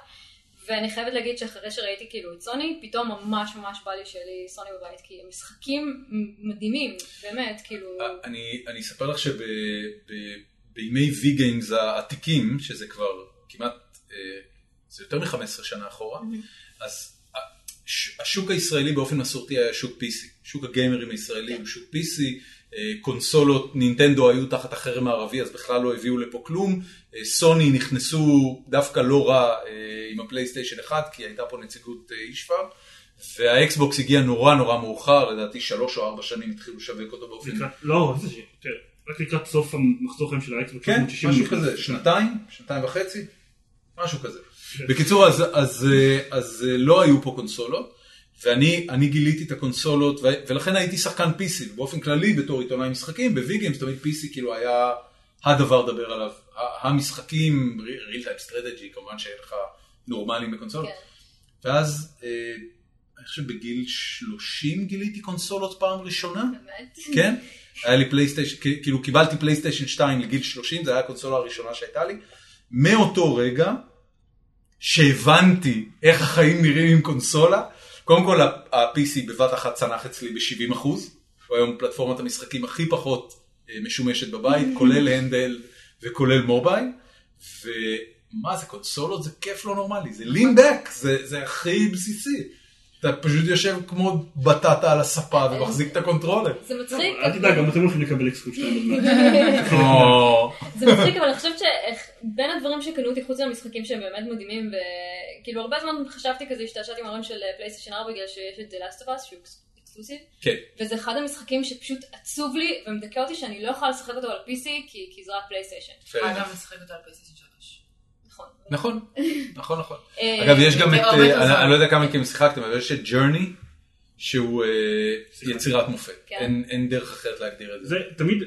Speaker 3: ואני חייבת להגיד שאחרי שראיתי כאילו את סוני, פתאום ממש ממש בא לי שיהיה לי סוני בבית, כי הם משחקים מדהימים, באמת, כאילו...
Speaker 1: אה, אני, אני אספר לך שבימי וי גיימס העתיקים, שזה כבר כמעט, אה, זה יותר מ-15 שנה אחורה, אז אה, ש- השוק הישראלי באופן מסורתי היה שוק PC. שוק הגיימרים הישראלי הוא שוק PC. אה, קונסולות נינטנדו היו תחת החרם הערבי אז בכלל לא הביאו לפה כלום. אה, סוני נכנסו דווקא לא רע אה, עם הפלייסטיישן 1 כי הייתה פה נציגות אה, אישפאב. והאקסבוקס הגיע נורא נורא מאוחר, לדעתי שלוש או ארבע שנים התחילו לשווק אותו באופן...
Speaker 4: לקראת- לא, איזה ש- תראה, רק לקראת סוף המחזור חיים של האקסבוקס.
Speaker 1: כן,
Speaker 4: 360,
Speaker 1: משהו
Speaker 4: הוא נכנס.
Speaker 1: כזה, שנתיים, שנתיים וחצי, משהו כזה. בקיצור, אז, אז, אה, אז אה, לא היו פה קונסולות, ואני אני גיליתי את הקונסולות, ו- ולכן הייתי שחקן PC, באופן כללי בתור עיתונאי משחקים, בוויגיימס תמיד PC כאילו היה הדבר לדבר עליו. ה- המשחקים, real time strategy, כמובן שאין לך נורמלים בקונסולות.
Speaker 3: כן.
Speaker 1: ואז אה, אני חושב בגיל 30 גיליתי קונסולות פעם ראשונה.
Speaker 3: באמת?
Speaker 1: כן, היה לי פלייסטיישן, כ- כאילו קיבלתי פלייסטיישן 2 לגיל 30, זה היה הקונסולה הראשונה שהייתה לי. מאותו רגע שהבנתי איך החיים נראים עם קונסולה, קודם כל ה- ה-PC בבת אחת צנח אצלי ב-70 אחוז, הוא היום פלטפורמת המשחקים הכי פחות אה, משומשת בבית, כולל הנדל וכולל מובייל, ומה זה קונסולות? זה כיף לא נורמלי, זה לינבק, זה, זה הכי בסיסי. אתה פשוט יושב כמו בטטה על הספה ומחזיק את הקונטרולר.
Speaker 3: זה מצחיק.
Speaker 4: אל תדאג, גם אתם הולכים לקבל אקסקופ שלהם עוד מעט.
Speaker 3: זה מצחיק, אבל אני חושבת שבין הדברים שקנו אותי, חוץ מהמשחקים שהם באמת מדהימים, וכאילו הרבה זמן חשבתי כזה, השתעשעתי עם הרעיון של פלייסטיישן 4 בגלל שיש את The Last of Us, שהוא אקסקלוסיב,
Speaker 1: כן.
Speaker 3: וזה אחד המשחקים שפשוט עצוב לי ומדכא אותי שאני לא יכולה לשחק אותו על PC, כי כי זה רק פלייסטיישן.
Speaker 5: אגב, משחק אותו על פייסטיישן 3.
Speaker 3: נכון.
Speaker 1: נכון, נכון, נכון.
Speaker 3: אה,
Speaker 1: אגב, יש גם את,
Speaker 5: בתיאוריות
Speaker 1: אה, אני
Speaker 5: הזמן.
Speaker 1: אני לא יודע כמה מכם שיחקתם, אבל יש את ג'רני, שהוא אה, יצירת מופת.
Speaker 3: כן.
Speaker 1: אין אין דרך אחרת להגדיר את זה.
Speaker 4: זה תמיד,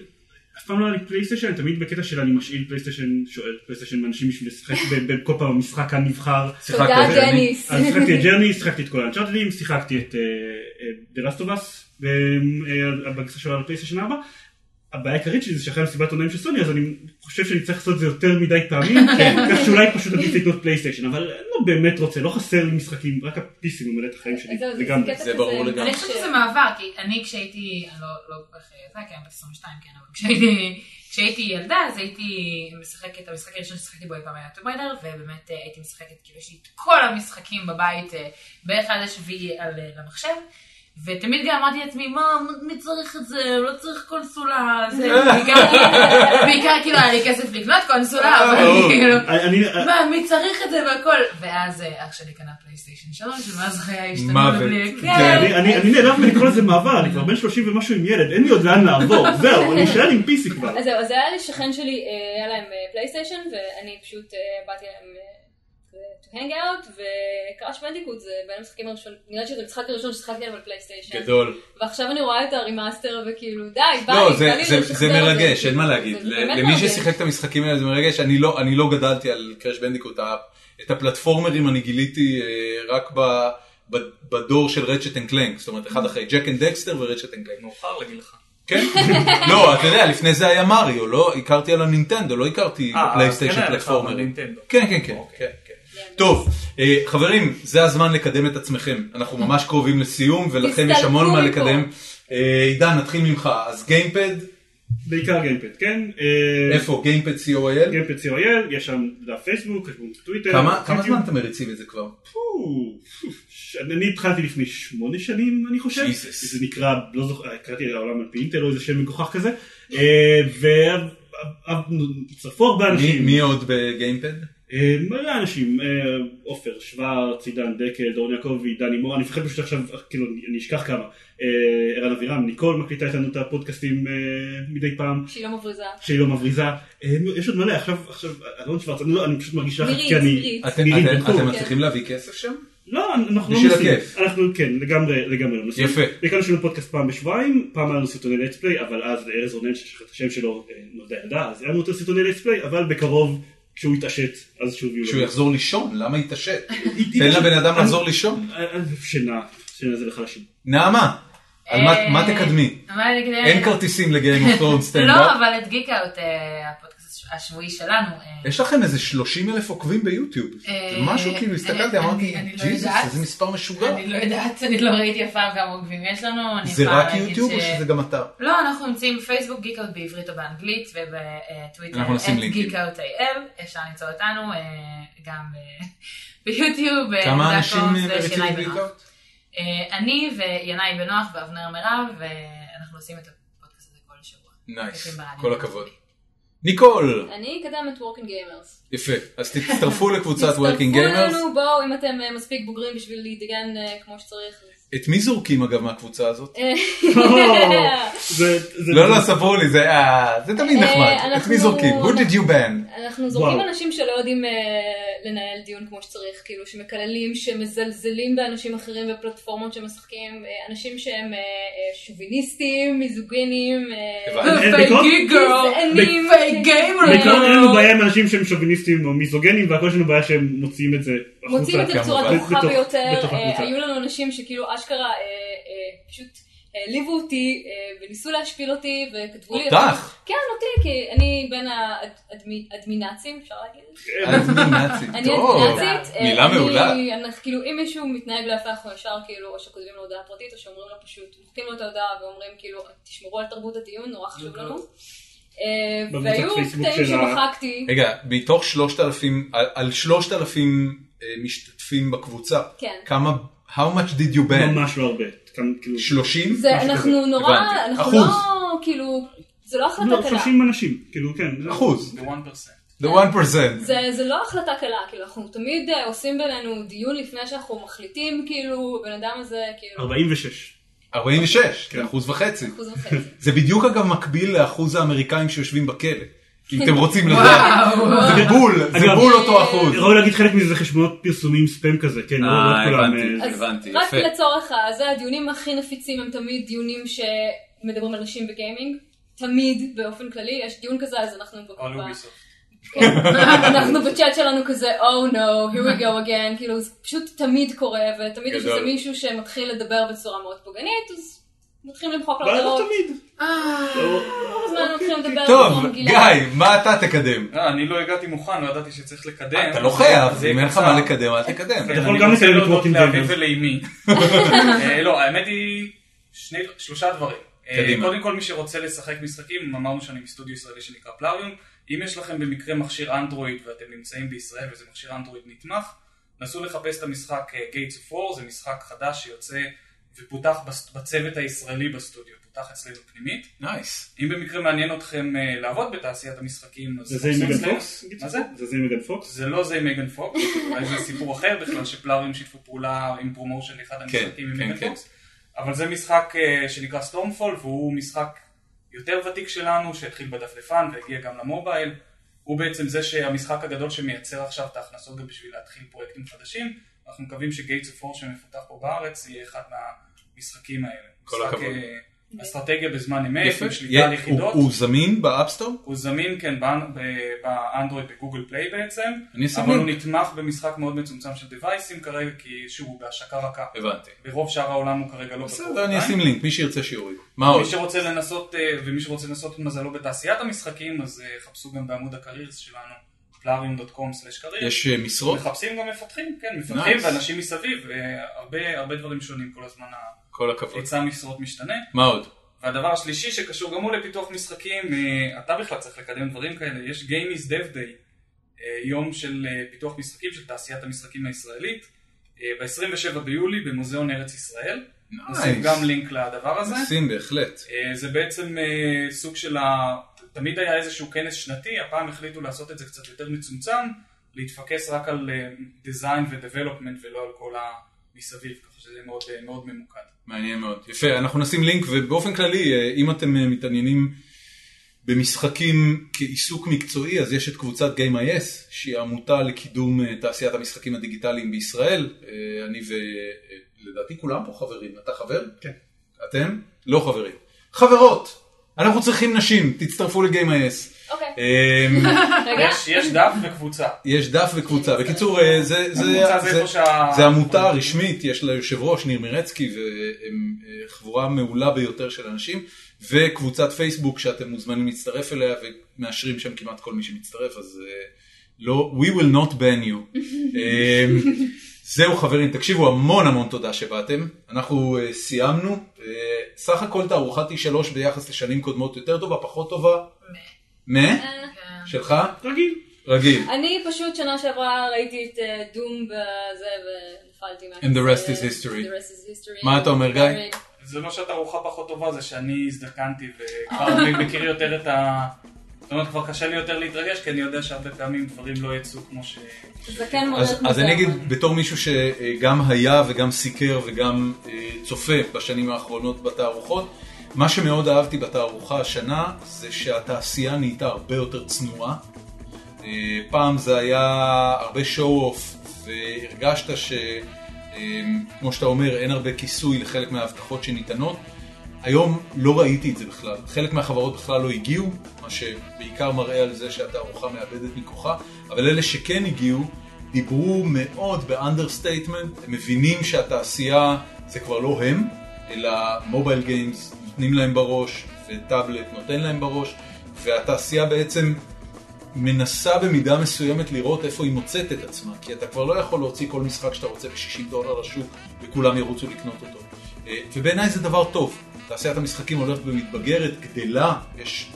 Speaker 4: אף פעם לא היה לי פלייסטיישן, אני תמיד בקטע של אני משאיל פלייסטיישן, שואל פלייסטיישן מאנשים בשביל לשחק ב- ב- כל פעם במשחק הנבחר.
Speaker 1: שיחקת
Speaker 3: תודה,
Speaker 1: את ג'רני?
Speaker 3: דניס.
Speaker 4: אז שיחקתי את ג'רני, שיחקתי את כל האנצ'ארטדים, שיחקתי את אה, דרסטובס בגרסה שלו על פלייסטיישן 4. הבעיה העיקרית שלי זה שאחרי מסיבת עונאים של סוני אז אני חושב שאני צריך לעשות את זה יותר מדי פעמים, כך שאולי פשוט עדיף לקנות פלייסטיישן, אבל אני לא באמת רוצה, לא חסר לי משחקים, רק הפיסים ממלא את החיים שלי,
Speaker 3: זהו,
Speaker 4: לגמרי.
Speaker 3: קטע
Speaker 1: זה
Speaker 3: כזה
Speaker 1: ברור לגמרי.
Speaker 5: אני חושבת שזה מעבר, כי אני כשהייתי, אני לא לא כל כך ילדה, כי אני בת 22, כן, אבל כשהייתי- כשהייתי ילדה, אז הייתי משחקת, המשחק הראשון ששיחקתי בו אי פעם היה טוב ריידר, ובאמת אה, הייתי משחקת, כאילו יש לי את כל המשחקים בבית, אה, בערך עד השביעי על אה, למחשב, ותמיד גם אמרתי לעצמי, מה, מי צריך את זה, לא צריך קונסולה, זה בעיקר, בעיקר כאילו היה לי כסף לקנות קונסולה, אבל כאילו...
Speaker 4: אני- אני-
Speaker 5: מה, מי צריך את זה והכל? ואז אה, אח שלי קנה פלייסטיישן 3, ומאז חיי השתנו
Speaker 1: מוות.
Speaker 5: לבלי...
Speaker 1: כן,
Speaker 5: כן,
Speaker 4: אני- אני אני נעלב מלקרוא לזה מעבר, אני כבר בן 30 ומשהו עם ילד, אין לי עוד לאן לעבור, זהו, אני אשאר עם PC כבר.
Speaker 3: אז זהו, אז היה לי שכן שלי, אה, היה להם אה, פלייסטיישן, ואני פשוט אה, באתי להם אה, to hang out, וקראש בנדיקוט זה בין המשחקים הראשונים, נראה לי שזה המשחק הראשון ששיחקתי עליו על פלייסטיישן.
Speaker 1: גדול.
Speaker 3: ועכשיו אני רואה את הרימאסטר וכאילו די, כן. ביי,
Speaker 1: לא,
Speaker 3: בא
Speaker 1: זה-
Speaker 3: לי
Speaker 1: זה-
Speaker 3: לשחזר
Speaker 1: זה
Speaker 3: את
Speaker 1: מרגש, אין מה להגיד.
Speaker 3: זה באמת
Speaker 1: למי
Speaker 3: מרגש.
Speaker 1: ששיחק את המשחקים האלה זה מרגש. אני לא- אני לא גדלתי על קראש בנדיקוט. ה- את הפלטפורמרים אני גיליתי אה, רק ב- ב- בדור של רצ'ט אנד קלנק. זאת אומרת, אחד אחרי ג'ק אנד דקסטר ורצ'ט אנד קלנק.
Speaker 2: מאוחר לגילך.
Speaker 1: כן? לא, אתה יודע, לפני זה היה מריו, לא הכרתי על הנינטנדו, לא הכרתי
Speaker 2: אה, אז כן
Speaker 1: בפלייסטיישן
Speaker 2: היה לך, אבל
Speaker 1: פלטפורמרים.
Speaker 2: נינטנדו. אוקיי,
Speaker 1: כן, כן, כן. כן, כן. טוב, אה, חברים, זה הזמן לקדם את עצמכם. אנחנו ממש קרובים לסיום, ולכם יש
Speaker 3: תסתלקו
Speaker 1: המון מה
Speaker 3: מפה.
Speaker 1: לקדם. אה, עידן, נתחיל ממך. אז גיימפד,
Speaker 2: כן.
Speaker 4: בעיקר גיימפד, כן? אה,
Speaker 1: איפה? גיימפד co.il?
Speaker 2: כן.
Speaker 4: גיימפד co.il, יש שם דף פייסבוק, יש שם טוויטר.
Speaker 1: כמה כמה
Speaker 2: כן.
Speaker 4: יוטיוב.
Speaker 1: זמן אתם מריצים את זה כבר?
Speaker 4: פו, ש- אני התחלתי לפני שמונה שנים, אני חושב.
Speaker 1: Jesus.
Speaker 4: זה נקרא, לא זוכר, קראתי לעולם על פי אינטל או איזה שם מגוחך כזה. אה, והצטרפו הרבה
Speaker 1: מי-
Speaker 4: אנשים.
Speaker 1: מי עוד בגיימפד?
Speaker 2: כן.
Speaker 4: אה, מלא אנשים, אה, עופר שוורץ, עידן דקל, דורון יעקבי, דני מור, אני מפחד פשוט עכשיו, כאילו, אני- אני אשכח כמה. אה, ערן אבירם, ניקול מקליטה איתנו את הפודקאסטים אה, מדי פעם.
Speaker 3: שהיא לא מבריזה.
Speaker 4: שהיא לא מבריזה, אה, יש עוד מלא, עכשיו, עכשיו, אלון שוורץ, אני לא, אני פשוט מרגיש לחץ,
Speaker 3: מירי,
Speaker 4: כי אני,
Speaker 3: מירי.
Speaker 1: אתם-
Speaker 2: כן.
Speaker 4: מירי
Speaker 1: אתם
Speaker 4: ברקו.
Speaker 1: אתם מצליחים להביא כסף שם?
Speaker 4: לא, אנחנו לא
Speaker 1: בשביל
Speaker 4: נוסעים.
Speaker 1: הכיף.
Speaker 4: אנחנו כן, לגמרי, לגמרי לא נוסעים.
Speaker 1: יפה.
Speaker 4: בעיקר שלנו פודקאסט פעם בשבועיים, פעם היה לנו סרטוני לטס פליי, אבל אז לארז רונן, ששכח את השם שלו, אה, נולדה ילדה, אז היה לנו יותר סרטוני לטס פליי, אבל בקרוב, כשהוא יתעשת, אז שוב יהיו
Speaker 1: שהוא יחזור לישון, למה יתעשת?
Speaker 4: יחזור,
Speaker 1: תן לבן אדם לחזור לישון.
Speaker 4: אה, שינה, שינה זה לחלשים.
Speaker 1: נעמה, על מה- מה
Speaker 5: אה,
Speaker 1: תקדמי?
Speaker 5: מה אני אקדם?
Speaker 1: אין כרטיסים לגיים אוף תרון
Speaker 5: לא,
Speaker 1: סטנדאפ.
Speaker 5: אבל את גיק אאוט, אה, הפודקאסט השבועי שלנו. אה,
Speaker 1: יש לכם איזה 30 אלף עוקבים ביוטיוב. זה
Speaker 5: אה,
Speaker 1: משהו כאילו
Speaker 5: אני-
Speaker 1: הסתכלתי,
Speaker 5: אני-
Speaker 1: אמרתי,
Speaker 5: אני לא
Speaker 1: ג'יזוס,
Speaker 5: יודעת."
Speaker 1: איזה מספר משוגע.
Speaker 5: אני לא יודעת, אני לא ראיתי אף פעם כמה עוקבים יש לנו. אני
Speaker 1: זה
Speaker 5: יכולה
Speaker 1: רק
Speaker 5: להגיד
Speaker 1: יוטיוב
Speaker 5: ש-
Speaker 1: או שזה גם אתה?
Speaker 5: לא, אנחנו נמצאים בפייסבוק, גיקאוט בעברית או באנגלית, ובטוויטר,
Speaker 1: אנחנו נשים לינקים.
Speaker 5: geekout.il, אפשר למצוא אותנו, אה, גם אה, ביוטיוב, אה,
Speaker 1: כמה
Speaker 5: זה
Speaker 1: אנשים אה,
Speaker 5: הכל, כן, זה
Speaker 1: מריצים
Speaker 4: אה,
Speaker 5: שיניי
Speaker 1: בגיקאוט?
Speaker 5: בנוח. אה, אני וינאי בנוח ואבנר מירב, ואנחנו עושים את הפודקאסט הזה כל שבוע.
Speaker 1: נייס,
Speaker 5: ברדיו.
Speaker 1: כל הכבוד. ניקול!
Speaker 3: אני אקדם את וורקינג גיימרס.
Speaker 1: יפה, אז תצטרפו לקבוצת Working
Speaker 3: תצטרפו
Speaker 1: Gamers.
Speaker 3: אלינו, בואו, אם אתם אה, מספיק בוגרים בשביל להתדגן אה, כמו שצריך. אז-
Speaker 1: את מי זורקים אגב מהקבוצה הזאת?
Speaker 3: אה,
Speaker 4: זה- זה-
Speaker 1: לא, לא, ספרו לי, זה אה, זה תמיד
Speaker 3: אה,
Speaker 1: נחמד. את
Speaker 3: אנחנו-
Speaker 1: מי זורקים? Who did you ban?
Speaker 3: אנחנו זורקים
Speaker 4: וואו.
Speaker 3: אנשים שלא יודעים אה, לנהל דיון כמו שצריך, כאילו שמקללים, שמזלזלים באנשים אחרים בפלטפורמות שמשחקים, אה, אנשים שהם אה, אה, שוביניסטים, מיזוגינים, אה,
Speaker 1: הבנתי.
Speaker 5: ופייגי גרל,
Speaker 3: גזענים,
Speaker 5: פייק גיימר.
Speaker 3: אה,
Speaker 4: בעיקרון אין לנו בעיה עם אנשים שהם שוביניסטים או מיזוגנים והכל יש לנו בעיה שהם מוציאים את זה החוצה.
Speaker 3: מוצאים את זה בצורה
Speaker 1: כמובן.
Speaker 3: נוחה
Speaker 4: בתוך-
Speaker 3: ביותר.
Speaker 4: בתוך
Speaker 3: אה,
Speaker 4: הקבוצה.
Speaker 3: היו לנו אנשים שכאילו אשכרה אה, אה, פשוט העליבו אותי אה, וניסו להשפיל אותי וכתבו לי...
Speaker 1: אותך?
Speaker 3: כן, אותי, כי אני בין האדמינצים, אפשר להגיד?
Speaker 1: אני נאצי.
Speaker 3: אני
Speaker 1: טוב,
Speaker 3: אדמינצית. אה,
Speaker 1: מילה
Speaker 3: אני-
Speaker 1: מעולה.
Speaker 3: אנחנו- כאילו אם מישהו מתנהג לא יפה אנחנו ישר כאילו או שכותבים לו הודעה פרטית או שאומרים לו פשוט, מוחקים לו את ההודעה ואומרים כאילו תשמרו על תרבות הדיון, נורא חשוב לנו. אה,
Speaker 4: בקבוצת
Speaker 3: והיו
Speaker 4: פייסבוק
Speaker 3: קטעים
Speaker 4: של ה-
Speaker 3: שמחקתי,
Speaker 1: רגע, מתוך 3,000, על- על 3,000 אה, משתתפים בקבוצה,
Speaker 3: כן.
Speaker 1: כמה, how much did you ban?
Speaker 4: ממש לא הרבה. כאן, כאילו,
Speaker 1: 30?
Speaker 3: זה אנחנו נורא,
Speaker 1: הבנתי.
Speaker 3: אנחנו
Speaker 1: אחוז.
Speaker 3: לא, כאילו, זה לא החלטה
Speaker 4: לא,
Speaker 3: קלה.
Speaker 4: 30 אנשים, כאילו כן.
Speaker 1: אחוז.
Speaker 2: The 1%.
Speaker 1: The 1%.
Speaker 3: זה, זה לא החלטה קלה, כאילו, אנחנו תמיד אה, עושים בינינו דיון לפני שאנחנו מחליטים, כאילו, בן אדם הזה, כאילו,
Speaker 4: 46.
Speaker 1: 46,
Speaker 4: כן.
Speaker 1: זה אחוז וחצי.
Speaker 3: אחוז וחצי.
Speaker 1: זה בדיוק אגב מקביל לאחוז האמריקאים שיושבים בכלא. אם אתם רוצים לדעת. זה בול, זה
Speaker 4: אגב,
Speaker 1: בול אותו אחוז.
Speaker 4: ראוי להגיד חלק מזה זה חשבונות פרסומים ספאם כזה, כן, לא לא כולם. אה,
Speaker 3: אז רק לצורך הזה, הדיונים הכי נפיצים הם תמיד דיונים שמדברים על נשים בגיימינג. תמיד, באופן כללי, יש דיון כזה, אז אנחנו
Speaker 2: על
Speaker 3: בקופה.
Speaker 2: אוביסופט.
Speaker 3: אנחנו בצ'אט שלנו כזה, Oh no, here we go again, כאילו זה פשוט תמיד קורה, ותמיד יש
Speaker 1: גדול.
Speaker 3: איזה מישהו שמתחיל לדבר בצורה מאוד פוגענית, אז מתחילים למחוק לו
Speaker 4: אבל לא
Speaker 3: הודעות,
Speaker 4: תמיד.
Speaker 3: אה.
Speaker 4: לא.
Speaker 3: כל הזמן מתחילים לדבר
Speaker 1: טוב,
Speaker 3: בצורה מגעילה.
Speaker 1: גיא, מה אתה תקדם?
Speaker 2: לא, אני לא הגעתי מוכן, לא ידעתי שצריך לקדם.
Speaker 1: אתה לא
Speaker 2: אז
Speaker 1: חייב,
Speaker 2: זה יהיה
Speaker 1: אם אין לך
Speaker 2: קצר.
Speaker 1: מה לקדם, אל תקדם.
Speaker 2: כן,
Speaker 4: אתה יכול
Speaker 2: אני
Speaker 4: גם
Speaker 2: רוצה
Speaker 4: לקדם את
Speaker 2: להודות
Speaker 4: Walking
Speaker 2: לאבי
Speaker 4: Dead.
Speaker 2: ולאמי. אה, לא, האמת היא, שני- שלושה דברים. אה,
Speaker 1: קדימה.
Speaker 2: קודם כל, מי שרוצה לשחק משחקים, אמרנו שאני מסטודיו ישראלי שנקרא פלאריום. אם יש לכם במקרה מכשיר אנדרואיד ואתם נמצאים בישראל וזה מכשיר אנדרואיד נתמך, נסו לחפש את המשחק אה, Gates of War, זה משחק חדש שיוצא ופותח בס- בצוות הישראלי בסטודיו, פותח אצלנו פנימית.
Speaker 1: נייס.
Speaker 2: אם במקרה מעניין אתכם אה, לעבוד בתעשיית המשחקים, אז
Speaker 4: זה זה
Speaker 2: חפשו
Speaker 4: עם מגן
Speaker 2: אצלנו.
Speaker 4: פוקס?
Speaker 2: מה זה?
Speaker 4: זה זה עם מגן פוקס?
Speaker 2: זה לא זה עם מייגן פוקס, אולי זה סיפור אחר בכלל, שפלארים שיתפו פעולה עם פרומושן לאחד המשחקים עם
Speaker 1: כן,
Speaker 2: מייגן
Speaker 1: כן.
Speaker 2: פוקס, אבל זה משחק אה, שנקרא סטורמפול, והוא משחק יותר ותיק שלנו, שהתחיל בדפדפן והגיע גם למובייל. הוא בעצם זה שהמשחק הגדול שמייצר עכשיו את ההכנסות גם בשביל להתחיל פרויקטים חדשים. אנחנו מקווים שגייטס אוף אור שמפותח פה בארץ יהיה אחד מהמשחקים האלה.
Speaker 1: כל
Speaker 2: משחק,
Speaker 1: הכבוד.
Speaker 2: אה, אסטרטגיה בזמן אמת,
Speaker 1: יפה.
Speaker 2: עם שליטה על
Speaker 1: הוא-
Speaker 2: יחידות.
Speaker 1: הוא זמין באפסטור?
Speaker 2: הוא זמין כן באנ- ב- באנדרואיד בגוגל פליי בעצם,
Speaker 1: אני אשים
Speaker 2: אבל הוא
Speaker 1: לינק.
Speaker 2: נתמך במשחק מאוד מצומצם של דווייסים כרגע, כי שוב הוא בהשקה רכה.
Speaker 1: הבנתי.
Speaker 2: ברוב שאר העולם הוא כרגע לא פתוח
Speaker 1: בסדר, אני
Speaker 2: עדיין.
Speaker 1: אשים לינק, מי שירצה שיוריד. מה עוד?
Speaker 2: מי שרוצה לנסות, אה, ומי שרוצה לנסות את מזלו בתעשיית המשחקים, אז אה, חפשו גם בעמוד הקרירס שלנו, plarium.com/careers.
Speaker 1: יש אה, משרות?
Speaker 2: מחפשים גם מפתחים, כן, מפתחים
Speaker 1: Nice.
Speaker 2: ואנשים מסביב, והרבה הרבה דברים שונים כל הזמן,
Speaker 1: כל הכבוד.
Speaker 2: היצע המשרות משתנה.
Speaker 1: מה עוד?
Speaker 2: והדבר השלישי שקשור גם הוא לפיתוח משחקים, אה, אתה בכלל צריך לקדם דברים כאלה, יש Game is Dev Day, אה, יום של אה, פיתוח משחקים של תעשיית המשחקים הישראלית, אה, ב-27 ביולי במוזיאון ארץ ישראל, נשים גם לינק לדבר הזה,
Speaker 1: נשים בהחלט.
Speaker 2: אה, זה בעצם אה, סוג של ה... תמיד היה איזשהו כנס שנתי, הפעם החליטו לעשות את זה קצת יותר מצומצם, להתפקס רק על דיזיין ודבלופמנט ולא על כל המסביב, ככה שזה מאוד, אה, מאוד ממוקד.
Speaker 1: מעניין מאוד. יפה, אנחנו נשים לינק, ובאופן כללי, אה, אם אתם אה, מתעניינים במשחקים כעיסוק מקצועי, אז יש את קבוצת Game.is, שהיא עמותה לקידום אה, תעשיית המשחקים הדיגיטליים בישראל. אה, אני ו... אה, לדעתי כולם פה חברים. אתה חבר?
Speaker 4: כן.
Speaker 1: אתם? לא חברים. חברות! אנחנו צריכים נשים, תצטרפו ל-Game.is.
Speaker 3: אוקיי,
Speaker 1: אה,
Speaker 3: רגע,
Speaker 2: יש, יש דף וקבוצה.
Speaker 1: יש דף וקבוצה. בקיצור, אה, זה, זה,
Speaker 2: הקבוצה זה איפה שה-
Speaker 1: זה עמותה רשמית, יש לה יושב ראש, ניר מירצקי, והם אה, חבורה מעולה ביותר של אנשים, וקבוצת פייסבוק שאתם מוזמנים להצטרף אליה, ומאשרים שם כמעט כל מי שמצטרף, אז אה, לא, we will not ban you. אה, זהו חברים, תקשיבו, המון המון תודה שבאתם. אנחנו אה, סיימנו. אה, סך הכל תערוכת E T3 ביחס לשנים קודמות יותר טובה, פחות טובה. מה?
Speaker 5: כן.
Speaker 1: שלך?
Speaker 4: רגיל.
Speaker 1: רגיל.
Speaker 3: אה, אני פשוט שנה שעברה ראיתי את אה, דום בזה ונפלתי מה...
Speaker 1: And the rest is history.
Speaker 3: The rest is history. אה,
Speaker 1: מה אתה אומר, גיא?
Speaker 3: Iron Man.
Speaker 2: זה לא שהתערוכה פחות טובה, זה שאני הזדקנתי וכבר אני מכיר יותר את ה... זאת אומרת, כבר קשה לי יותר להתרגש, כי אני יודע שהרבה פעמים דברים לא יצאו כמו ש...
Speaker 3: זקן מודד
Speaker 1: אז, אז
Speaker 3: מודרני.
Speaker 1: אני אגיד, בתור מישהו שגם היה וגם סיקר וגם אה, צופה בשנים האחרונות בתערוכות, מה שמאוד אהבתי בתערוכה השנה זה שהתעשייה נהייתה הרבה יותר צנועה. אה, פעם זה היה הרבה show-off והרגשת ש... אה, כמו שאתה אומר, אין הרבה כיסוי לחלק מההבטחות שניתנות. היום לא ראיתי את זה בכלל. חלק מהחברות בכלל לא הגיעו, מה שבעיקר מראה על זה שהתערוכה מאבדת מכוחה, אבל אלה שכן הגיעו, דיברו מאוד באנדרסטייטמנט, הם מבינים שהתעשייה זה כבר לא הם, אלא מובייל גיימס נותנים להם בראש, וטאבלט נותן להם בראש, והתעשייה בעצם מנסה במידה מסוימת לראות איפה היא מוצאת את עצמה, כי אתה כבר לא יכול להוציא כל משחק שאתה רוצה ב-60 דולר לשוק וכולם ירוצו לקנות אותו. אה, ובעיניי זה דבר טוב. תעשיית המשחקים הולכת ומתבגרת, גדלה, יש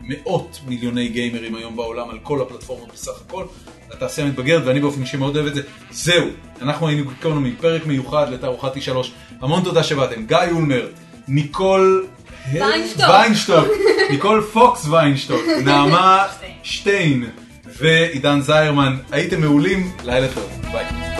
Speaker 1: מאות מיליוני גיימרים היום בעולם על כל הפלטפורמות בסך הכל. התעשייה מתבגרת ואני באופן אישי מאוד אוהב את זה. זהו, אנחנו היינו גיקונומי, פרק מיוחד לתערוכת E3. המון תודה שבאתם. גיא אולמרט, ניקול...
Speaker 3: ויינשטוק.
Speaker 1: ויינשטוק, ניקול פוקס ויינשטוק, נעמה שטיין ועידן זיירמן, הייתם מעולים, לילה טוב, ביי.